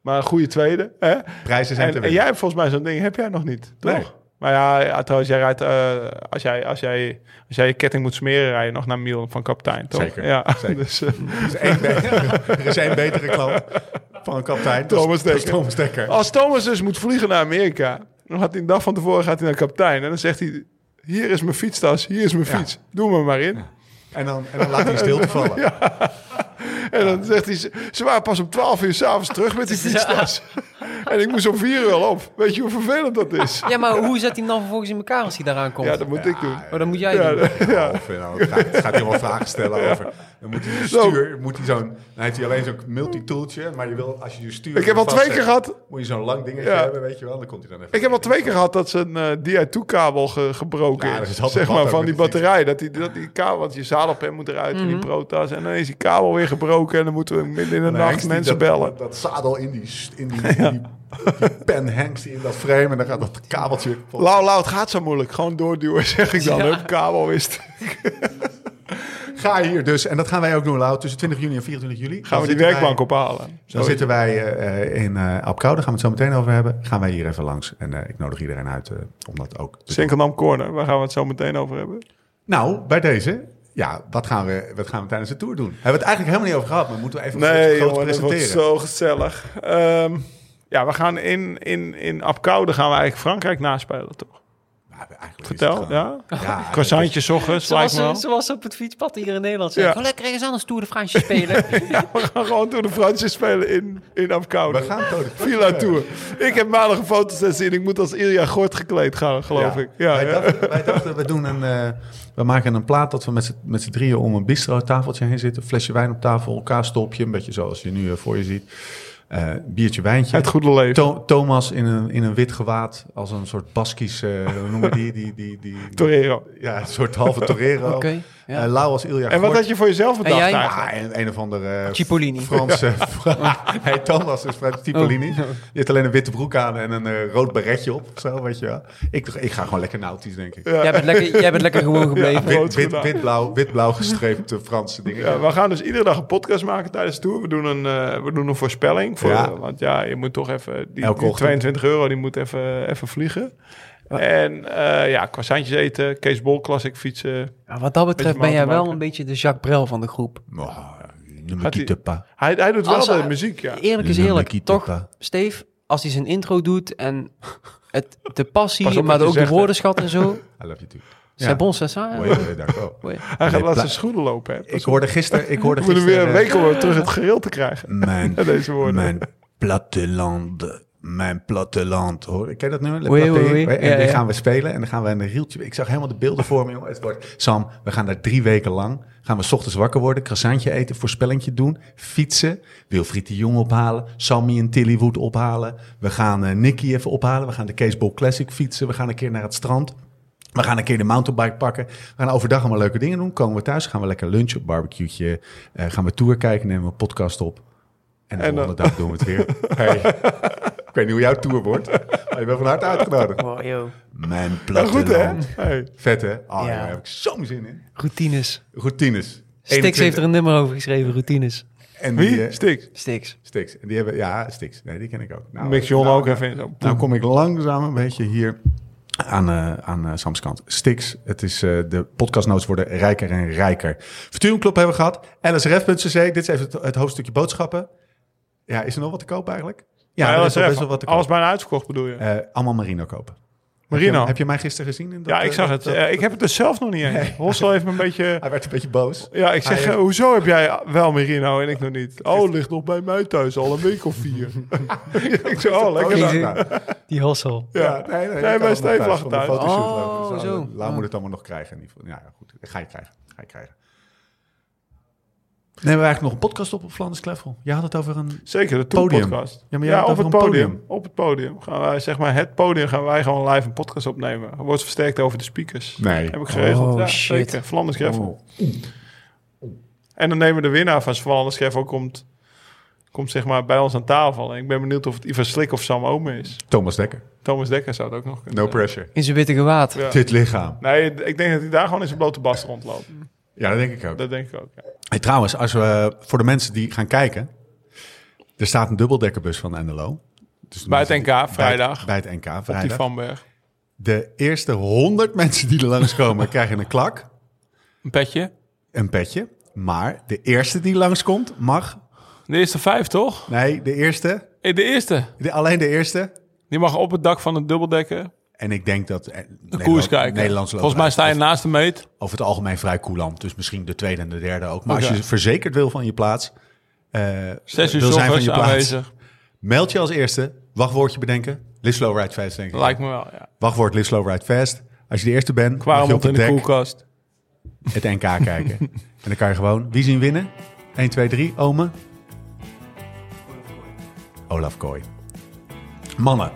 [SPEAKER 3] maar een goede tweede. Hè?
[SPEAKER 1] Prijzen zijn te
[SPEAKER 3] En, en
[SPEAKER 1] winnen.
[SPEAKER 3] jij hebt volgens mij zo'n ding, heb jij nog niet, toch?
[SPEAKER 1] Nee.
[SPEAKER 3] Maar ja, ja, trouwens, jij rijdt, eh, als, jij, als, jij, als jij je ketting moet smeren, rij je nog naar Miel van kapitein, toch?
[SPEAKER 1] Zeker,
[SPEAKER 3] Ja,
[SPEAKER 1] zeker.
[SPEAKER 3] Dus, eh,
[SPEAKER 1] Er is één be- er is één betere klant. van een kapitein.
[SPEAKER 3] Thomas
[SPEAKER 1] Dat is- dat is
[SPEAKER 3] Dekker.
[SPEAKER 1] Thomas Dekker.
[SPEAKER 3] Als Thomas dus moet vliegen naar Amerika, dan gaat hij een dag van tevoren gaat hij naar kapitein. En dan zegt hij, hier is mijn fietstas, hier is mijn
[SPEAKER 1] Ja.
[SPEAKER 3] fiets, doe me maar in.
[SPEAKER 1] En, dan, en dan laat hij stilte vallen.
[SPEAKER 3] En dan zegt hij, ze- ze waren pas om 12 uur s'avonds terug met die fietstas. en ik moest om 4 uur al op. Weet je hoe vervelend dat is?
[SPEAKER 4] Ja, maar hoe zet hij hem dan vervolgens in elkaar als hij daaraan komt?
[SPEAKER 3] Ja, dat moet ik doen.
[SPEAKER 4] Oh, dat moet jij
[SPEAKER 3] Ja,
[SPEAKER 4] doen.
[SPEAKER 3] dat-
[SPEAKER 1] Of, eh, nou, het gaat, het gaat hij wel vragen stellen over. Dan moet hij een stuur, moet hij zo'n, dan heeft hij alleen zo'n multitooltje, maar je wil als je dus je stuur.
[SPEAKER 3] Ik heb al twee
[SPEAKER 1] vastzet,
[SPEAKER 3] keer gehad.
[SPEAKER 1] Moet je zo'n lang dingetje
[SPEAKER 3] Ja.
[SPEAKER 1] hebben, weet je wel? Dan komt hij dan even.
[SPEAKER 3] Ik heb al twee keer gehad dat zijn eh DI2-kabel ge- gebroken
[SPEAKER 1] Ja, dat is
[SPEAKER 3] is.
[SPEAKER 1] altijd
[SPEAKER 3] Zeg
[SPEAKER 1] wat
[SPEAKER 3] maar
[SPEAKER 1] ook
[SPEAKER 3] van
[SPEAKER 1] met
[SPEAKER 3] die
[SPEAKER 1] die fiets.
[SPEAKER 3] batterij. Dat die, dat die kabel, want je zadelpen moet eruit in die protas. En dan is die kabel weer gebroken. En dan moeten we midden in de
[SPEAKER 1] En
[SPEAKER 3] nacht
[SPEAKER 1] hengst die
[SPEAKER 3] mensen
[SPEAKER 1] dat-
[SPEAKER 3] bellen.
[SPEAKER 1] Dat, zadel in die, st- in die, in die, die pen hengst die in dat frame en dan gaat dat kabeltje. vol-
[SPEAKER 3] Lau, Lau, het gaat zo moeilijk. Gewoon doorduwen, zeg ik dan.
[SPEAKER 4] Ja.
[SPEAKER 3] Hup, kabel wist.
[SPEAKER 1] Ga hier dus, en dat gaan wij ook doen, Lau. Tussen 20 juni en 24 juli.
[SPEAKER 3] Gaan we die werkbank ophalen.
[SPEAKER 1] Dan zitten wij eh, eh, in eh Apkoude, daar gaan we het zo meteen over hebben. Gaan wij hier even langs. En eh, ik nodig iedereen uit eh, om dat ook te
[SPEAKER 3] Sinkeldam Corner, waar gaan we het zo meteen over hebben?
[SPEAKER 1] Nou, bij deze. Ja, wat gaan we, wat gaan we tijdens de tour doen? Hebben we het eigenlijk helemaal niet over gehad, maar moeten we even
[SPEAKER 3] Nee,
[SPEAKER 1] groot- groot
[SPEAKER 3] jongen, dat wordt
[SPEAKER 1] presenteren. Nou,
[SPEAKER 3] zo gezellig. Ehm, ja, we gaan in, in, in Apkoude gaan we eigenlijk Frankrijk naspelen, toch?
[SPEAKER 1] Maar eigenlijk is het
[SPEAKER 3] Vertel,
[SPEAKER 1] gewoon-
[SPEAKER 3] ja?
[SPEAKER 1] Ja,
[SPEAKER 3] Croissantjes ochtends, lijkt
[SPEAKER 4] Zoals,
[SPEAKER 3] me wel.
[SPEAKER 4] ze, zoals ze op het fietspad hier in Nederland zeggen.
[SPEAKER 3] Ja.
[SPEAKER 4] Gewoon lekker ergens anders Tour de Fransje spelen.
[SPEAKER 3] We gaan gewoon door de Fransen spelen in, in Apkoude.
[SPEAKER 1] We gaan door de
[SPEAKER 3] Villa Tour. Ik heb maandag een fotosessie en ik moet als Ilja Gort gekleed gaan, geloof ik. Ja,
[SPEAKER 1] wij,
[SPEAKER 3] ja.
[SPEAKER 1] Dachten, wij dachten, we, doen een, eh, we maken een plaat dat we met z'n- met z'n drieën om een bistro-tafeltje heen zitten. Een flesje wijn op tafel, elkaar stopje. Een beetje zoals je nu eh, voor je ziet. Eh, biertje, wijntje.
[SPEAKER 3] Het goede leven.
[SPEAKER 1] To- Thomas in een, in een wit gewaad, als een soort Baskisch, eh, hoe noemen we die? die, die, die,
[SPEAKER 3] Torero.
[SPEAKER 1] Ja, een soort halve torero.
[SPEAKER 4] Oké, ja.
[SPEAKER 1] Eh, Lau als Ilja
[SPEAKER 3] En wat
[SPEAKER 1] Gort.
[SPEAKER 3] had je voor jezelf bedacht
[SPEAKER 4] jij?
[SPEAKER 3] eigenlijk?
[SPEAKER 1] Ja, en een of andere... eh,
[SPEAKER 4] Cipollini.
[SPEAKER 1] Franse... hey, Thomas is Frans Cipollini. Je hebt alleen een witte broek aan en een eh, rood beretje op. of Zo, weet je wel. Ik, ik ga gewoon lekker nautisch, denk ik.
[SPEAKER 4] jij, bent lekker, jij bent lekker gewoon gebleven.
[SPEAKER 3] Ja.
[SPEAKER 1] Wit,
[SPEAKER 3] rood
[SPEAKER 1] wit,
[SPEAKER 3] gedaan.
[SPEAKER 1] wit, blauw, wit, blauw gestreepte Franse dingen.
[SPEAKER 3] Ja, we gaan dus iedere dag een podcast maken tijdens de tour. We doen een, eh, we doen een voorspelling. Voor,
[SPEAKER 1] Ja.
[SPEAKER 3] Want ja, je moet toch even... Die,
[SPEAKER 1] Elke
[SPEAKER 3] die
[SPEAKER 1] ochtend.
[SPEAKER 3] 22 euro, die moet even, even vliegen. En eh, ja, croissantjes eten, Kees Bol Classic fietsen.
[SPEAKER 4] Ja, wat dat betreft
[SPEAKER 3] Beetje
[SPEAKER 4] ben jij wel
[SPEAKER 3] mountainbiken.
[SPEAKER 4] een beetje de Jacques Brel van de groep.
[SPEAKER 1] Oh, noem
[SPEAKER 3] Gaat
[SPEAKER 1] die
[SPEAKER 3] die-
[SPEAKER 1] tuppa.
[SPEAKER 3] Hij, hij doet
[SPEAKER 4] Als
[SPEAKER 3] wel de
[SPEAKER 4] hij-
[SPEAKER 3] muziek, ja.
[SPEAKER 4] Eerlijk is
[SPEAKER 1] Ja,
[SPEAKER 4] eerlijk,
[SPEAKER 1] Mickey
[SPEAKER 4] toch?
[SPEAKER 1] Tippa.
[SPEAKER 4] Steef, als hij zijn intro doet en het, de passie,
[SPEAKER 3] Pas op wat
[SPEAKER 4] maar
[SPEAKER 3] je
[SPEAKER 4] ook de
[SPEAKER 3] zegt, hè.
[SPEAKER 4] woordenschat en zo.
[SPEAKER 1] I love you too.
[SPEAKER 4] C'est bon, c'est ça.
[SPEAKER 1] Mooi, eh, dank wel.
[SPEAKER 4] Mooi.
[SPEAKER 3] Hij gaat
[SPEAKER 1] Nee,
[SPEAKER 3] laatst
[SPEAKER 1] pla-
[SPEAKER 3] zijn schoenen lopen. Hè. We
[SPEAKER 1] Ik hoorde gisteren... Ik hoorde eh,
[SPEAKER 3] moeten weer een
[SPEAKER 1] gisteren
[SPEAKER 3] week om hem terug het gereel te krijgen.
[SPEAKER 1] eh, mijn,
[SPEAKER 3] Deze woorden.
[SPEAKER 1] mijn platteland... Mijn platteland, hoor. Ik ken dat nummer. Le
[SPEAKER 4] Oui,
[SPEAKER 1] Platteland,
[SPEAKER 4] oui,
[SPEAKER 1] hè?
[SPEAKER 4] oui.
[SPEAKER 1] En
[SPEAKER 4] Ja,
[SPEAKER 1] die
[SPEAKER 4] ja.
[SPEAKER 1] gaan we spelen en dan gaan we een rieltje... Ik zag helemaal de beelden voor me, jongen. Het wordt, Sam, we gaan daar drie weken lang... Gaan we 's ochtends wakker worden, croissantje eten, voorspellingje doen, fietsen. Wilfried de Jong ophalen, Sammy en Tillywood ophalen. We gaan eh, Nicky even ophalen. We gaan de Caseball Classic fietsen. We gaan een keer naar het strand. We gaan een keer de mountainbike pakken. We gaan overdag allemaal leuke dingen doen. Komen we thuis, gaan we lekker lunchen, barbecue'tje. eh, gaan we tour kijken, nemen we een podcast op. En de
[SPEAKER 3] En dan-
[SPEAKER 1] volgende dag doen we het weer. Hey. Ik weet niet hoe jouw tour wordt, maar je bent van harte uitgenodigd.
[SPEAKER 4] Wow, yo.
[SPEAKER 1] Mijn
[SPEAKER 3] Ja, goed, hè?
[SPEAKER 1] platteland.
[SPEAKER 3] Hey.
[SPEAKER 1] Vet, hè? Ah,
[SPEAKER 4] Ja.
[SPEAKER 1] Daar heb ik zo'n zin in.
[SPEAKER 4] Routines.
[SPEAKER 1] Routines.
[SPEAKER 4] Stix
[SPEAKER 1] 21.
[SPEAKER 4] heeft er een nummer over geschreven, routines.
[SPEAKER 1] En die,
[SPEAKER 3] Wie?
[SPEAKER 1] eh,
[SPEAKER 3] Stik.
[SPEAKER 4] Stix.
[SPEAKER 1] Stix. En die hebben, ja, Stix. Nee, die ken ik ook. Nou,
[SPEAKER 3] Mix John
[SPEAKER 1] nou,
[SPEAKER 3] ook even in. Zo.
[SPEAKER 1] Nou kom ik langzaam een beetje hier aan, eh, aan eh, Sams kant. Stix, het is, eh, de podcastnotes worden rijker en rijker. Verturingclub hebben we gehad. lsref.cc, dit is even het, het hoofdstukje boodschappen. Ja, is er nog wat te koop eigenlijk? Ja,
[SPEAKER 3] Maar
[SPEAKER 1] er
[SPEAKER 3] LSF,
[SPEAKER 1] is nog best wel wat te koop.
[SPEAKER 3] alles bijna uitverkocht bedoel je?
[SPEAKER 1] Eh, allemaal Marino kopen. Heb
[SPEAKER 3] Marino.
[SPEAKER 1] je, heb je mij gisteren gezien? in dat,
[SPEAKER 3] ja, ik
[SPEAKER 1] eh,
[SPEAKER 3] zag
[SPEAKER 1] dat-
[SPEAKER 3] het.
[SPEAKER 1] dat-
[SPEAKER 3] Eh, ik heb het dus zelf nog niet eens. Hossel heeft me een beetje...
[SPEAKER 1] Hij werd een beetje boos.
[SPEAKER 3] Ja, ik zeg,
[SPEAKER 1] Hij-
[SPEAKER 3] eh, hoezo heb jij wel Merino en ik nog niet? Oh, ligt nog bij mij thuis al een week of vier. ik zeg, oh, lekker
[SPEAKER 1] Oh,
[SPEAKER 3] dan.
[SPEAKER 1] nou,
[SPEAKER 4] Die hossel.
[SPEAKER 1] Ja, nee, nee.
[SPEAKER 3] Nee,
[SPEAKER 1] ik kan
[SPEAKER 3] bij
[SPEAKER 1] het
[SPEAKER 3] Steve
[SPEAKER 1] nog
[SPEAKER 3] lag
[SPEAKER 1] van de
[SPEAKER 3] het uit.
[SPEAKER 1] fotoshoot
[SPEAKER 4] Oh,
[SPEAKER 1] lopen. Dus,
[SPEAKER 4] zo.
[SPEAKER 1] eh, Lau
[SPEAKER 4] Ja.
[SPEAKER 1] moet het allemaal nog krijgen. in ieder geval. Ja, ja, goed. Ga je krijgen. Ga je krijgen. Nemen we eigenlijk nog een podcast op op Flanders Kleffel? Je had het over een...
[SPEAKER 3] Zeker, de
[SPEAKER 1] Podium.
[SPEAKER 3] Tourpodcast.
[SPEAKER 1] Ja, maar jij had
[SPEAKER 3] op
[SPEAKER 1] het
[SPEAKER 3] het
[SPEAKER 1] over een
[SPEAKER 3] podium.
[SPEAKER 1] podium.
[SPEAKER 3] Op het podium. Gaan wij, zeg maar, het podium gaan wij gewoon live een podcast opnemen. Er wordt versterkt over de speakers.
[SPEAKER 1] Nee.
[SPEAKER 3] Heb ik geregeld.
[SPEAKER 4] Oh,
[SPEAKER 3] ja,
[SPEAKER 4] shit.
[SPEAKER 3] Zeker, Flanders Greffel.
[SPEAKER 1] Oh.
[SPEAKER 3] En dan nemen we de winnaar van Flanders Greffel komt, komt zeg maar bij ons aan tafel. En ik ben benieuwd of het Ivan Slik of Sam Ome is.
[SPEAKER 1] Thomas Dekker.
[SPEAKER 3] Thomas Dekker zou het ook nog kunnen.
[SPEAKER 1] No pressure.
[SPEAKER 4] In zijn witte gewaad.
[SPEAKER 3] Ja.
[SPEAKER 1] Dit lichaam.
[SPEAKER 3] Nee, ik denk dat hij daar gewoon in zijn blote bas rondloopt.
[SPEAKER 1] Ja, dat denk ik ook.
[SPEAKER 3] Dat denk ik ook, ja.
[SPEAKER 1] Hey, trouwens, als we, voor de mensen die gaan kijken... Er staat een dubbeldekkerbus van NLO. Dus de
[SPEAKER 3] Bij het
[SPEAKER 1] mensen die-
[SPEAKER 3] NK vrijdag.
[SPEAKER 1] Bij, het- bij het NK
[SPEAKER 3] Op die
[SPEAKER 1] vrijdag.
[SPEAKER 3] Vanberg.
[SPEAKER 1] De eerste honderd mensen die er langskomen krijgen een klak.
[SPEAKER 3] Een petje.
[SPEAKER 1] Een petje. Maar de eerste die langskomt mag
[SPEAKER 3] De eerste vijf, toch?
[SPEAKER 1] Nee, de eerste.
[SPEAKER 3] Eh, De eerste.
[SPEAKER 1] De- alleen de eerste.
[SPEAKER 3] Die mag op het dak van het dubbeldekken
[SPEAKER 1] En ik denk dat... eh, De
[SPEAKER 3] koers kijken.
[SPEAKER 1] Nederlands
[SPEAKER 3] Volgens mij sta je naast de meet.
[SPEAKER 1] over het algemeen vrij coulant. Dus misschien de tweede en de derde ook. Maar
[SPEAKER 3] Oké.
[SPEAKER 1] als je verzekerd wil van je plaats, eh,
[SPEAKER 3] Zes uur
[SPEAKER 1] wil zijn van
[SPEAKER 3] s'ochtends
[SPEAKER 1] je plaats,
[SPEAKER 3] aanwezig.
[SPEAKER 1] meld je als eerste. Wachtwoordje bedenken. Live slow ride fast, denk ik.
[SPEAKER 3] Lijkt me wel, ja.
[SPEAKER 1] Wachtwoord live slow ride fast. Als je de eerste bent, mag je op
[SPEAKER 3] Kwaremond in
[SPEAKER 1] het
[SPEAKER 3] de
[SPEAKER 1] dek
[SPEAKER 3] koelkast.
[SPEAKER 1] het NK kijken. en dan kan je gewoon wie zien winnen. 1, 2, 3, Ome. Olaf Kooi. Mannen,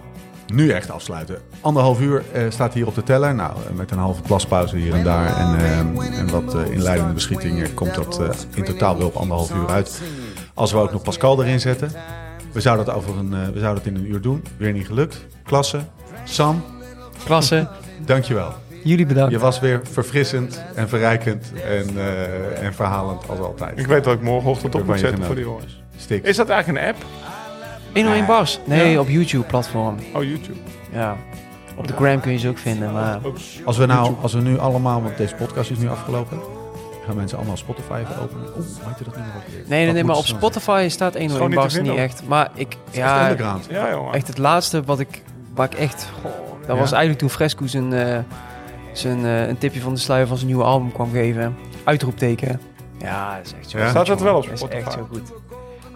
[SPEAKER 1] nu echt afsluiten. Anderhalf uur eh, staat hier op de teller. Nou, eh, met een halve plaspauze hier en daar. En, eh, en wat eh, inleidende beschietingen komt dat eh, in totaal wel op anderhalf uur uit. Als we ook nog Pascal erin zetten. We zouden dat, over een, eh, we zouden dat in een uur doen. Weer niet gelukt. Klasse. Sam,
[SPEAKER 4] Klasse.
[SPEAKER 1] dankjewel.
[SPEAKER 4] Jullie bedankt.
[SPEAKER 1] Je was weer verfrissend en verrijkend en, eh, en verhalend als altijd.
[SPEAKER 3] Ik weet dat ik morgenochtend op
[SPEAKER 1] Waarvan
[SPEAKER 3] moet
[SPEAKER 1] je
[SPEAKER 3] zetten voor
[SPEAKER 1] genoten.
[SPEAKER 3] die jongens.
[SPEAKER 1] Stik.
[SPEAKER 3] Is dat eigenlijk een app?
[SPEAKER 4] 101 bars. Nee, op YouTube platform.
[SPEAKER 3] Oh, YouTube.
[SPEAKER 4] Ja. Op de gram kun je ze ook vinden, maar
[SPEAKER 1] Als we, nou, als we nu allemaal, want deze podcast is nu afgelopen, gaan mensen allemaal Spotify even openen. Oeh, hoe heet dat niet meer ook weer?
[SPEAKER 4] nee, nee,
[SPEAKER 1] Dat
[SPEAKER 4] nee,
[SPEAKER 1] moet
[SPEAKER 4] maar op
[SPEAKER 1] zo
[SPEAKER 4] Spotify staat
[SPEAKER 3] gewoon niet
[SPEAKER 4] 101
[SPEAKER 3] te
[SPEAKER 4] bars niet
[SPEAKER 3] vinden.
[SPEAKER 4] echt. Maar ik,
[SPEAKER 1] zijn. Echt
[SPEAKER 4] ja,
[SPEAKER 1] underground.
[SPEAKER 3] Ja, jongen.
[SPEAKER 4] echt het laatste wat ik, waar ik echt, goh, dat
[SPEAKER 1] Ja?
[SPEAKER 4] was eigenlijk toen Fresco zijn, eh, zijn eh, een tipje van de sluier van zijn nieuwe album kwam geven. Uitroepteken. Ja, dat is echt zo.
[SPEAKER 1] Ja?
[SPEAKER 4] goed,
[SPEAKER 3] Staat dat
[SPEAKER 4] jongen.
[SPEAKER 3] wel op
[SPEAKER 4] Dat is echt
[SPEAKER 3] Spotify?
[SPEAKER 4] zo goed.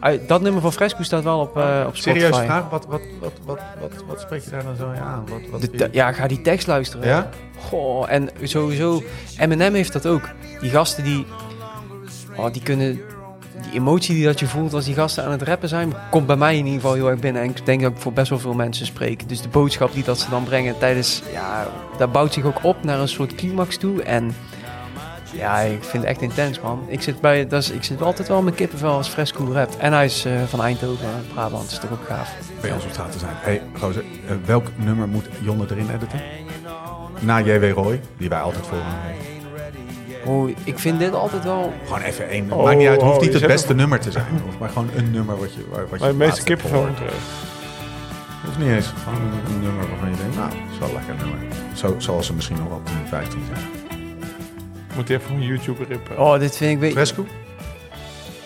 [SPEAKER 4] Uit- dat nummer van Fresco staat wel op, eh, op Spotify.
[SPEAKER 1] Serieuze vraag, wat, wat, wat, wat, wat, wat spreek je daar nou zo mee aan? Wat, wat
[SPEAKER 4] De te- ja, ga die tekst luisteren.
[SPEAKER 1] Ja?
[SPEAKER 4] Goh, en sowieso, Eminem heeft dat ook. Die gasten die, oh, die kunnen, die emotie die dat je voelt als die gasten aan het rappen zijn, komt bij mij in ieder geval heel erg binnen. En ik denk dat ik voor best wel veel mensen spreek. Dus de boodschap die dat ze dan brengen tijdens, ja, dat bouwt zich ook op naar een soort climax toe. En ja, ik vind het echt intens, man. Ik zit, bij, dat is, ik zit altijd wel met kippenvel als Fresco rapt. En hij is eh, van Eindhoven, hè, Brabant, is toch ook gaaf.
[SPEAKER 1] bij ons op straat te zijn. hey, gozer, eh, welk nummer moet Jonne erin editen? Na J.W. Roy, die wij altijd voor hem hebben.
[SPEAKER 4] Oh, ik vind dit altijd wel
[SPEAKER 1] Gewoon even één.
[SPEAKER 3] Oh,
[SPEAKER 1] maakt niet uit, het
[SPEAKER 3] oh,
[SPEAKER 1] hoeft niet
[SPEAKER 3] je
[SPEAKER 1] het
[SPEAKER 3] zet
[SPEAKER 1] beste nummer te zijn. Of maar gewoon een nummer wat je. Waar, wat je
[SPEAKER 3] Mijn
[SPEAKER 1] het
[SPEAKER 3] meeste
[SPEAKER 1] laatst hebt
[SPEAKER 3] kippenvel
[SPEAKER 1] gehoord. Dat is niet eens gewoon een, een nummer waarvan je denkt, nou, dat is wel lekker nummer. Zo, zoals er misschien nog wel 10, 15 zijn.
[SPEAKER 3] Moet je even van YouTube rippen.
[SPEAKER 4] Oh, dit vind ik... Weet,
[SPEAKER 1] Fresco?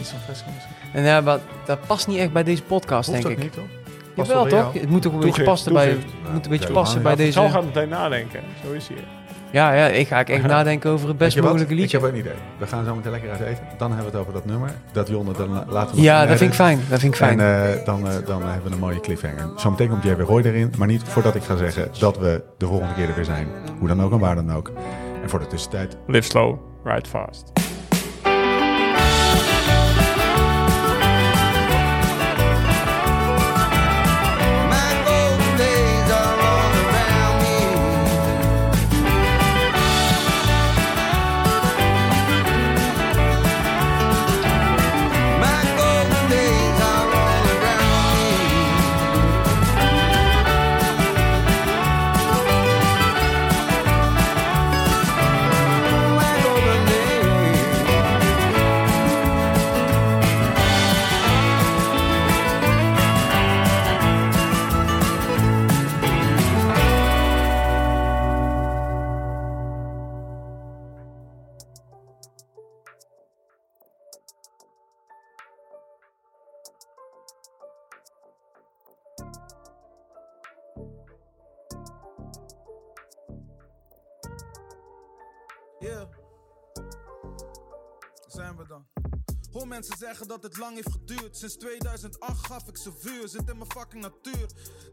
[SPEAKER 1] Iets van Fresco misschien?
[SPEAKER 4] En ja, maar dat past niet echt bij deze podcast,
[SPEAKER 1] Hoeft
[SPEAKER 4] denk
[SPEAKER 1] ook
[SPEAKER 4] ik.
[SPEAKER 1] niet, toch? Past
[SPEAKER 4] Jawel,
[SPEAKER 1] bij
[SPEAKER 4] toch?
[SPEAKER 1] jou.
[SPEAKER 4] Het moet toch een beetje
[SPEAKER 3] Toegeeft,
[SPEAKER 4] passen bij,
[SPEAKER 3] toegeeft.
[SPEAKER 4] het moet een beetje
[SPEAKER 1] Ja,
[SPEAKER 4] passen
[SPEAKER 1] ja,
[SPEAKER 4] bij
[SPEAKER 1] dat
[SPEAKER 3] Zo
[SPEAKER 4] deze...
[SPEAKER 3] gaat meteen nadenken. Zo is hij.
[SPEAKER 4] Ja, ja, ik ga echt nadenken over het
[SPEAKER 1] Weet
[SPEAKER 4] best
[SPEAKER 1] je wat?
[SPEAKER 4] mogelijke
[SPEAKER 1] Ik heb
[SPEAKER 4] liedje.
[SPEAKER 1] een idee. We gaan zo meteen lekker uit eten. Dan hebben we het over dat nummer. Dat Jonne, dan la- laten we
[SPEAKER 4] Ja,
[SPEAKER 1] nog
[SPEAKER 4] dat vind ik
[SPEAKER 1] inleiden.
[SPEAKER 4] fijn. Dat vind ik fijn.
[SPEAKER 1] En eh, dan, eh, dan hebben we een mooie cliffhanger. Zometeen komt JB Roy erin. Maar niet voordat ik ga zeggen dat we de volgende keer er weer zijn. Hoe dan ook en waar dan ook. En voor de tussentijd
[SPEAKER 3] Live slow, ride fast.
[SPEAKER 2] My golden days are all around me. My golden days are all around me. My golden days.
[SPEAKER 7] Ja. Daar zijn we dan. Hoor mensen zeggen dat het lang heeft geduurd. Sinds 2008 gaf ik ze vuur, zit in mijn fucking natuur.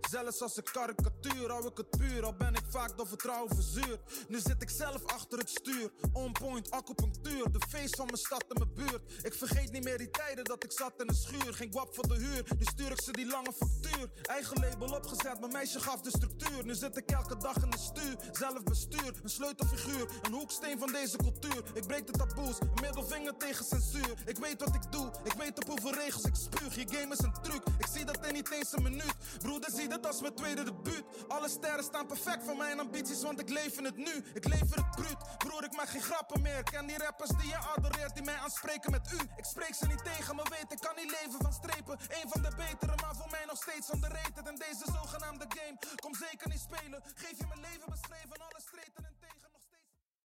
[SPEAKER 7] Zelfs als een karikatuur hou ik het puur, al ben ik vaak door vertrouwen verzuurd. Nu zit ik zelf achter het stuur, on point, acupunctuur. De feest van mijn stad en mijn buurt. Ik vergeet niet meer die tijden dat ik zat in een schuur. Geen guap voor de huur, nu stuur ik ze die lange factuur. Eigen label opgezet, mijn meisje gaf de structuur. Nu zit ik elke dag in de stuur, zelf bestuur. Een sleutelfiguur, een hoeksteen van deze cultuur. Ik breek de taboes, een middelvinger tegen censuur. Ik weet wat ik doe, ik weet op hoeveel regels ik spuug. Je game is een truc, ik zie dat in niet eens een minuut. Broeder, zie dit als mijn tweede debuut. Alle sterren staan perfect voor mijn ambities, want ik leef in het nu. Ik leef in het bruut, broer, ik maak geen grappen meer. Ken die rappers die je adoreert, die mij aanspreken met u. Ik spreek ze niet tegen, maar weet, ik kan niet leven van strepen. Eén van de betere, maar voor mij nog steeds underrated. En deze zogenaamde game, kom zeker niet spelen. Geef je mijn leven beschreven, alle streten en